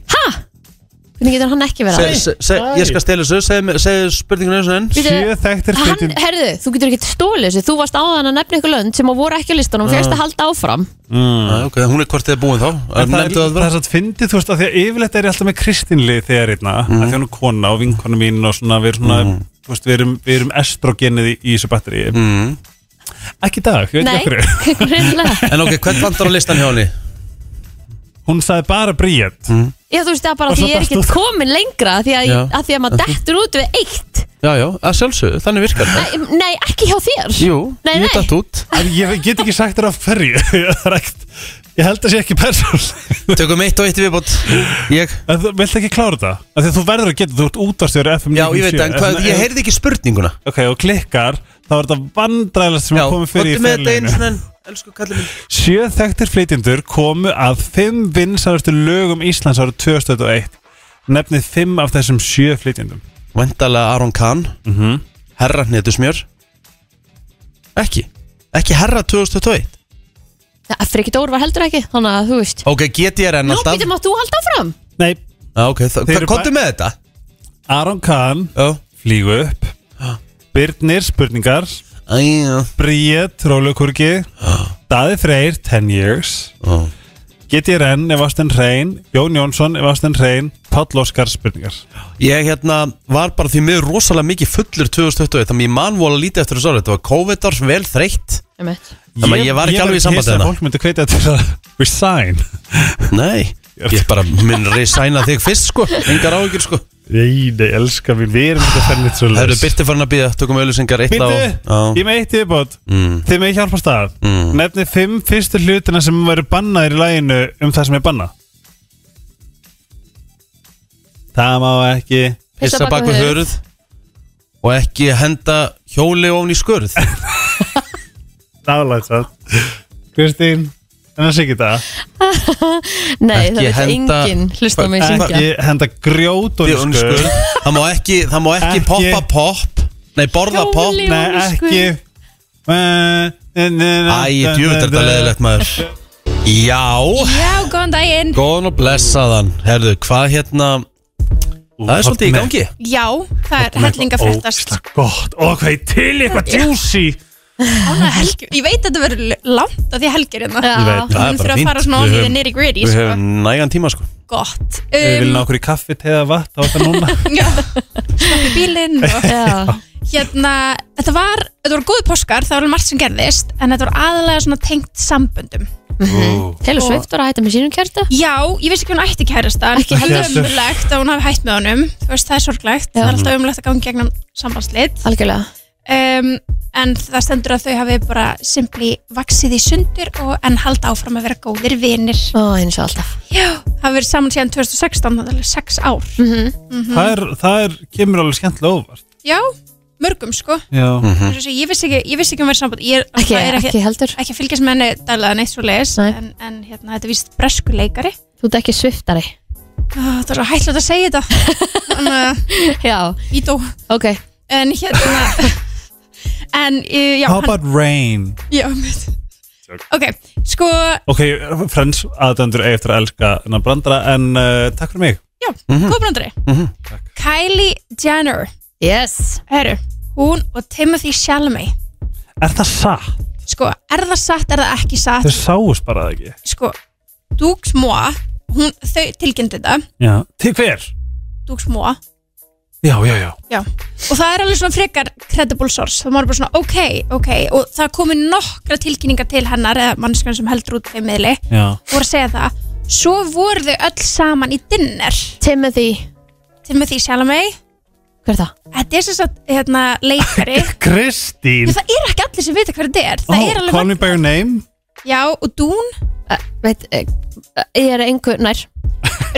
Hvernig getur hann ekki verið Se- að se- se- Ég skal stela þessu, segðu seg, spurninginu eins og enn Bíddu, Sjö þekktir Hann, flytjendur herðu, þú getur ekkert stólið þessu Þú varst áðan að nefna ykkur lönd sem að voru ekki á listanum og fyrst að halda áfram Mm. Ah, Ok, hún er hvort þið er búin þá En það er, Nefndu það það er satt fyndið, þú veist, að því að yfirleitt er ég alltaf með Kristinli þegar einna, mm. að því að hún er kona og vinkona mín og svona, við erum svona, þú veist, við erum, við erum estrogenið í, í þessu batteri. Mm. Ekki í dag, ég veit Nei, ekki okkur. greinlega En ok, hvern vantar á listan hjá henni? Hún sagði bara Bríett. Já, þú veist, það er bara Og því svo ég er datt ekkert komin lengra Því að, Já. að því að maður dettur út við eitt Já, já, að sjálfsögðu, þannig virkar það Æ, Nei, ekki hjá þér Jú, Nei, ég nei. datt út En ég get ekki sagt þér af hverju Það er ekkert Ég held að sé ekki persónlega Tökum eitt og eitt viðbót Ég En þú vilt ekki klára þetta Af því að þú verður að geta Þú ert útvarstjóri FM Já, ég veit 97. það, en hvað, Ef- ég heyrði ekki spurninguna Ok, og klikkar Þá er þetta vandræðilegt sem Já, er komið fyrir í komdu með þetta eins fyrirleginu og enn Elsku kallið minn Sjö þekktir flytjendur komu að fimm vinsalustu lögum Íslands árið 2001 Nefnið fimm af þessum sjö flytjendum Vendalega Aron Kahn Mhm. Herra hnetusmjör Ekki Ekki herra 2021 Að Friki Dór var heldur ekki, þannig að þú veist Ok, get ég renn Nú alltaf býtum að þú halda áfram Nei, Já, ok, Þeir eru komdu bæ- með þetta Aron Kahn Já flýgu upp Birnir spurningar Æ, já Bríett, Rólukurki Daði Freyr, 10 years Ó. GTRN ef ástinn hrein, Jón Jónsson ef ástinn hrein, Páll Óskar spurningar Ég hérna var bara því miður rosalega mikið fullur 2021 Þannig að ég man vola lítið eftir þessu árið Þetta var COVID-ár vel þreytt Einmitt. Þannig að ég var ekki alveg í verð sambandi hissa að hérna Fólk myndi hvetja til að resign Nei Ég bara mun resigna þig fyrst sko Engar áhyggjur sko Nei, nei, elska mín, við erum ekki að fenni svo Það eru byrti farin að býða Tökum auðlýsingar eitt á Býttu, Já. ég með eitt yfirbót Mm. Þið með hjálpa stað Mm. Nefni fimm fyrstu hlutina sem verður bannaðir í læginu um það sem er bannað Það má ekki pissa bak við hörð og ekki henda hjóli ofn í skurð Nálægt það Kristín, en það sé ekki það Nei, það Ekki er henda- engin hlusta á mig syngja Ekki henda grjót og Því ofan í skurð. það má ekki, það má ekki Ekki- poppa popp nei borða Hjóli. popp Nei, Ljón í ekki æ, Æ, djúvitt er þetta leðilegt maður já, Já, góðan daginn góðan og blessaðan herðu, hvað hérna það er svolítið í gangi Já, það er helling að fréttast Ógislega gott, og hvað ég til í eitthvað juicy Ánægður helgi- Ég veit að þetta verður langt að því helgir hérna Já. Ég veit, Við það er þurfum bara að fínt. fara svona Við ofið höfum- nýri gritty við sko. höfum nægan tíma sko Gott Við viljum um, ná okkur í kaffi, teða vatn, þá er þetta núna já, Snakka bílinn og Já, Hérna, þetta var, þetta voru góðu páskar Það var alveg margt sem gerðist En þetta voru aðalega svona tengt samböndum Mhm. Taylor Swift var að hætta með sínum kjærta Já, ég veist ekki hún ætti kærasta en Ekki heldur heldur. umlegt að hún hafi hætt með honum Þú veist, það er sorglegt Það er alltaf umlegt að gangi gegnum sambandslit Algjörlega um, en það stendur að þau hafi bara simpli vaksið í sundur og en halda áfram að vera góðir vinir Ó, eins og alltaf Já, hafa verið saman síðan 2016 þannig alveg 6 ár Mhm. Það er, það er, kemur alveg skemmtilega óvart Já, mörgum sko Já, mm -hmm. ég, vissi ekki, ég vissi ekki um verið samband ég er, Mhm. Ekki, er ekki heldur ekki að fylgjast með henni daglega neitt svo leiðis Nei. en, en hérna, þetta er víst bresku leikari Þú ert ekki Swiftari Ó, það er svo hættilegt að segja þetta þannig að Já, ég dó ok en hérna en uh, já, how about rain? já einmitt. ok, sko Ok, friends, aðdöndur eigi eftir að elska hennar brandara En uh, takk fyrir mig Já, mm andri Kylie Jenner Yes Heru, Hún og Timothy Chalamet Er það satt? sko, er það satt, er það ekki Þau satt sáust bara það ekki sko, Dux Moa hún, þau tilkynnti þetta Já, til hver? Dux Moa Já, já, já Já, og það er alveg svona frekar credible source, það maður bara svona ok, ok og það komi nokkra tilkynningar til hennar eða mannskan sem heldur út þeim miðli Já, voru að segja það, svo voru þau öll saman í dinner Timothy, til með því sjálf mig hver er það? þetta er sem sagt, hérna, leikari Kristín en það er ekki allir sem vita hver þetta er það er alveg, Oh, Call me by your name já, og Dún Uh, veit, uh, ég er einhver nær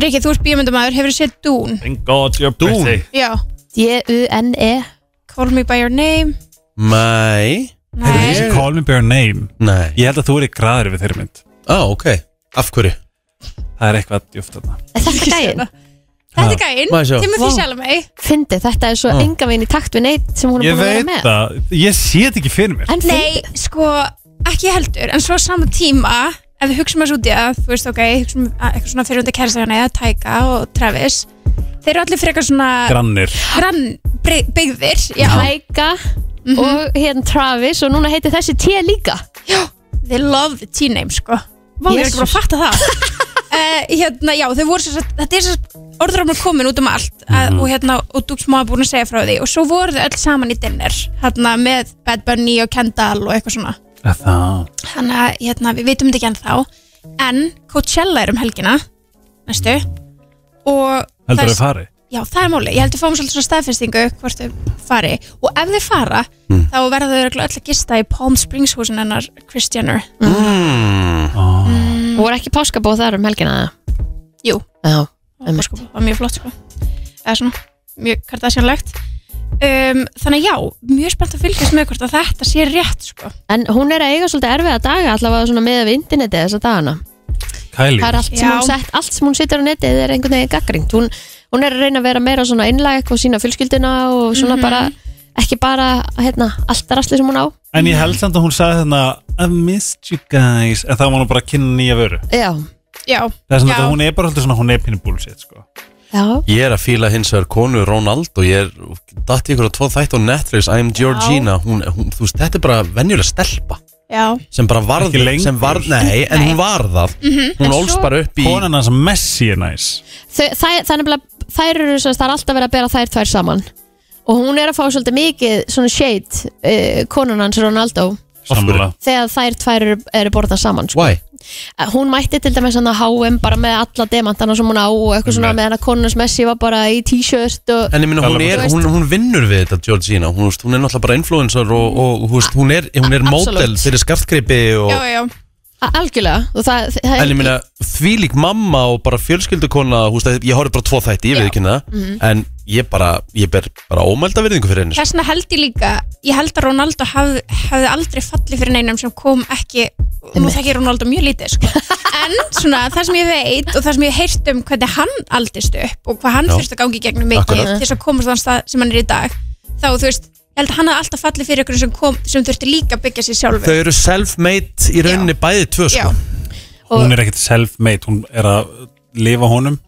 Rikki, þú ert bíomöndamæður, hefur þú séð Dún Thank God you're Dún. busy já, D-U-N-E Call Me By Your Name Mæ nei, Call me by your name Nei Ég held að þú er í graður við þeirri mynd Á, ok Af hverju? Það er eitthvað djúft þarna Er Þetta gæinn, þetta er gæinn, Má ég sjá? til með því Vá. sjálf mig fyndi, þetta er svo Ah. enga veginn í takt við neitt sem hún er Ég búin að vera veit með það, ég sé þetta ekki fyrir mér En Nei, fyndi, sko, ekki heldur En svo á sama tíma, ef við hugsaum þessu út í að Þú veist, ok, hugsaum að eitthvað svona fyrirhundi kærasta hana eða Tæka og Travis Þeir eru allir frekar svona Grannir grann bry- byggðir Já, Hæka og hérna Travis og núna heitir þessi T líka they love the T-name, sko Vá, ég er ekki bara að Jesus. fatta það uh, Hérna, já, þau voru svo Þetta er svo orðramur komin út um allt mm Og hérna, og Dux Móa búin að segja frá því Og svo voru þau öll saman í dinner Hérna, með Bad Bunny og Kendall og eitthvað svona Það þannig að hérna, við vitum þetta ekki ennþá en Coachella er um helgina næstu og það Heldur er, þau fari? já, það er máli, ég heldur fáum svolítið svona staðfestingu hvort þau fari og ef þau fara þá verða þau örugglega öll að gista í Palm Springs húsin hennar Kris Jenner Mhm. Mm. og voru ekki páskabóð þar um helgina eða? jú, Já, það var, Einmitt. sko, það var mjög flott sko. eða svona, mjög kardasjanlegt um, þannig að já, mjög spennt að fylgjast með hvort að þetta sé rétt sko. en hún er að eiga svolítið erfiða daga allavega svona með við internetið þessa dagana Kylie það er allt sem, Já. hún sett, allt sem hún setur á netið er einhvern veginn gaggrind hún, hún er að reyna að vera meira svona innlag eitthvað sína fjölskyldina og svona bara ekki bara hérna, allt rastli sem hún á En ég held samt að hún sagði þarna I missed you guys En það var hún bara að kynna nýja vöru já, já, Það er svona Já. að hún er bara alltaf svona Hún er pínu bullshit sko já, Ég er að fíla hins vegar konu Ronald og ég er datt í ykkur á tvo þætt á Netflix I'm Georgina, hún, hún, þú veist, þetta er bara venjuleg stelpa já sem bara varð, Ekki lengur. sem varð, nei, en hún varð það Mhm. En hún ólst svo- bara upp í Konan hans Messi er næs Þau- það, það, er nefnilega, þær eru svo, það er alltaf verið að bera þær tvær saman og hún er að fá svolítið mikið svona shade uh, konan hans Ronaldo Af hverju? Sammála þegar þær tvær eru, eru borðað saman sko. Why? Eh, hún mætti til dæmis hann að HM bara með alla demantana sem hún á og eitthvað svona Einmitt. með hann að konans Messi var bara í t-shirt og En ég minna, hún, Tala er, bara. hún, hún vinnur við þetta, Georgina hún, veist, hún er náttúrulega bara influencer og, og þú veist, hún er, hún er A- mótel absolutt. fyrir skartgripi og, já, já, já, a- algjörlega og það, það, en ég minna, þvílík mamma og bara fjölskyldukona, þú veist, ég horfði bara tvo þætti, ég veit ekki það, en ég bara, ég ber bara ómælda virðingu fyrir henni sko. þess vegna held ég líka ég held að Ronaldo hafði, hafði aldrei fallið fyrir neinum sem kom ekki nú Einmitt. þekki ég Ronaldo mjög lítið sko. en svona, það sem ég veit og það sem ég hef heyrt um hvernig hann aldist upp og hvað hann Já. þurfti að gangi gegnum mikið Akkurat. til þess að komast þann stað sem hann er í dag þá þú veist, ég held að hann hafði alltaf fallið fyrir ykkur sem, kom, sem þurfti líka að byggja sér sjálfur Þau eru self-made í rauninni bæði tvö sko. Já. Og- Hún er ekkert self-made Hún er að lifa honum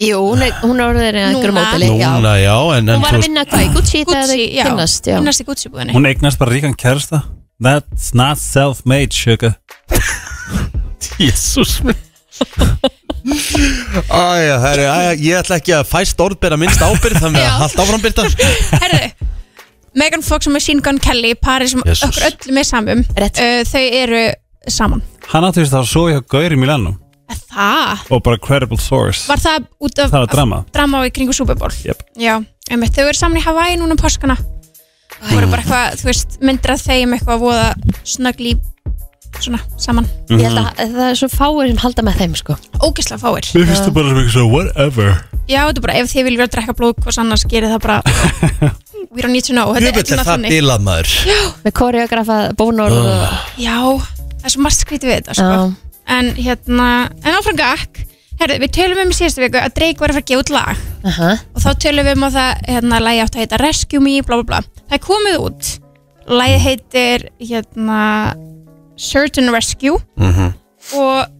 jú, hún er, hún er orðin að einhverju Núna. mótali já. Núna, já, en, en hún var þú að veist, vinna hvað í Gucci þegar Gucci, þau já, kynnast já. finnast í Gucci búðinni Hún eignast bara ríkan kærasta That's not self-made sugar jésús Æja, herri, æja, ég ætla ekki að fæst orðbera minnst ábyrð þannig Já. að haldt áfram byrta Herðu, Megan Fox og Machine Gun Kelly parið sem Jesus. okkur öllum er samum Rétt. uh, þau eru saman Hann átti þess að svo hjá Gauri Milano Er Það, Og bara credible source var það út af Það var drama drama í kringu Super Bowl Jep. Já, einmitt, þau eru saman í Hawaii núna um páskana Það voru bara eitthvað, þú veist, myndir að þeim eitthvað voða snöggli svona saman, ég held að Mhm. það er svo fáir sem halda með þeim sko. ógislega fáir Mér finnst þú bara sem ekki svo whatever Já, þetta er bara, ef þið viljum vera að drekka blóð hvers annars gerir það bara We don't need to know, Jöfnveld þetta er er öllum það þannig bilað maður með koreografa bónor og, Já, það er svo margt skrítið við þetta, Ah. sko já. En hérna, en áfram gakk Herðu, við tölum um í síðustu viku að Drake var að fara að gefa út lag Aha. og þá tölum við um að það hérna, lægi átt að heita Rescue Me, bla bla bla það er komið út lægi heitir hérna Certain Rescue og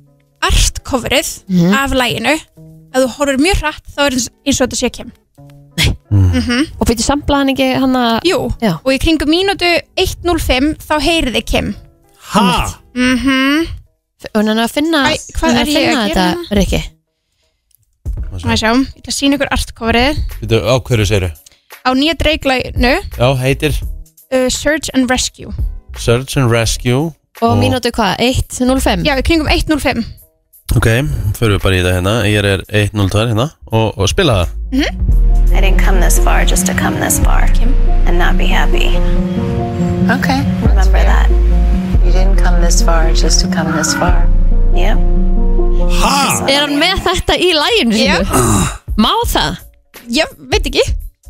art coverið af læginu ef þú horfur mjög hratt þá er eins eins og þetta sé kem og fyrir samblaðan ekki hann að Jú, Já. og í kringu mínútu 1.05 þá heyriði Kim Mhm. Ha? og hann er að finna Æ, hvað hann er að finna ég að gera þetta hérna? Rikki Svona að sjá, ég ætla að sína ykkur artcoverið Býtu, á hverju segirðu? Á nýja dreiglænu, Já, heitir uh, Search and Rescue Search and Rescue og Ó. mínútu hvað 1.05 Já, í kringum 1.05 Ok, förum við bara í þetta hérna Ég er 1.02 hérna og, og spila það I didn't come this far just to come this far and not be happy. Okay. Remember that. You didn't come this far just to come this far. Yep. Ha? er hann með þetta í læginu sínu má það Ég veit ekki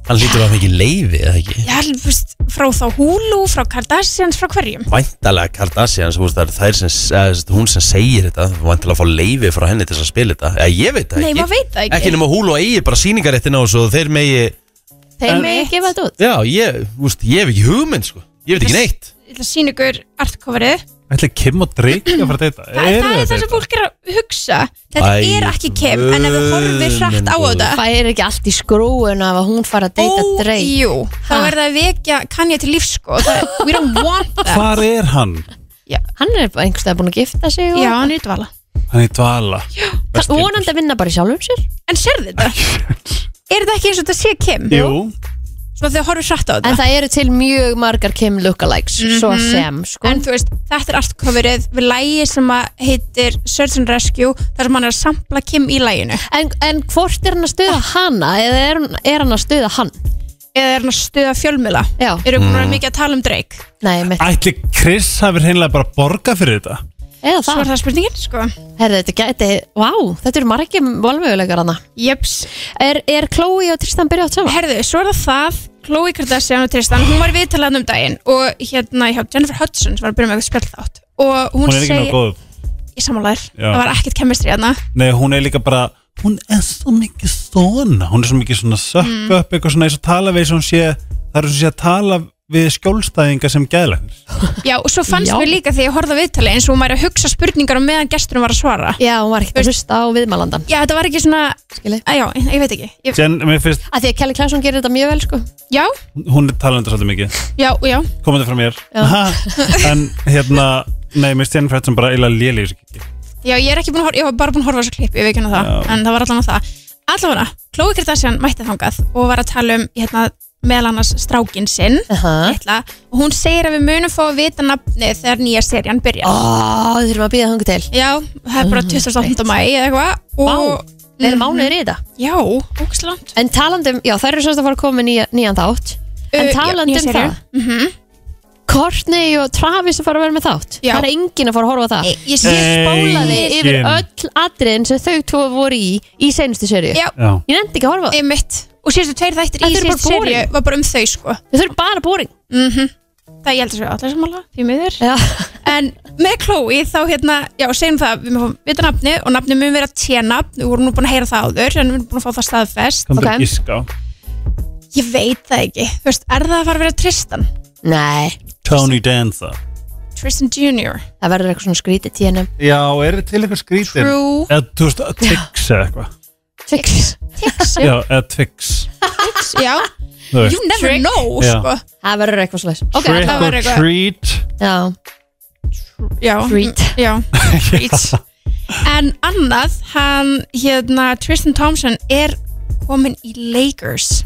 Hann lítur að mikið leifi eða ekki Já, fyrst, frá þá Hulu, frá Kardashians, frá hverjum Væntalega Kardashian sem, það er þær sem, eða, sem sagt, hún sem segir þetta Væntalega að fá leifi frá henni til þess að spila þetta Eða ég veit það Nei, ekki maður veit það ekki. Ekki nema húl og eigi bara sýningaréttin á þessu og þeir megi þeir með ekki gefa þetta út Já, ég, úst, ég hef ekki hugmynd sko Ég veit ekki neitt Ég ætla að sína ykkur artcoverið Ætli Kim og Drake að fara að deyta? Það, Eru það er þau það að sem fólk er að hugsa Þetta Æ, er ekki Kim En ef við horfum guð hratt minn á góður. þetta fær ekki allt í skrúun af að hún fara að deyta Ó, Drake Jú, þá Ha. er það að vekja Kanye til lífs sko það, We don't want deyta? that Hvar er hann? hann er einhverstað búin að gifta sig og Já, hann er í dvala Hann er í dvala það vonandi að vinna bara í sjálfum sér En sérðu þetta? er þetta ekki eins og þetta sé Kim? Jú Svo þegar horfum hratt á þetta en það eru til mjög margar Kim lookalikes svo sem sko En þú veist, þetta er allt coverið við lægi sem að heitir Search and Rescue, þar sem hann er að sampla Kim í læginu. En, en hvort er hann að stuða hana eða er, hún- er hann að stuða hann? Eða er hann að stuða fjölmila. Já. Eru búin að Mm. vera mikið að tala um Drake. Nei, mitt. Ætli Chris hafi hreinlega bara borgað fyrir þetta? Eða Svo er það. það spurningin, sko. Herði, þetta gæti, vá, þetta eru margir valmöguleikar hana. Jeps. Er, er Chloe og Tristan byrjað átt saman? Herðu, svo er það það, Chloe Kardashian og Tristan, hún var viðtalað um daginn og hérna, hjá Jennifer Hudson sem var að byrja með eitthvað spjall þátt. Og hún, Hún er ekki segi, náttúrulega góð ég samanlæður, Já. það var ekkert kemistri hérna. Nei, hún er líka bara Hún er svo mikið svona Hún er svo mikið svona Mm. sökk upp Eitthvað svona eins og tala við eins og hún sé Það er eins og hún sé að tala við skjólstæðinga sem gæðlegnir Já, og svo fannst Já. mér líka þegar ég horfði á viðtalið eins og hún væri að hugsa spurningar á meðan gesturinn var að svara. Já, hún var ekkert að hlusta á viðmælandan, Já, þetta var ekki svona, skilji. að, já, ég veit ekki. Ég, Jen, mér finnst, Að því að Kelly Clarkson gerir þetta mjög vel, sko. já, hún er talenda svolítið mikið já, já. komandi frá mér en hérna, nei, mér stjænir frætt sem bara eila léli Já, ég er ekki búin að horfa, ég var bara búin að horfa á þessu klipp, ég veit ekki um það, Já. en það var allan að það. Allavega, Chloe Kardashian mætti þangað og var að tala um, hérna, meðal annars strákin sinn, Aha. ætla, og hún segir að við munum fá að vita nafnið þegar nýja serían byrjar. Ó, við þurfum að býða þungu til. Já, það er bara 28. mæ eða eitthvað, Vá, og við erum mánuðir í þetta. já, ógslant. En talandum, já, þær eru svolítið að fara að koma með nýja, nýjan þátt. En Uh, já, nýja talandum seríu. Mhm. það. Courtney og Travis að fara að vera með þátt. Já. Það er enginn að fara að horfa á það. Ég sé, Nei. spólaði Engin. yfir öll atriðin sem þau tvo voru í í seinustu sériu. já, Já, Ég nefndi ekki að horfa á það. einmitt, og síðustu tveir þættir í Þetta er bara síðustu seríu boring. var bara um þau, sko. Þau eru bara boring. Það ég held að séu allir sammála, því miður. Já. En með Chloe þá hérna, já segjum það, við mögum vita nafni og nafni mun vera T-nafn, við vorum nú búin að heyra það áður en við erum búin að fá það staðfest. komandi Ok. okay. gíska á. Ég veit það ekki, þú veist, er það að fara að vera Tristan? Nei, Tony Danza Tristan Junior, það verður eitthvað svona skrítið tíðanum. Já, er þetta til eitthvað skrítin? True, Eða, þú veist, Twix eða eitthvað Fix. Tix, Já, eða Twix já, þú veist. you never Trick. know, Já. sko. Það verður eitthvað slags. Ok, Trick það var or eitthvað. treat já. Já, Treat. mm, já, treat. En annað, hann, hérna, Tristan Thompson er komin í Lakers.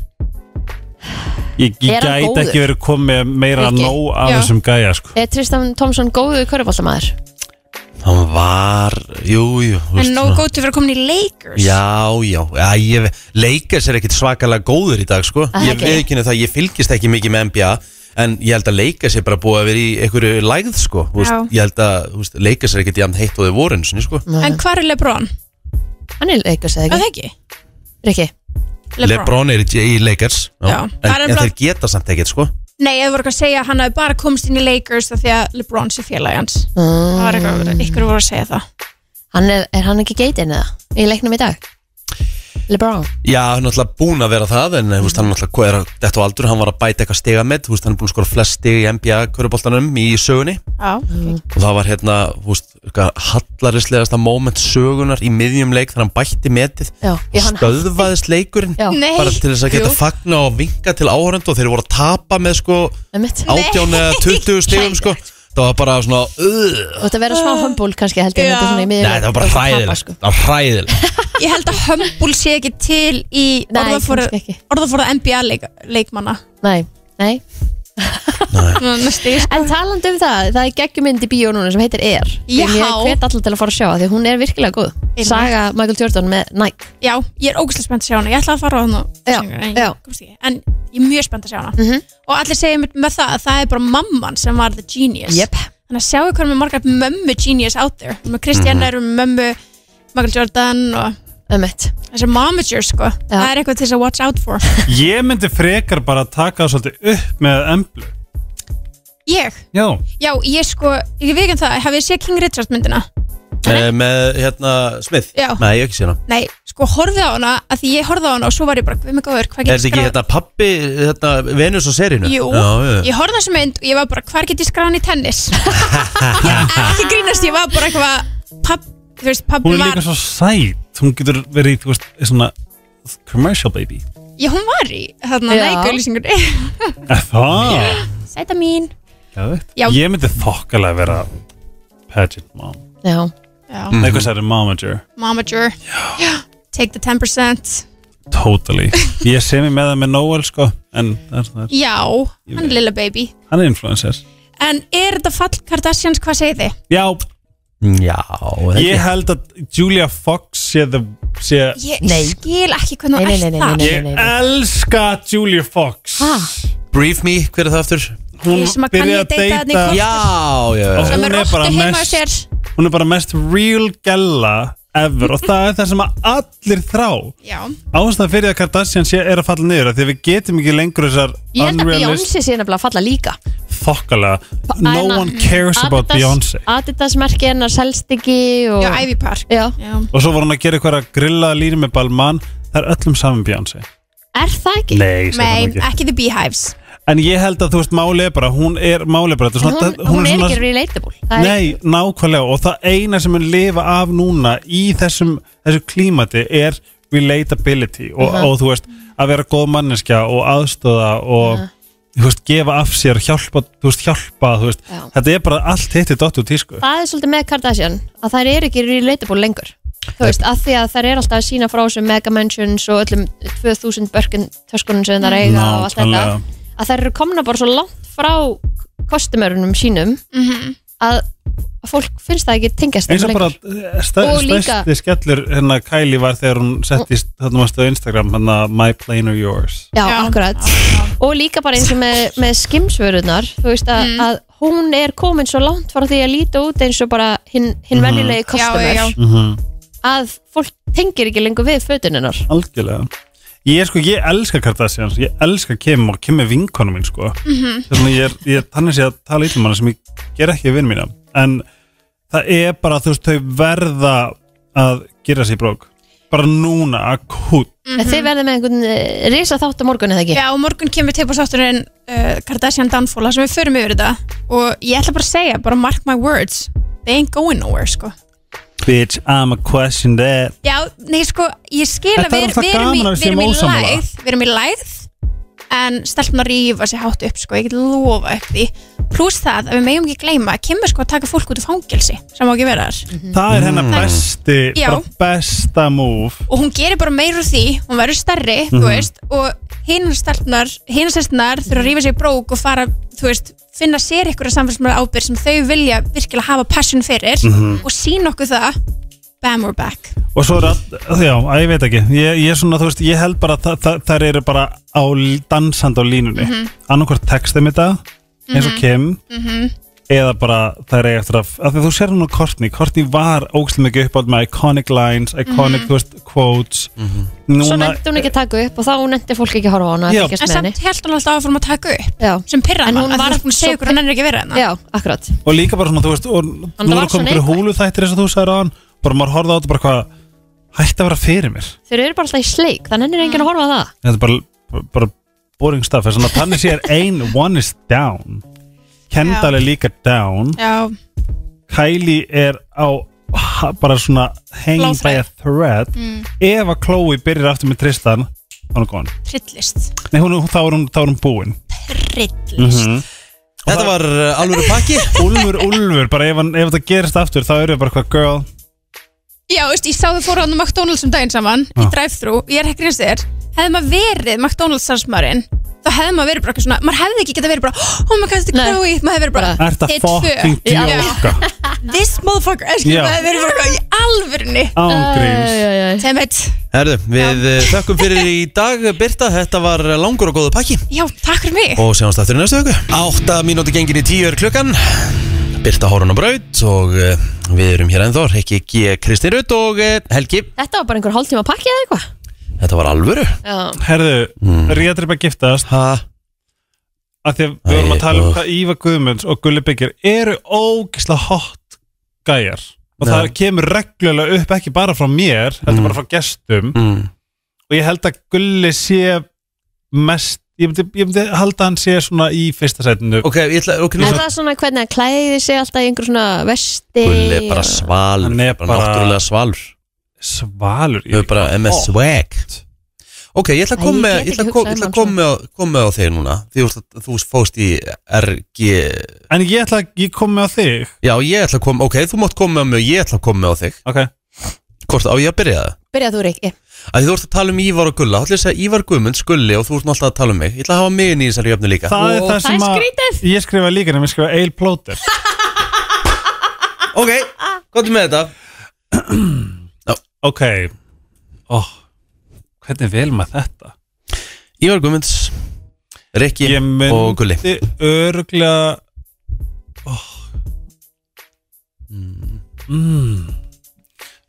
Ég, ég Er hann gæti góður? ekki verið komið meira Ekki. nóg af Já. þessum gæja sko. Er Tristan Thompson góðu körfaldamaður? Hann var, jú, jú þú veist, En nóg svona- góð til að vera komin í Lakers. Já, já, já ég, Lakers er ekkit svakalega góður í dag sko. Ah, Ég ok. okay. veikinu það, ég fylgist ekki mikið með NBA En ég held að Lakers er bara búið að vera í einhverju lægð sko. Þú veist, Já. Ég held að þú veist, Lakers er ekkit jafn heitt og þau voru einu sinni, sko. En hvar er LeBron? Hann er leikast eða Er ekki? það ekki? Rikki. Lebron er í, í Lakers Já. En, Það er en bara- þeir geta samt ekkit sko. Nei, ég voru ekki að segja að hann hafi bara komst inn í Lakers af því að LeBron sé félagi hans. Það var eitthvað, ykkur voru að segja það. Hann er, er hann ekki geitinn eða? Í leiknum í dag? LeBron Já, hann er náttúrulega búin að vera það en eh, þú veist, hann er náttúrulega hvað er að þetta á aldur hann var að bæta eitthvað stiga með, þú veist, hann er búin að skora flest stig í NBA köruboltanum í sögunni Mm. og það var hérna, þú veist, hallarislegasta moment sögunar í miðjum leik þegar hann bætti metið Já, og já, hann- stöðvaðist leikurinn Já. Nei. bara til þess að geta Jú. fagna og vinka til áhörund og þeir voru að tapa með sko Einmitt. Þú 18 eða 20 stigum sko það var bara svona uh, ætti að vera smá humble kannski held ég en Já. þetta er svona í miðjum Nei, það var bara og tapa, hræðilegt sko. Það var hræðilegt Ég held að humble sé ekki til í Nei, orðafóra kannski ekki. orðafóra NBA leik, leikmanna Nei, nei Nú, næstu, ég- En talandi um það, það er geggjumynd í bíó núna sem heitir Er Já. Ég hvet allir til að fara að sjá það því hún er virkilega góð Einmitt. Saga Michael Jordan með Nike Já, ég er ógæslega spennt að sjá hana Ég ætla að fara á hana Já, en, já. Mhm. ég komst ekki. en ég er mjög spennt að sjá hana Og allir segja mér með það að það er bara mamman sem var the genius Jep. Þannig að sjáu hvað er með margar mömmu genius out there Með Mhm. Kristjana eru með mömmu Michael Jordan og Ömmett þessi momager sko Já. Það er eitthvað til þess að watch out for Ég myndi frekar bara taka það svolítið upp með emblu Ég, Já, já, ég sko, ég veit ekki um það Hafið þið séð King Richard myndina? Eh, Með hérna Smith Já. Nei, ég hef ekki sé hana Nei, sko horfið á hana að Því ég horfið á hana og svo var ég bara Við mig góður, hvað Er getur þetta ekki hérna pappi hérna, Venus á serínu? Jú, Já, já. ég horfði á þessu mynd og ég var bara, hvar get ég skráðan í tennis? ég er ekki að grínast, ég var bara eitthvað, papp, þú veist, hún pabbi er var, líka svo sæt Hún getur verið, þú veist, svona commercial baby já, hún var í, þarna, Já. nægauðlýsingunni. Er Það Sæta mín. Geðveikt. Já. Ég myndi þokkalega vera pageant mom Já, Já, Mm. Nei, hvað særi, momager momager, já, take the 10%, Totally Ég sé mig með það með Noel, sko En það er svona, já, hann er lilla baby. hann er influencer En er þetta fall Kardashians, hvað segið þið? Já, Já, þetta ég held að Julia Fox sé, the, sé Ég Nei. skil ekki Nei, hvernig hún nei, ætti nei, nei, það. nei, nei. Ég elska Julia Fox Ha? Brief me, hver er það aftur? Hún Ég sem að byrjaði kann ég deyta þarna í kostum. Já, já, Og já Sem er Hún er bara róttu heima á mest- sér. Hún er bara mest real gella ever og það er það sem að allir þrá Já, Ástæðan fyrir að Kardashian sé, er að falla niður af því að við getum ekki lengur þessar Ég held að unrealist Beyoncé sé nefnilega að falla líka þokkalega No Æna- one cares about Adidas- Beyoncé Adidas merki hennar selst ekki og... já, Ivy Park. Já. Já. og svo voru hann að gera eitthvað að grilla línu með Balman það er öllum saman Beyoncé Er það ekki? Nei, ég segi Nei, það nú ekki The Beehives. En ég held að þú veist máli er bara hún er máli er bara, þetta En er Hún, svona- hún, er svona- ekki relatable Það er- Nei, nákvæmlega og það eina sem mun lifa af núna í þessum, þessu klímati er relatability og, Mhm. og þú veist að vera góð manneskja og aðstöða og Mhm. þú veist, gefa af sér hjálpa, þú veist, hjálpa þú veist, Já. þetta er bara allt hitt í dottu tísku það er svolítið með Kardashian að þær eru ekki relatable lengur þú veist, af því að þær eru alltaf að sína frá þessum megamansions og öllum 2000 börkun töskunum sem þær eiga og allt þetta Nákvæmlega. að þær eru komna bara svo langt frá kostumörunum sínum Mhm. að, að fólk finnst það ekki tengjast eins þeim og bara lengur. eh, stær, Og líka- stærsti skellur hérna Kylie var þegar hún setti þarna varstu á Instagram, hérna my plane or yours Já, Já. akkurat og líka bara eins og með, með skimsvörunar þú veist að, Mhm. að hún er komin svo langt frá því að líta út eins og bara hinn hin Mhm. venjulegi Já, kostumör já. að fólk tengir ekki lengur við fötuninnar algjörlega ég er sko, ég elska Kardashians, ég elska Kim og Kim er vinkonu mín sko þannig að ég er, ég er þannig sé að tala ítlum hana sem ég ger ekki við vinn mína en það er bara, þú veist, þau verða að gera sér brók bara núna, akút En Þið verðið með einhvern risa þátt á morgun eða ekki? Já, og morgun kemur til på sátturinn uh, Kardashian Danfóla sem við förum yfir þetta og ég ætla bara að segja, bara mark my words they ain't going nowhere, sko bitch, I'm a question that Já, nei, sko, ég skil Þetta að er við, alltaf við erum í, gaman að við við erum séum í ósammála. læð við erum í læð en stelpna rífa sér hátt upp, sko, ég get lofa upp því pluss það að við megum ekki gleyma að kemur sko að taka fólk út í fangelsi sem má ekki vera þar það er hennar besti, Já. bara besta move og hún gerir bara meira úr því, hún verður stærri þú veist, og hinar stelpnar hinar stelpnar þurfa að rífa sig í brók og fara, þú veist, finna sér ykkur samfélsmála ábyrgð sem þau vilja virkilega hafa passion fyrir og sína okkur það bam, we're back Og svo er all, já, að ég veit ekki Ég, ég, er svona, þú veist, ég held bara að þa- þa- þær eru bara á, dansandi á línunni Mhm. mm -hmm. Annarkvort textum þetta eins og Kim Mhm. eða bara þær eiga eftir að, að því þú sér hún á Courtney Courtney var ógslum ekki uppátt með iconic lines, iconic, þú veist, quotes Mhm. Svo Núna, nefndi hún ekki að taka upp og þá nefndi fólk ekki að horfa á hana að Já. fylgjast en með henni. samt held hún alltaf áfram að taka upp Já. sem pyrra En hann, hún að var það er búin að segja svo- okkur hann er ekki að vera hérna. hennar Já, akkurat. og líka bara svona, þú veist og, það Nú er var að koma svo ykkur húlu þættir eins og þú sagðir á hann bara maður horfði á þetta bara hvað hætti að vera fyrir mér Þeir eru bara alltaf í sleik, þannig er enginn að horfa á það þetta er bara, bara boring stuff þannig að þannig sé er ein, one is down Kendall er líka down Já, Kylie er á ha- bara svona hanging by a thread Mm. ef að Chloe byrjar aftur með Tristan þá er hún góðan trillist Nei, hún, þá, er hún, þá er hún búin Mhm. Trillist Þetta var uh, alvöru pakki Úlfur, Úlfur, bara ef, hann- ef það gerist aftur þá eru við bara hvað girl Já, veist, ég sá þau fóru hann á McDonalds um daginn saman í Já. drive-thru, ég er ekki reynst þér hefði maður verið McDonalds starfsmaðurinn þá hefði maður verið bara eitthvað svona, maður hefði ekki getað verið bara, oh my god, þetta Nei. er Chloe maður hefði verið bara, Er þetta Hit fucking tvö. Já. djóka? this motherfucker eða skilur, Já. maður hefði verið bara eitthvað í alvörunni Ángríms Æ, æ, æ, æ. sem veit, Herðu, við uh, þökkum fyrir í dag Birta, þetta var uh, langur og góðu pakki já, takk fyrir mig og sjáumst aftur í næstu viku Átta mínúti gengin í tíu er klukkan Birta Hórun og Braut og uh, við erum hér ennþá Rikki G. Kristi Rutt og uh, Helgi Þetta var bara einhver hálftíma að pakki eða eitthvað Þetta var alvöru Já, Herðu, mm. Ríðatrip að giftast ha. af því að Æ, við oh. vorum að tala um ugh. hvað Íva Guðmunds og Gulli Byggir eru ógislega hot gæjar og Já. það kemur reglulega upp ekki bara frá mér, þetta Mm. bara frá gestum mm. og ég held að Gulli sé mest, ég myndi, ég myndi halda að hann sé svona í fyrsta setinu Ok, ég ætla ok, nú er svo- það svona hvernig hann klæði sig alltaf í einhver svona vesti Gulli er bara og- svalur Hann er bara bara- náttúrulega svalur svalur Oh. Við erum bara MS Ó. swag Ok, ég ætla að Æ, koma ég með get ég ætla ekki að kom- hugsað ég um ætla að hann koma með- koma með á þig núna því þú, þú fóst í RG En ég ætla að ég kom með á þig Já, ég ætla að koma, ok, þú mátt koma með mig og ég ætla að koma með á þig Ok, Hvort á ég að byrja það? Byrjað þú, Rikki að því þú ert að tala um Ívar og Gulla þá ætla ég að segja Ívar Guðmunds, Gulli og þú ert nú alltaf að tala um mig ég ætla að hafa mig inn í þessari jöfnu líka það er það Það er sem að skrítið ég skrifa líka nefnum, ég skrifa Eil Plóter ok, gott með þetta Ok oh, Hvernig vel maður þetta? Ívar Guðmunds, Rikki Ég myndi og Gulli örglega oh. mm.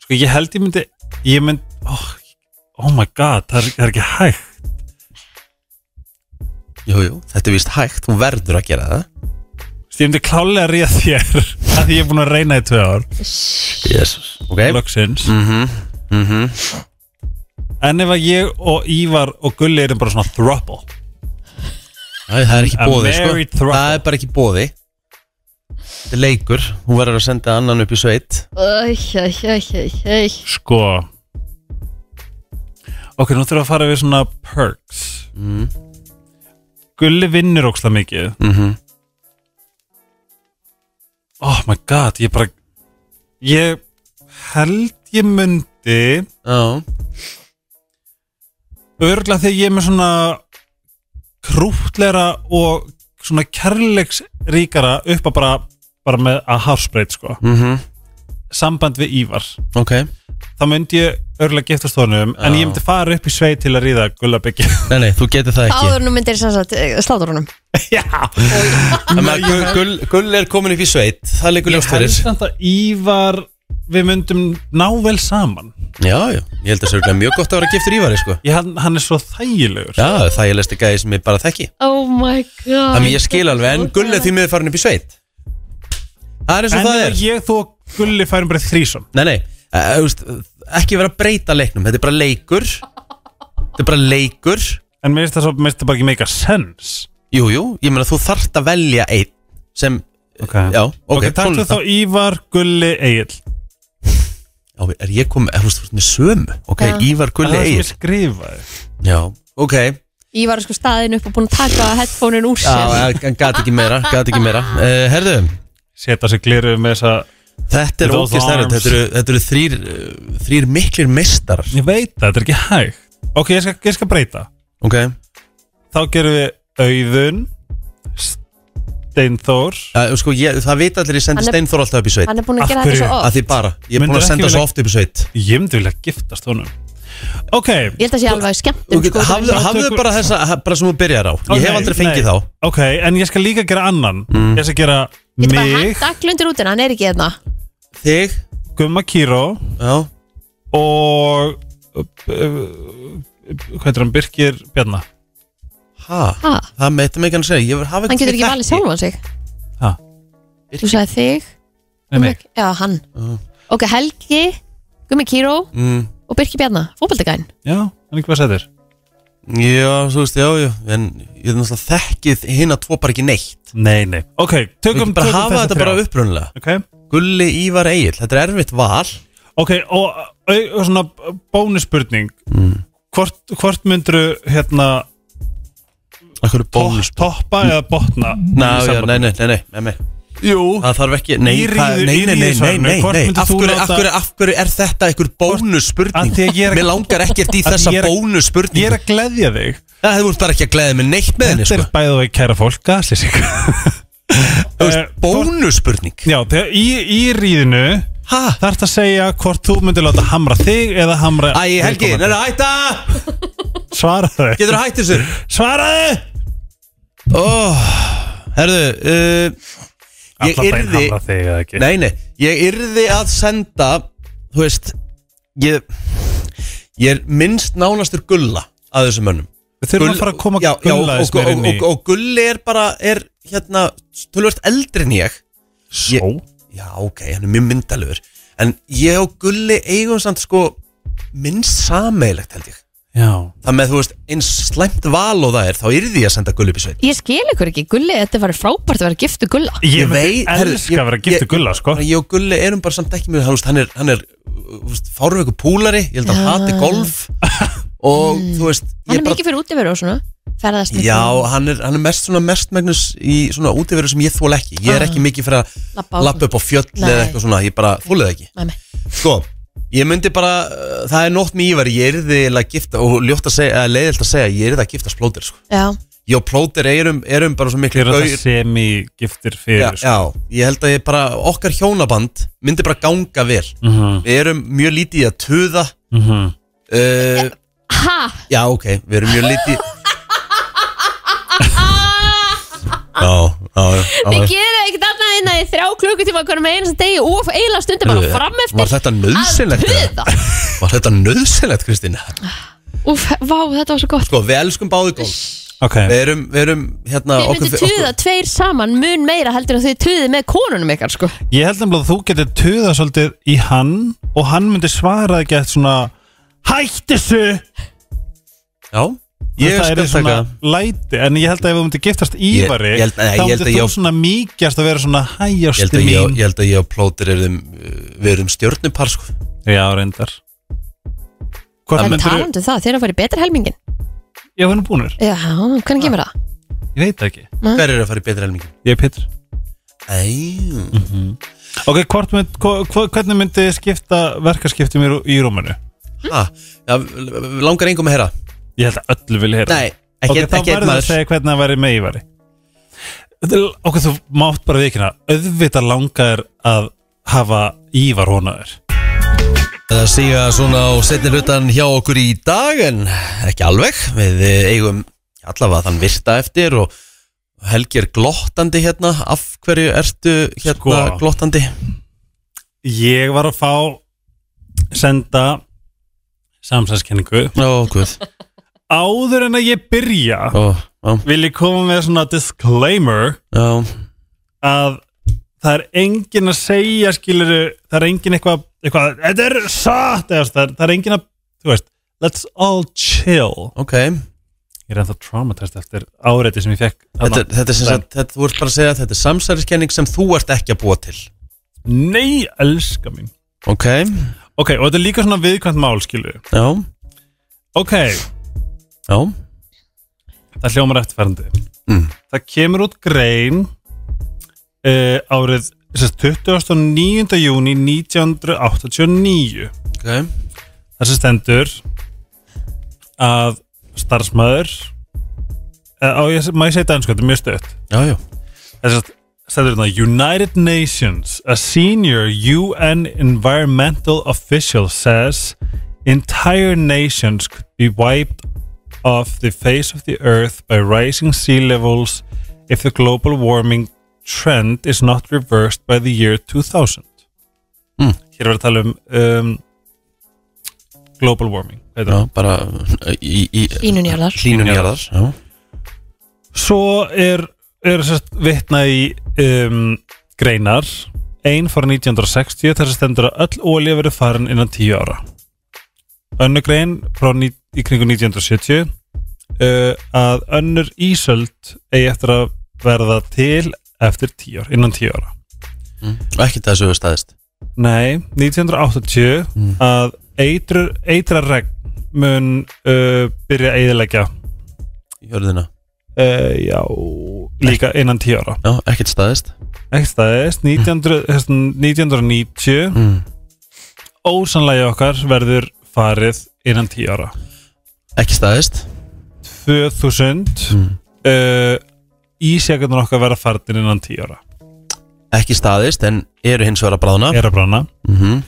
Sko ég held ég myndi Ég myndi oh, oh my god, það er, það er ekki hægt jú, jú, þetta er víst hægt, þú verður að gera það Þú veist, Ég myndi klálega að ríða þér að því ég er búin að reyna í tvö ár Jesus. ok, Loksins mm -hmm. Mm En ef að ég og Ívar og Gulli erum bara svona throuple það er ekki A bóði sko. married throuple. það er bara ekki bóði þetta er leikur, hún verður að senda annan upp í sveit Æ, æ, æ, æ, æ. Sko Ok, nú þurfum við að fara við svona perks mm Gulli vinnur óksla mikið -hmm. Oh my god, ég bara Ég held ég myndi Já, Örgla þegar ég er með svona krútleira og svona kærleiksríkara upp að bara, bara með að hafsbreyt sko. mm samband við Ívar ok þá myndi ég örgla giftast honum en Já. ég myndi fara upp í sveit til að ríða gullabyggi Nei, nei, þú getur það ekki Áður nú myndir sem sagt eh, slátur honum Já, Gull, gull, gull er komin upp í sveit Það leikur ég ljóst held fyrir samt að Ívar við myndum ná vel saman Já, já, ég held að það er mjög gott að vera giftur Ívari sko. ég, hann, hann er svo þægilegur Já, það ég lesti gæði sem ég bara þekki Oh my god Þannig ég skil alveg, en gull er því miður farin upp í sveit Það er eins og en það ef er ég þú og gulli færum bara þrísum Nei, nei, uh, veist, ekki vera að breyta leiknum Þetta er bara leikur Þetta er bara leikur en mér finnst það, svo, mér finnst það bara ekki meika sens Jú, jú, ég meina þú þarft að velja einn sem, okay. já, ok, ok, takk tónlist þá Ívar, Gulli, Egil Já, er ég kom, er, þú veist, þú veist, með sömu Ok, Já. Ívar, það Gulli, er sem ég Egil skrifaði Já, ok, Ég var sko staðin upp og búin að taka headphone-in úr sér já, eh, en gat ekki meira, gat ekki meira uh, Herðu, setja sér gliru með þess að Þetta er With those ógist erfitt, arms. þetta eru, þetta eru þrýr, uh, þrýr miklir meistarar ég veit það, þetta er ekki hægt ok, ég skal, ég skal breyta Ok, Eh, þá gerum við Auðun Steinþór uh, sko, ég, það vita allir ég sendi Hann er- Steinþór alltaf upp í sveit Hann er búin að Af gera þetta hverju? svo Að oft því bara, ég er búin Myndirðu að ekki senda svo vilja- oft upp í sveit ég myndi vilja giftast honum ok, Ég held að sé alveg Þú skemmtum get- sko Hafðu, hafðu tökum- bara þessa, ha- bara sem þú byrjar á Ok, Ég hef aldrei fengið nei. þá Mm. ok, en ég skal líka gera annan ég skal gera Ég get bara mig, hægt allu undir útina, hann er ekki hérna Þig, Gumma Kíró já, og uh, uh, hvað er hann, Birkir Bjarnar ha, Ha, það með þetta með ekki hann að segja Ég hafa Hann getur ekki valið sjálfan sig Ha. Þú sagði þig Nei, mig. Já, hann Ok, Helgi, Gummi Kíró mm, og Birki Bjarna, fótbaldegæn Já, hann er ekki hvað sættir Já, þú veist, já, já En ég er náttúrulega þekkið hina tvo bara ekki neitt Nei, nei Ok, Við tökum ekki bara tökum hafa þessa þetta þrjá. bara upprunnilega Ok, Gulli Ívar Egil, þetta er erfitt val ok, og, og, og svona bónusspurning Mm. Hvort, hvort myndur hérna Akkur er to- toppa eða botna í Ná, já, sambandi? nei, nei, nei, nei, nei, nei Jú, Það þarf ekki, nei, Í það- ríðu- nei, nei, í nei, nei, ríðusvarinu, nei, hvort nei. myndir Af þú hverju, láta- af, hverju, af hverju er þetta einhver Af bónusspurning? því að ég er ekki- Mér langar ekkert í Af því þessa ég er ekki- ég bónusspurning er að gleðja þig Það hefur bara ekki að gleða mig neitt með henni Þetta sko. er bæðið og kæra fólk, gaslýsing Þú veist, Bónusspurning Eh, Já, þegar í, í ríðinu Hæ? þarf það að segja hvort þú myndir láta hamra þig eða hamra Æ, Helgi, viðkomandi. neina, hætta Svaraðu Getur að hætta þessu? Svaraðu Oh, herðu, uh, ég Alla daginn yrði hamra þig eða ekki Nei, nei, ég yrði að senda Þú veist Ég, ég er minnst nánastur gulla að þessum mönnum Við þurfum að fara að koma já, já, og, gulla og, þess meir og, inn í og, og gulli er bara er hérna, tölvöld eldri en ég Svo Já, ok, hann er mjög myndalögur En ég og gulli eigum samt sko minnst sameilegt held ég Já Það með, þú veist, eins slæmt val og það er þá yrði ég að senda gulli upp í sveit Ég skil ykkur ekki, Gulli, þetta var frábært að vera giftu Gulla Ég veit- veit herru, Elskar að vera giftu ég- gulla, sko bara Ég og Gulli erum bara samt ekki mjög, hann, þú veist, hann er, hann er þú veist, fáruveiku púlari, ég held að hann hati golf og þú veist Mm. Hann ég er bara- mikið fyrir útiveru og svona ferðast mikið, Já, hann er, hann er mest svona mestmægnus í svona útiveru sem ég þól ekki Ég er Ah. ekki mikið fyrir að labba á- lappa upp á fjöll eða Nei. eitthvað svona, ég bara þólið ekki Nei, nei. Sko, ég myndi bara, uh, það er nótt með Ívar, ég er þið að gifta og ljótt að segja, eða leiðilt að segja, ég er þið að gifta splótir sko. Já, Ég og plótir erum, erum bara svo miklu Þeir eru það semi-giftir já, fyrir, sko já, ég held að ég bara, okkar hjónaband myndi bara ganga vel Mhm, Við erum mjög lítið í að tuða mhm. uh, ha, Já, ok, við erum mjög lítið Já, já, já, já við gerum ekkert annað inn að í þrjá klukkutíma hverjum einasta degi og eiginlega stundum bara fram eftir Var þetta nöðsynlegt? eða? Puða. Var þetta nöðsynlegt, Kristín? Úf, vá, þetta var svo gott Sko, við elskum báði golf Ok, Við erum, við erum, hérna Þið myndu tuða tveir saman mun meira heldur að þið tuðið með konunum ykkar sko ég held nefnilega að þú getur töða svolítið í hann og hann myndi svara ekki eftir svona Hætt þessu! Já, ég það skal er taka svona læti, en ég held að ef þú myndir giftast Ívari, Ég- ég held- nei, ég þá held myndir að þú ég- svona mýkjast að vera svona Ég held hæjásti að mín. ég, ég held að ég og plótir erum, uh, við erum stjörnupar, sko Já, reyndar. Hvort En myndir þú? talandu um það, þið eru að fara í betri helmingin Já, hann er búinur. Já, hvernig kemur það? Ég veit það ekki. Hver er að fara í betri helmingi? Ég er Pétur. Æjú Ok, hvort mynd, hva, hva- hvernig myndi þið skipta verkaskiptum í, rú- í rúmunu? Ha, já, langar engum að heyra Ég held að öllu vilja heyra. Nei, ekki, ok, ekki þá einn verður að maður segja hvernig það væri með Ívari Þetta er- Ok, þú mátt bara vikina auðvitað langar að hafa Ívar honaður Það síga svona á setni hlutan hjá okkur í dag en ekki alveg við eh, eigum allavega þann virta eftir og Helgi er glottandi hérna af hverju ertu hérna Sko. glottandi Ég var að fá senda samsæðskenningu Ó, guð Áður en að ég byrja Ó, á, vil ég koma með svona disclaimer á, að það er engin að segja skilur það er engin eitthvað, eitthvað þetta er satt eða það er, það er engin að þú veist, let's all chill Ok þetta, Ég er ennþá traumatist eftir áreiti sem ég fekk er- þetta er sem sagt, þetta, þú ert bara að segja að þetta er samsæriskenning sem þú ert ekki að búa til Nei, elska mín Ok, Ok, og þetta er líka svona viðkvæmt mál, skilu já, Ok, já það hljómar eftirferndi Mm. Það kemur út grein uh, árið sérst, 29. júni 1989 Ok, þar sem stendur að starfsmæður uh, á, ég, má ég segja þetta einskvæmt, mjög stöðt já, já þess að stendur þarna er United Nations, a senior UN environmental official says entire nations could be wiped off the face of the earth by rising sea levels if the global warming trend is not reversed by the year 2000 Mm. hér var að tala um, um global warming hvað heitir Já, bara eh, í, í Hlýnun jarðar. Hlínun jarðar, já Svo er, er sérst, vitna í um, greinar ein fór 1960 þar sem stendur að öll olja verið farin innan 10 ára önnu grein frá ní, í kringu 1970 uh, að önnur ísöld eigi eftir að verða til eftir 10 ár, innan 10 ára Ekki það sem við staðist Nei, 1980 Mm. að eitrur, eitra regn mun uh, byrja að eiðilegja Jörðina uh, já, líka innan 10 ára Já, ekkert staðist ekki staðist 1900 hérna, 1990 mm. ósanlega okkar verður farið innan 10 ára Ekki staðist 2000 mm. uh, ísjakarnar okkar verða farnir innan 10 ára Ekki staðist en eru hins vegar að bráðna er að brána mm -hmm.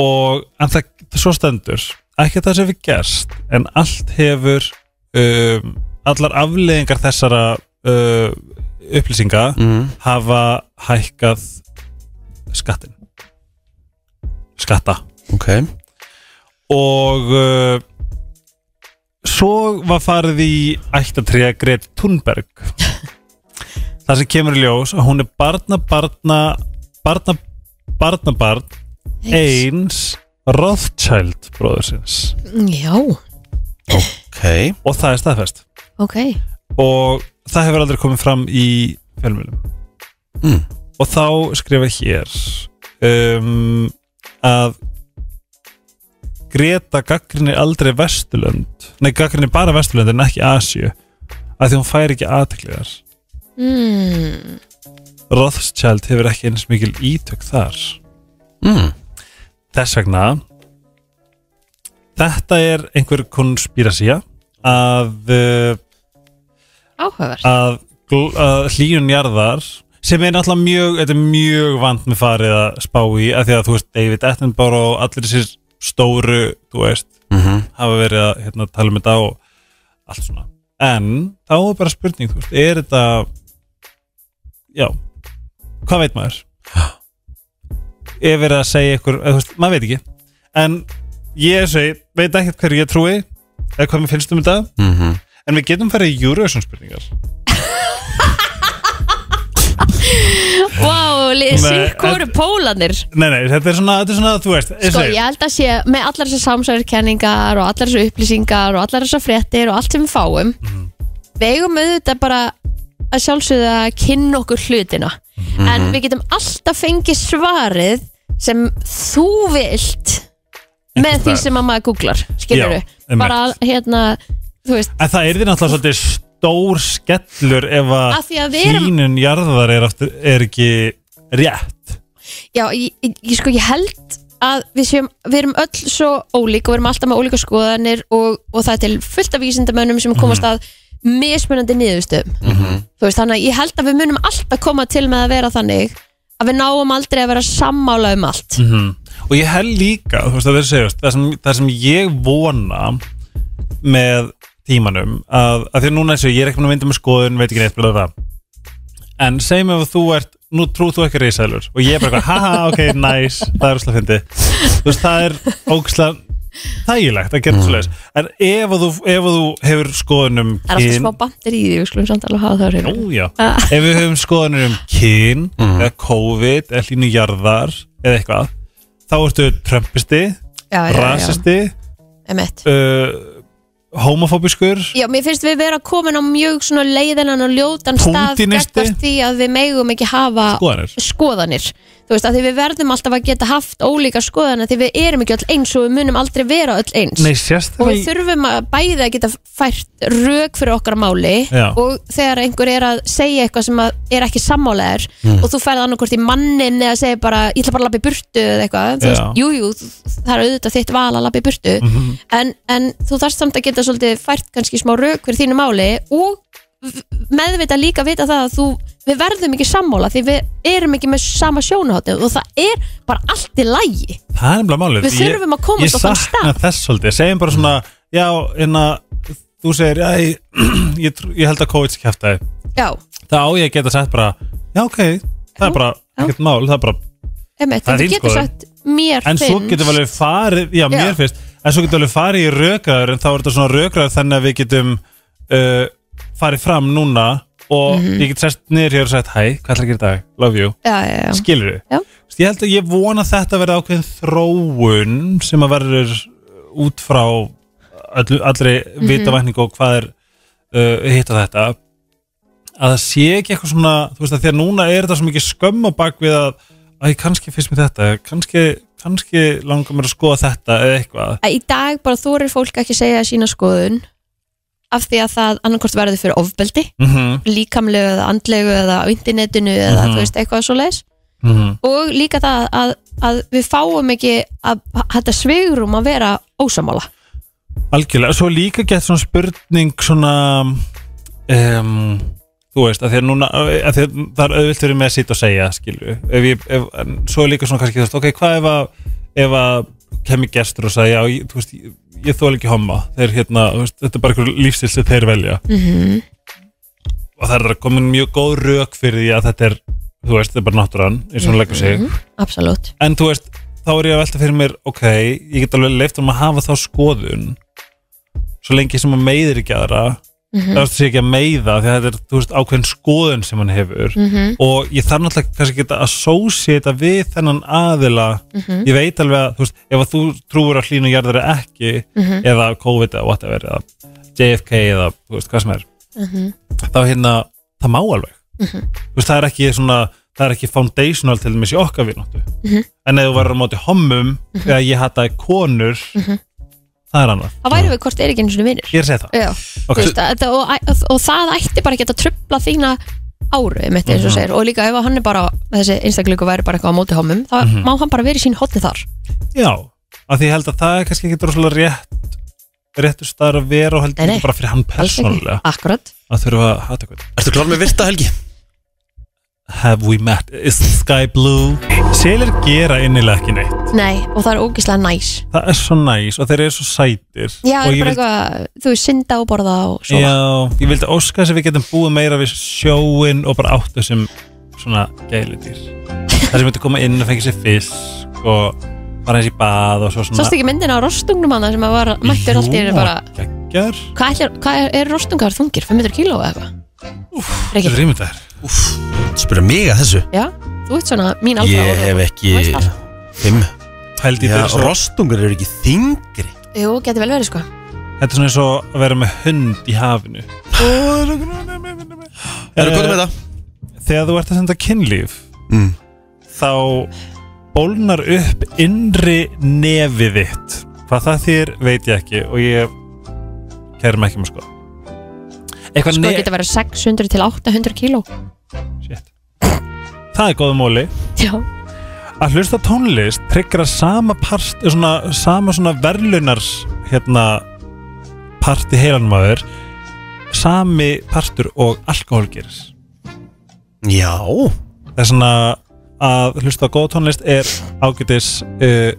og en það svo stendur ekki það sem við gerst en allt hefur um, allar afleðingar þessara uh, upplýsinga Mm. hafa hækkað skattin skatta Ok og uh, svo var farið í ættatriða Greta Thunberg það sem kemur í ljós að hún er barna barna barna barna barn eins Rothschild bróðursins Já, Ok og það er staðfest ok og það hefur aldrei komið fram í fjölmjölum Mm. og þá skrifa hér um, að Greta gaggrinni aldrei Vesturlönd nei gaggrinni bara Vesturlönd en ekki Asju að því hún fær ekki aðtekli þar mm, Rothschild hefur ekki eins mikil ítök þar mm. þess vegna þetta er einhver konspirasía að uh, Áhugavert að, gl- að hlýnun jarðar sem er náttúrulega mjög, þetta er mjög vant með farið að spá í af því að þú veist David Attenborough og allir þessir stóru, þú veist Mm hafa verið að hérna, tala um þetta og allt svona en þá er bara spurning, þú veist, er þetta já hvað veit maður ef verið að segja ykkur, eða, þú veist, maður veit ekki en ég segi, veit ekkert hverju ég trúi eða hvað mér finnst um þetta -hmm. en við getum farið í Eurovision spurningar Vá, Nei, sík hvoru en- pólanir Nei, nei, þetta er svona, þetta er svona, þú veist Sko, ég held að sé með allar þessar samsæðurkenningar og allar þessar upplýsingar og allar þessar fréttir og allt sem við fáum Mhm. við eigum auðvitað bara að sjálfsögða að kynna okkur hlutina Mhm. en við getum alltaf fengið svarið sem þú vilt með Einhvers því staðar. sem að maður googlar, skilur Já, einmitt. bara að, hérna, þú veist En það er því náttúrulega svolítið stór skellur ef að, Af því að við erum- hlýnun jarðar er, aftur, er ekki rétt Já, ég, ég, ég, sko, ég held að við, séum, við erum öll svo ólík og við erum alltaf með ólíka skoðanir og, og það er til fullt af vísindamönnum sem komast að mismunandi niðurstöðum Þú veist, þannig að ég held að við munum alltaf koma til með að vera þannig að við náum aldrei að vera sammála um allt Og ég held líka, þú veist, það, segjast, það, sem, það sem ég vona með tímanum að, að því að núna eins og ég er ekki búin að mynda með skoðun veit ekki neitt, bla, bla, bla. en segjum ef þú ert, nú trúð þú ekki reisælur og ég er bara, eitthvað, haha, ok, nice það er óslega fyndi þú veist, það er ókslega þægilegt að gera mm. svoleiðis, en ef að þú, ef að þú hefur skoðunum Það er alltaf smá bandir í því, við skulum samt alveg hafa það á hreinu. Nú, já. Ah. ef við höfum skoðanir um kyn eða COVID, eða hlínu jarðar eða eitthvað, þá ertu trömpisti, Já, já, já, rasisti einmitt. uh, homofóbiskur já, mér finnst við vera komin á mjög svona leiðinan og ljótan stað Púntinisti. gagnvart því að við megum ekki hafa skoðanir skoðanir þú veist, að því við verðum alltaf að geta haft ólíka skoðanir því við erum ekki öll eins og við munum aldrei vera öll eins Nei, og við sérstaklega þurfum að bæði að geta fært rök fyrir okkar máli Já. og þegar einhver er að segja eitthvað sem að er ekki sammálegar Mm. og þú færð annarkvort í mannin eða segir bara, ég ætla bara að labba í burtu eða eitthvað, þú Já. veist, jú, jú þú- það er auðvitað þitt val að labba í burtu Mhm. en, en þú þarft samt að geta svolítið fært kannski smá rök fyrir þínu máli og v- meðvita líka vita það að þú við verðum ekki sammála því við erum ekki með sama sjónaháttu og það er bara allt í lægi það er bara málið Við þurfum að komast ég, á þann ég sakna þess svolítið, segjum bara svona já, en að þú segir já, ég, ég, trú- ég held að COVID sé kæftæði Já, það á ég að geta sagt bara já, ok, það er bara já. ekkert mál, það er bara emmitt, Það er þú þín getur skoðun. sagt mér en svo finnst- getum við alveg farið já, mér Já. finnst, en svo getum við alveg farið í rökraður en þá er þetta svona rökraður þannig að við getum uh, farið fram núna og Mhm. ég get sest niður hér og sagt hæ, hvað ætlar að gera í dag, love you Já, já, já skilur Já. við, ég held að ég vona að þetta verði ákveðin þróun sem að verður út frá öllu, allri Mhm. vitavækningu og hvað er uh, hitt og þetta að það sé ekki eitthvað svona þú veist að því að núna er þetta svo mikið skömm á bak við að, æ, kannski finnst mér þetta kannski, kannski langar mér að skoða þetta eða eitthvað að í dag bara þorir fólk ekki segja sína skoðun af því að það annarkort verður fyrir ofbeldi mm -hmm. líkamlegu eða andlegu eða á internetinu eða Mhm. þú veist eitthvað svo leis og líka það að, að við fáum ekki að að þetta svegrum að vera ósamála Algjörlega, svo er líka gett svona spurning svona um, þú veist, að því að núna að því að það er auðvilt verið með að sýta og segja skilju, ef ég, ef, en svo er líka svona kannski þú veist, ok, hvað ef að, ef að kemur gestur og segja, já, ég, þú veist ég, ég þóla ekki homma, þeir hérna þú veist, þetta er bara einhver lífstil sem þeir velja Mhm. og það er komin mjög góð rök fyrir því að þetta er þú veist, þetta er bara náttúran, eins og hún leggur sig Mhm. absolutt en þú veist, þá er ég að velta fyrir mér ok, ég get alveg leift um að hafa þá skoðun svo lengi sem að meiðir ekki aðra mm Mhm. -hmm. það sé ekki að meiða því að þetta er þú veist, ákveðin skoðun sem hann hefur Mhm. og ég þarf náttúrulega kannski ekki að associata við þennan aðila Mhm. ég veit alveg að þú veist, ef að þú trúur að hlínu jarðar er ekki Mhm. eða COVID eða whatever eða JFK eða þú veist, hvað sem er Mhm. þá hérna, það má alveg þú veist, það er ekki svona það er ekki foundational til dæmis í okkar vináttu Mhm. en ef þú verður á móti hommum eða ég hataði konur Mhm. það er annað, þá værum við hvort er ekki einu svona vinnir ég er að segja það Já, Ok. okay. veist, að, þetta- og, og, og það ætti bara ekki að trubla þína áru mitt eins Mhm. og segir og líka ef að hann er bara, þessi einstakleiku væri bara eitthvað á móti homum, þá Mhm. má hann bara vera í sín hotni þar já, af því ég held að það er kannski ekki rosalega rétt réttur staðar að vera og held Nei, nei. ekki bara fyrir hann Alls ekki, persónulega akkurat að þurfa að hata eitthvað Ertu klár með virta helgi? Have we met? Is the sky blue? Selir gera innilega ekki neitt Nei, og það er ógislega næs það er svo næs og þeir eru svo sætir Já, og það er bara ég vil eitthvað, þú veist, synda og borða og svona Já, ég vildi óska þess að við getum búið meira við sjóin og bara áttu sem svona gæludýr Það sem myndi koma inn og fengið sér fisk og fara eins í bað og svo svona Sástu ekki myndina á rostungnum hana sem að var mættur allt í einu bara Gægjar, Hvað, ætlar, hvað er, er rostungar þungir? 500 kíló eða eitthvað? þetta Rikki, er ímyndar Úf, spyrja mig að þessu já, þú ert svona mín alfa Ég hef ekki Þú veist allt. Fimm Pældi í Já, þeir svo rostungar eru ekki þingri Jú, geti vel verið sko Þetta er svona eins og að vera með hund í hafinu Eh, Erum við komið með það? Þegar þú ert að senda kynlíf Mm. þá bólnar upp innri nefið þitt hvað það þýr veit ég ekki og ég kæri mig ekki með sko eitthvað Sko ne- geti verið 600 til 800 kíló Shit. það er góða móli Já, að hlusta á tónlist tryggra sama part svona, sama svona verðlunars hérna part í heilanmaður sami partur og alkohól gerir Já það er svona að hlusta á góð tónlist er ágætis uh,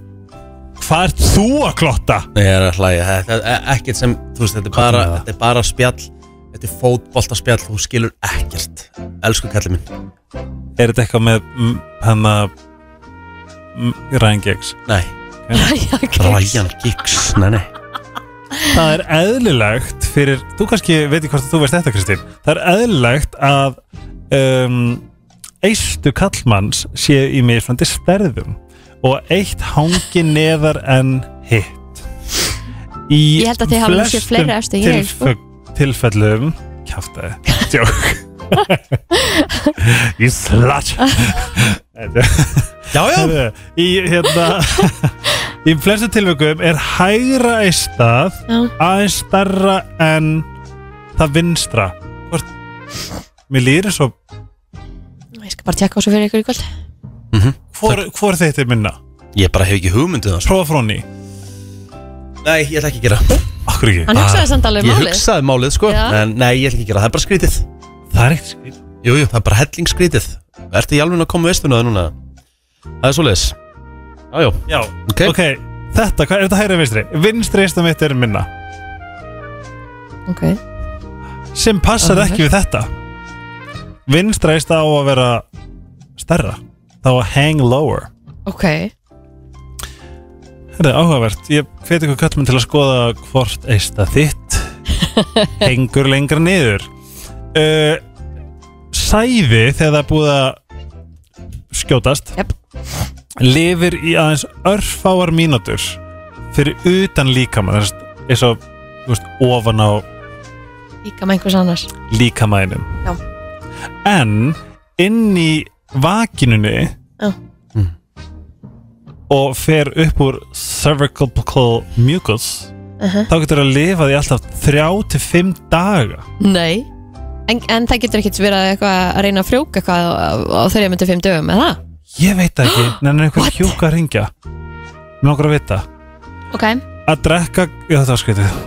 hvað ert þú að klotta? Nei, ég er að hlæja Þetta er ekkert sem, þú veist, þetta er bara, með það. þetta er bara spjall Þetta er fótboltaspjall, þú skilur ekkert Elsku kallið minn Er þetta eitthvað með mm, hann að Ryan Giggs? Nei, já, ok Ryan Giggs Nei, nei Það er eðlilegt fyrir, þú kannski veit ekki hvort að þú veist þetta Kristín, það er eðlilegt að um, eistu kallmanns séu í misfandi stærðum og eitt hangi neðar en hitt. Í Ég held að þið hafi nú séð flestum fleiri efstu en ég, sko. tilf- tilfellum, kjáftæði, tjók. Ég slatt. Já, já Heyrðu, í hérna í flestu tilvökum er hægra eistað Já. aðeins starra en það vinstra Hvort, mér líður eins og Ég skal bara tjekka á svo fyrir ykkur í kvöld hvor, hvor þetta er minna Ég bara hef ekki hugmyndið það sko. prófa frá henni, Nei, ég ætla ekki að gera það. akkur ekki Hann hugsaði samt alveg Ég málið hugsaði málið, sko Já. En nei, ég ætla ekki að gera það, það er bara skrítið það er ekkert skrítið Jújú, jú, það er bara hellingskrítið Ertu í alveg að koma vestunaði núna? Það er svoleiðis Jájó, já, ok, ok, þetta, hvað er þetta hægra en vinstri vinstri eistað mitt er minna Ok, sem passar Aha. ekki við þetta vinstra eistað á að vera stærra, þá að hang lower ok Þetta er áhugavert, ég hveti ykkur kallmenn til að skoða hvort eista þitt hengur lengra niður uh, Sæði þegar það er búið að skjótast Jep. lifir í aðeins örfáar mínútur fyrir utan líkama eins og þú veist, ofan á Líka með einhvers annars líkamænum Já. en inn í vakinunni Já. Mm. og fer upp úr cervical mucus uh þá getur að lifa því alltaf 3-5 daga Nei en, en það getur ekkert verið eitthvað að reyna að frjóka eitthvað á, á þreja myndu fimm dögum eða það ég veit það ekki, nefnir einhver What? hjúka að ringja nokkur að vita Ok að drekka, já þetta var skrítið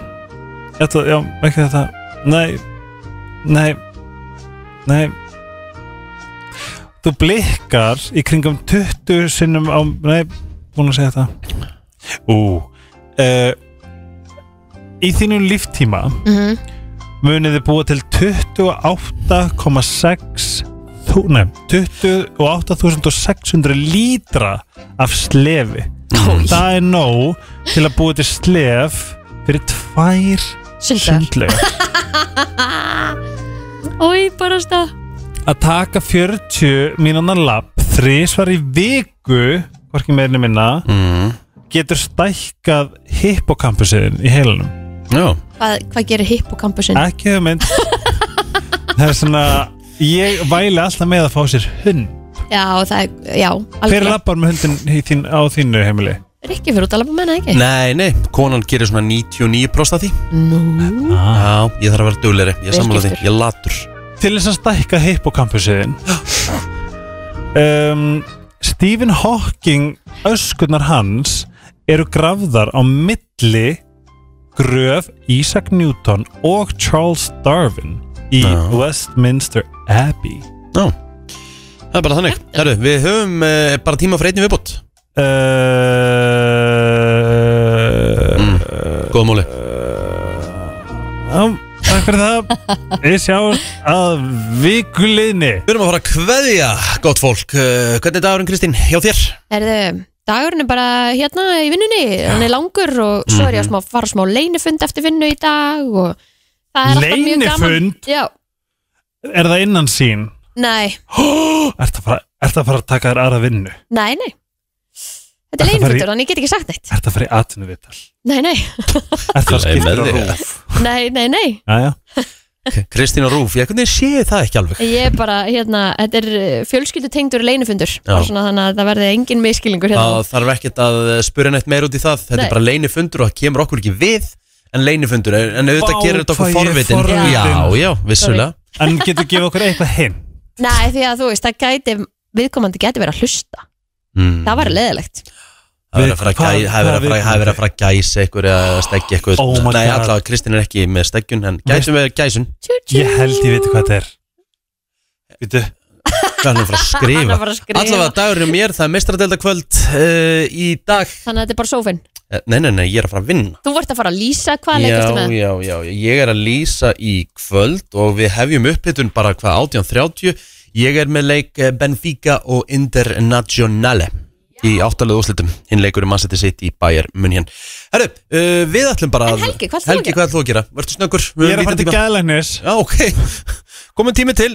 Þetta, já, ekki þetta Nei, nei Nei Þú blikkar í kringum 20 sinnum á, nei, búin að segja þetta Ú uh, Í þínu líftíma mm munið þið búa til 28,6 þú- Nei, 28.600 lítra af slefi Það er nóg til að búa til slef fyrir tvær Sundar sundlega Ói, bara stað Að taka 40 mínúna lapp þrísvar í viku hvorki meirinu minna mm. getur stækkað hippokampusin í heilanum Já, Hvað, hvað gerir hippokampusin? ekki hefur mynd það er svona ég væli alltaf með að fá sér hund Já, það er, já hver lappar með hundin í þín, á þínu heimili Rikki fyrir út að labba með hana, ekki? nei, nei, konan gerir svona 99% af því Nú Já, ég þarf að vera duglegri, ég Vel sammála því, giftur. ég er latur til þess að stækka hippokampusin um, Stephen Hawking öskurnar hans eru grafðar á milli gröf Isaac Newton og Charles Darwin í Já. Westminster Abbey Það er bara þannig, herru, við höfum uh, bara tíma fyrir einni viðbútt uh, Mm. Góða múli Já, uh, takk fyrir það Við sjáum að vikulinni Við erum að fara að kveðja, gott fólk uh, Hvernig er dagurinn Kristín, hjá þér? Erðu, dagurinn er bara hérna í vinnunni, hann er langur og svo er Mhm. ég að smá, fara smá leinifund eftir vinnu í dag og það er alltaf mjög gaman. Leynifund? Já, Er það innan sín? nei, Ertu að fara, ertu að, fara að taka þér aðra vinnu? nei, nei. Þetta Ertu að er fara í- leinifundur, þannig ég get ekki sagt neitt. Ertu að fara í atvinnuvital? Nei, nei, Ertu að Nei, skipta með á þér. rúf? nei, nei, nei. Jæja Kristín og Rúf, ég hvernig sé það ekki alveg Ég er bara, hérna, þetta er uh, fjölskyldutengdur leinifundur. Já. Svona, þannig að það verði engin miskilningur Það hérna. þarf ekkert að spura neitt meir út í það Þetta Nei. er bara leinifundur og það kemur okkur ekki við En leinifundur, en en auðvitað Vá, gerir þetta okkur hvað ég er forvitin forvitin. Já, já, vissulega En getur gefið okkur eitthvað hinn? Nei, því að þú veist, það gæti, viðkomandi gæti verið að hlusta. Mm. Það var leðilegt. Það verður að fara að Hvað- gæ- það er verið að hvað fara- það er verið að fara að gæsa ykkur eða steggja ykkur Oh my Nei, God. allavega, Kristín er ekki með steggjun En gæsum við gæsun Ég held ég veit hvað þetta er Vitu, Hvað er hann að fara að Hann skrifa? er bara að skrifa. Allavega dagurinn um mér, það er mestradelda kvöld í dag Þannig að þetta er bara sófinn. Eh, Nei, nei, nei, ég er að fara að vinna Þú vart að fara að lýsa hvað já, leikastu með. já, já, ég er að lýsa í kvöld og við hefjum upphittun bara hvað 18.30 Ég er með leik eh, Benfica og Internazionale í áttalegu úslitum hinn leikur um Manchester City í Bayern München Herru, uh, við ætlum bara En að Helgi, hvað ætlar þú að Helgi, gera? hvað ætlum þú að gera? Vertu snöggur? ég er að fara til gæðlæknis Já, ok, komin tími til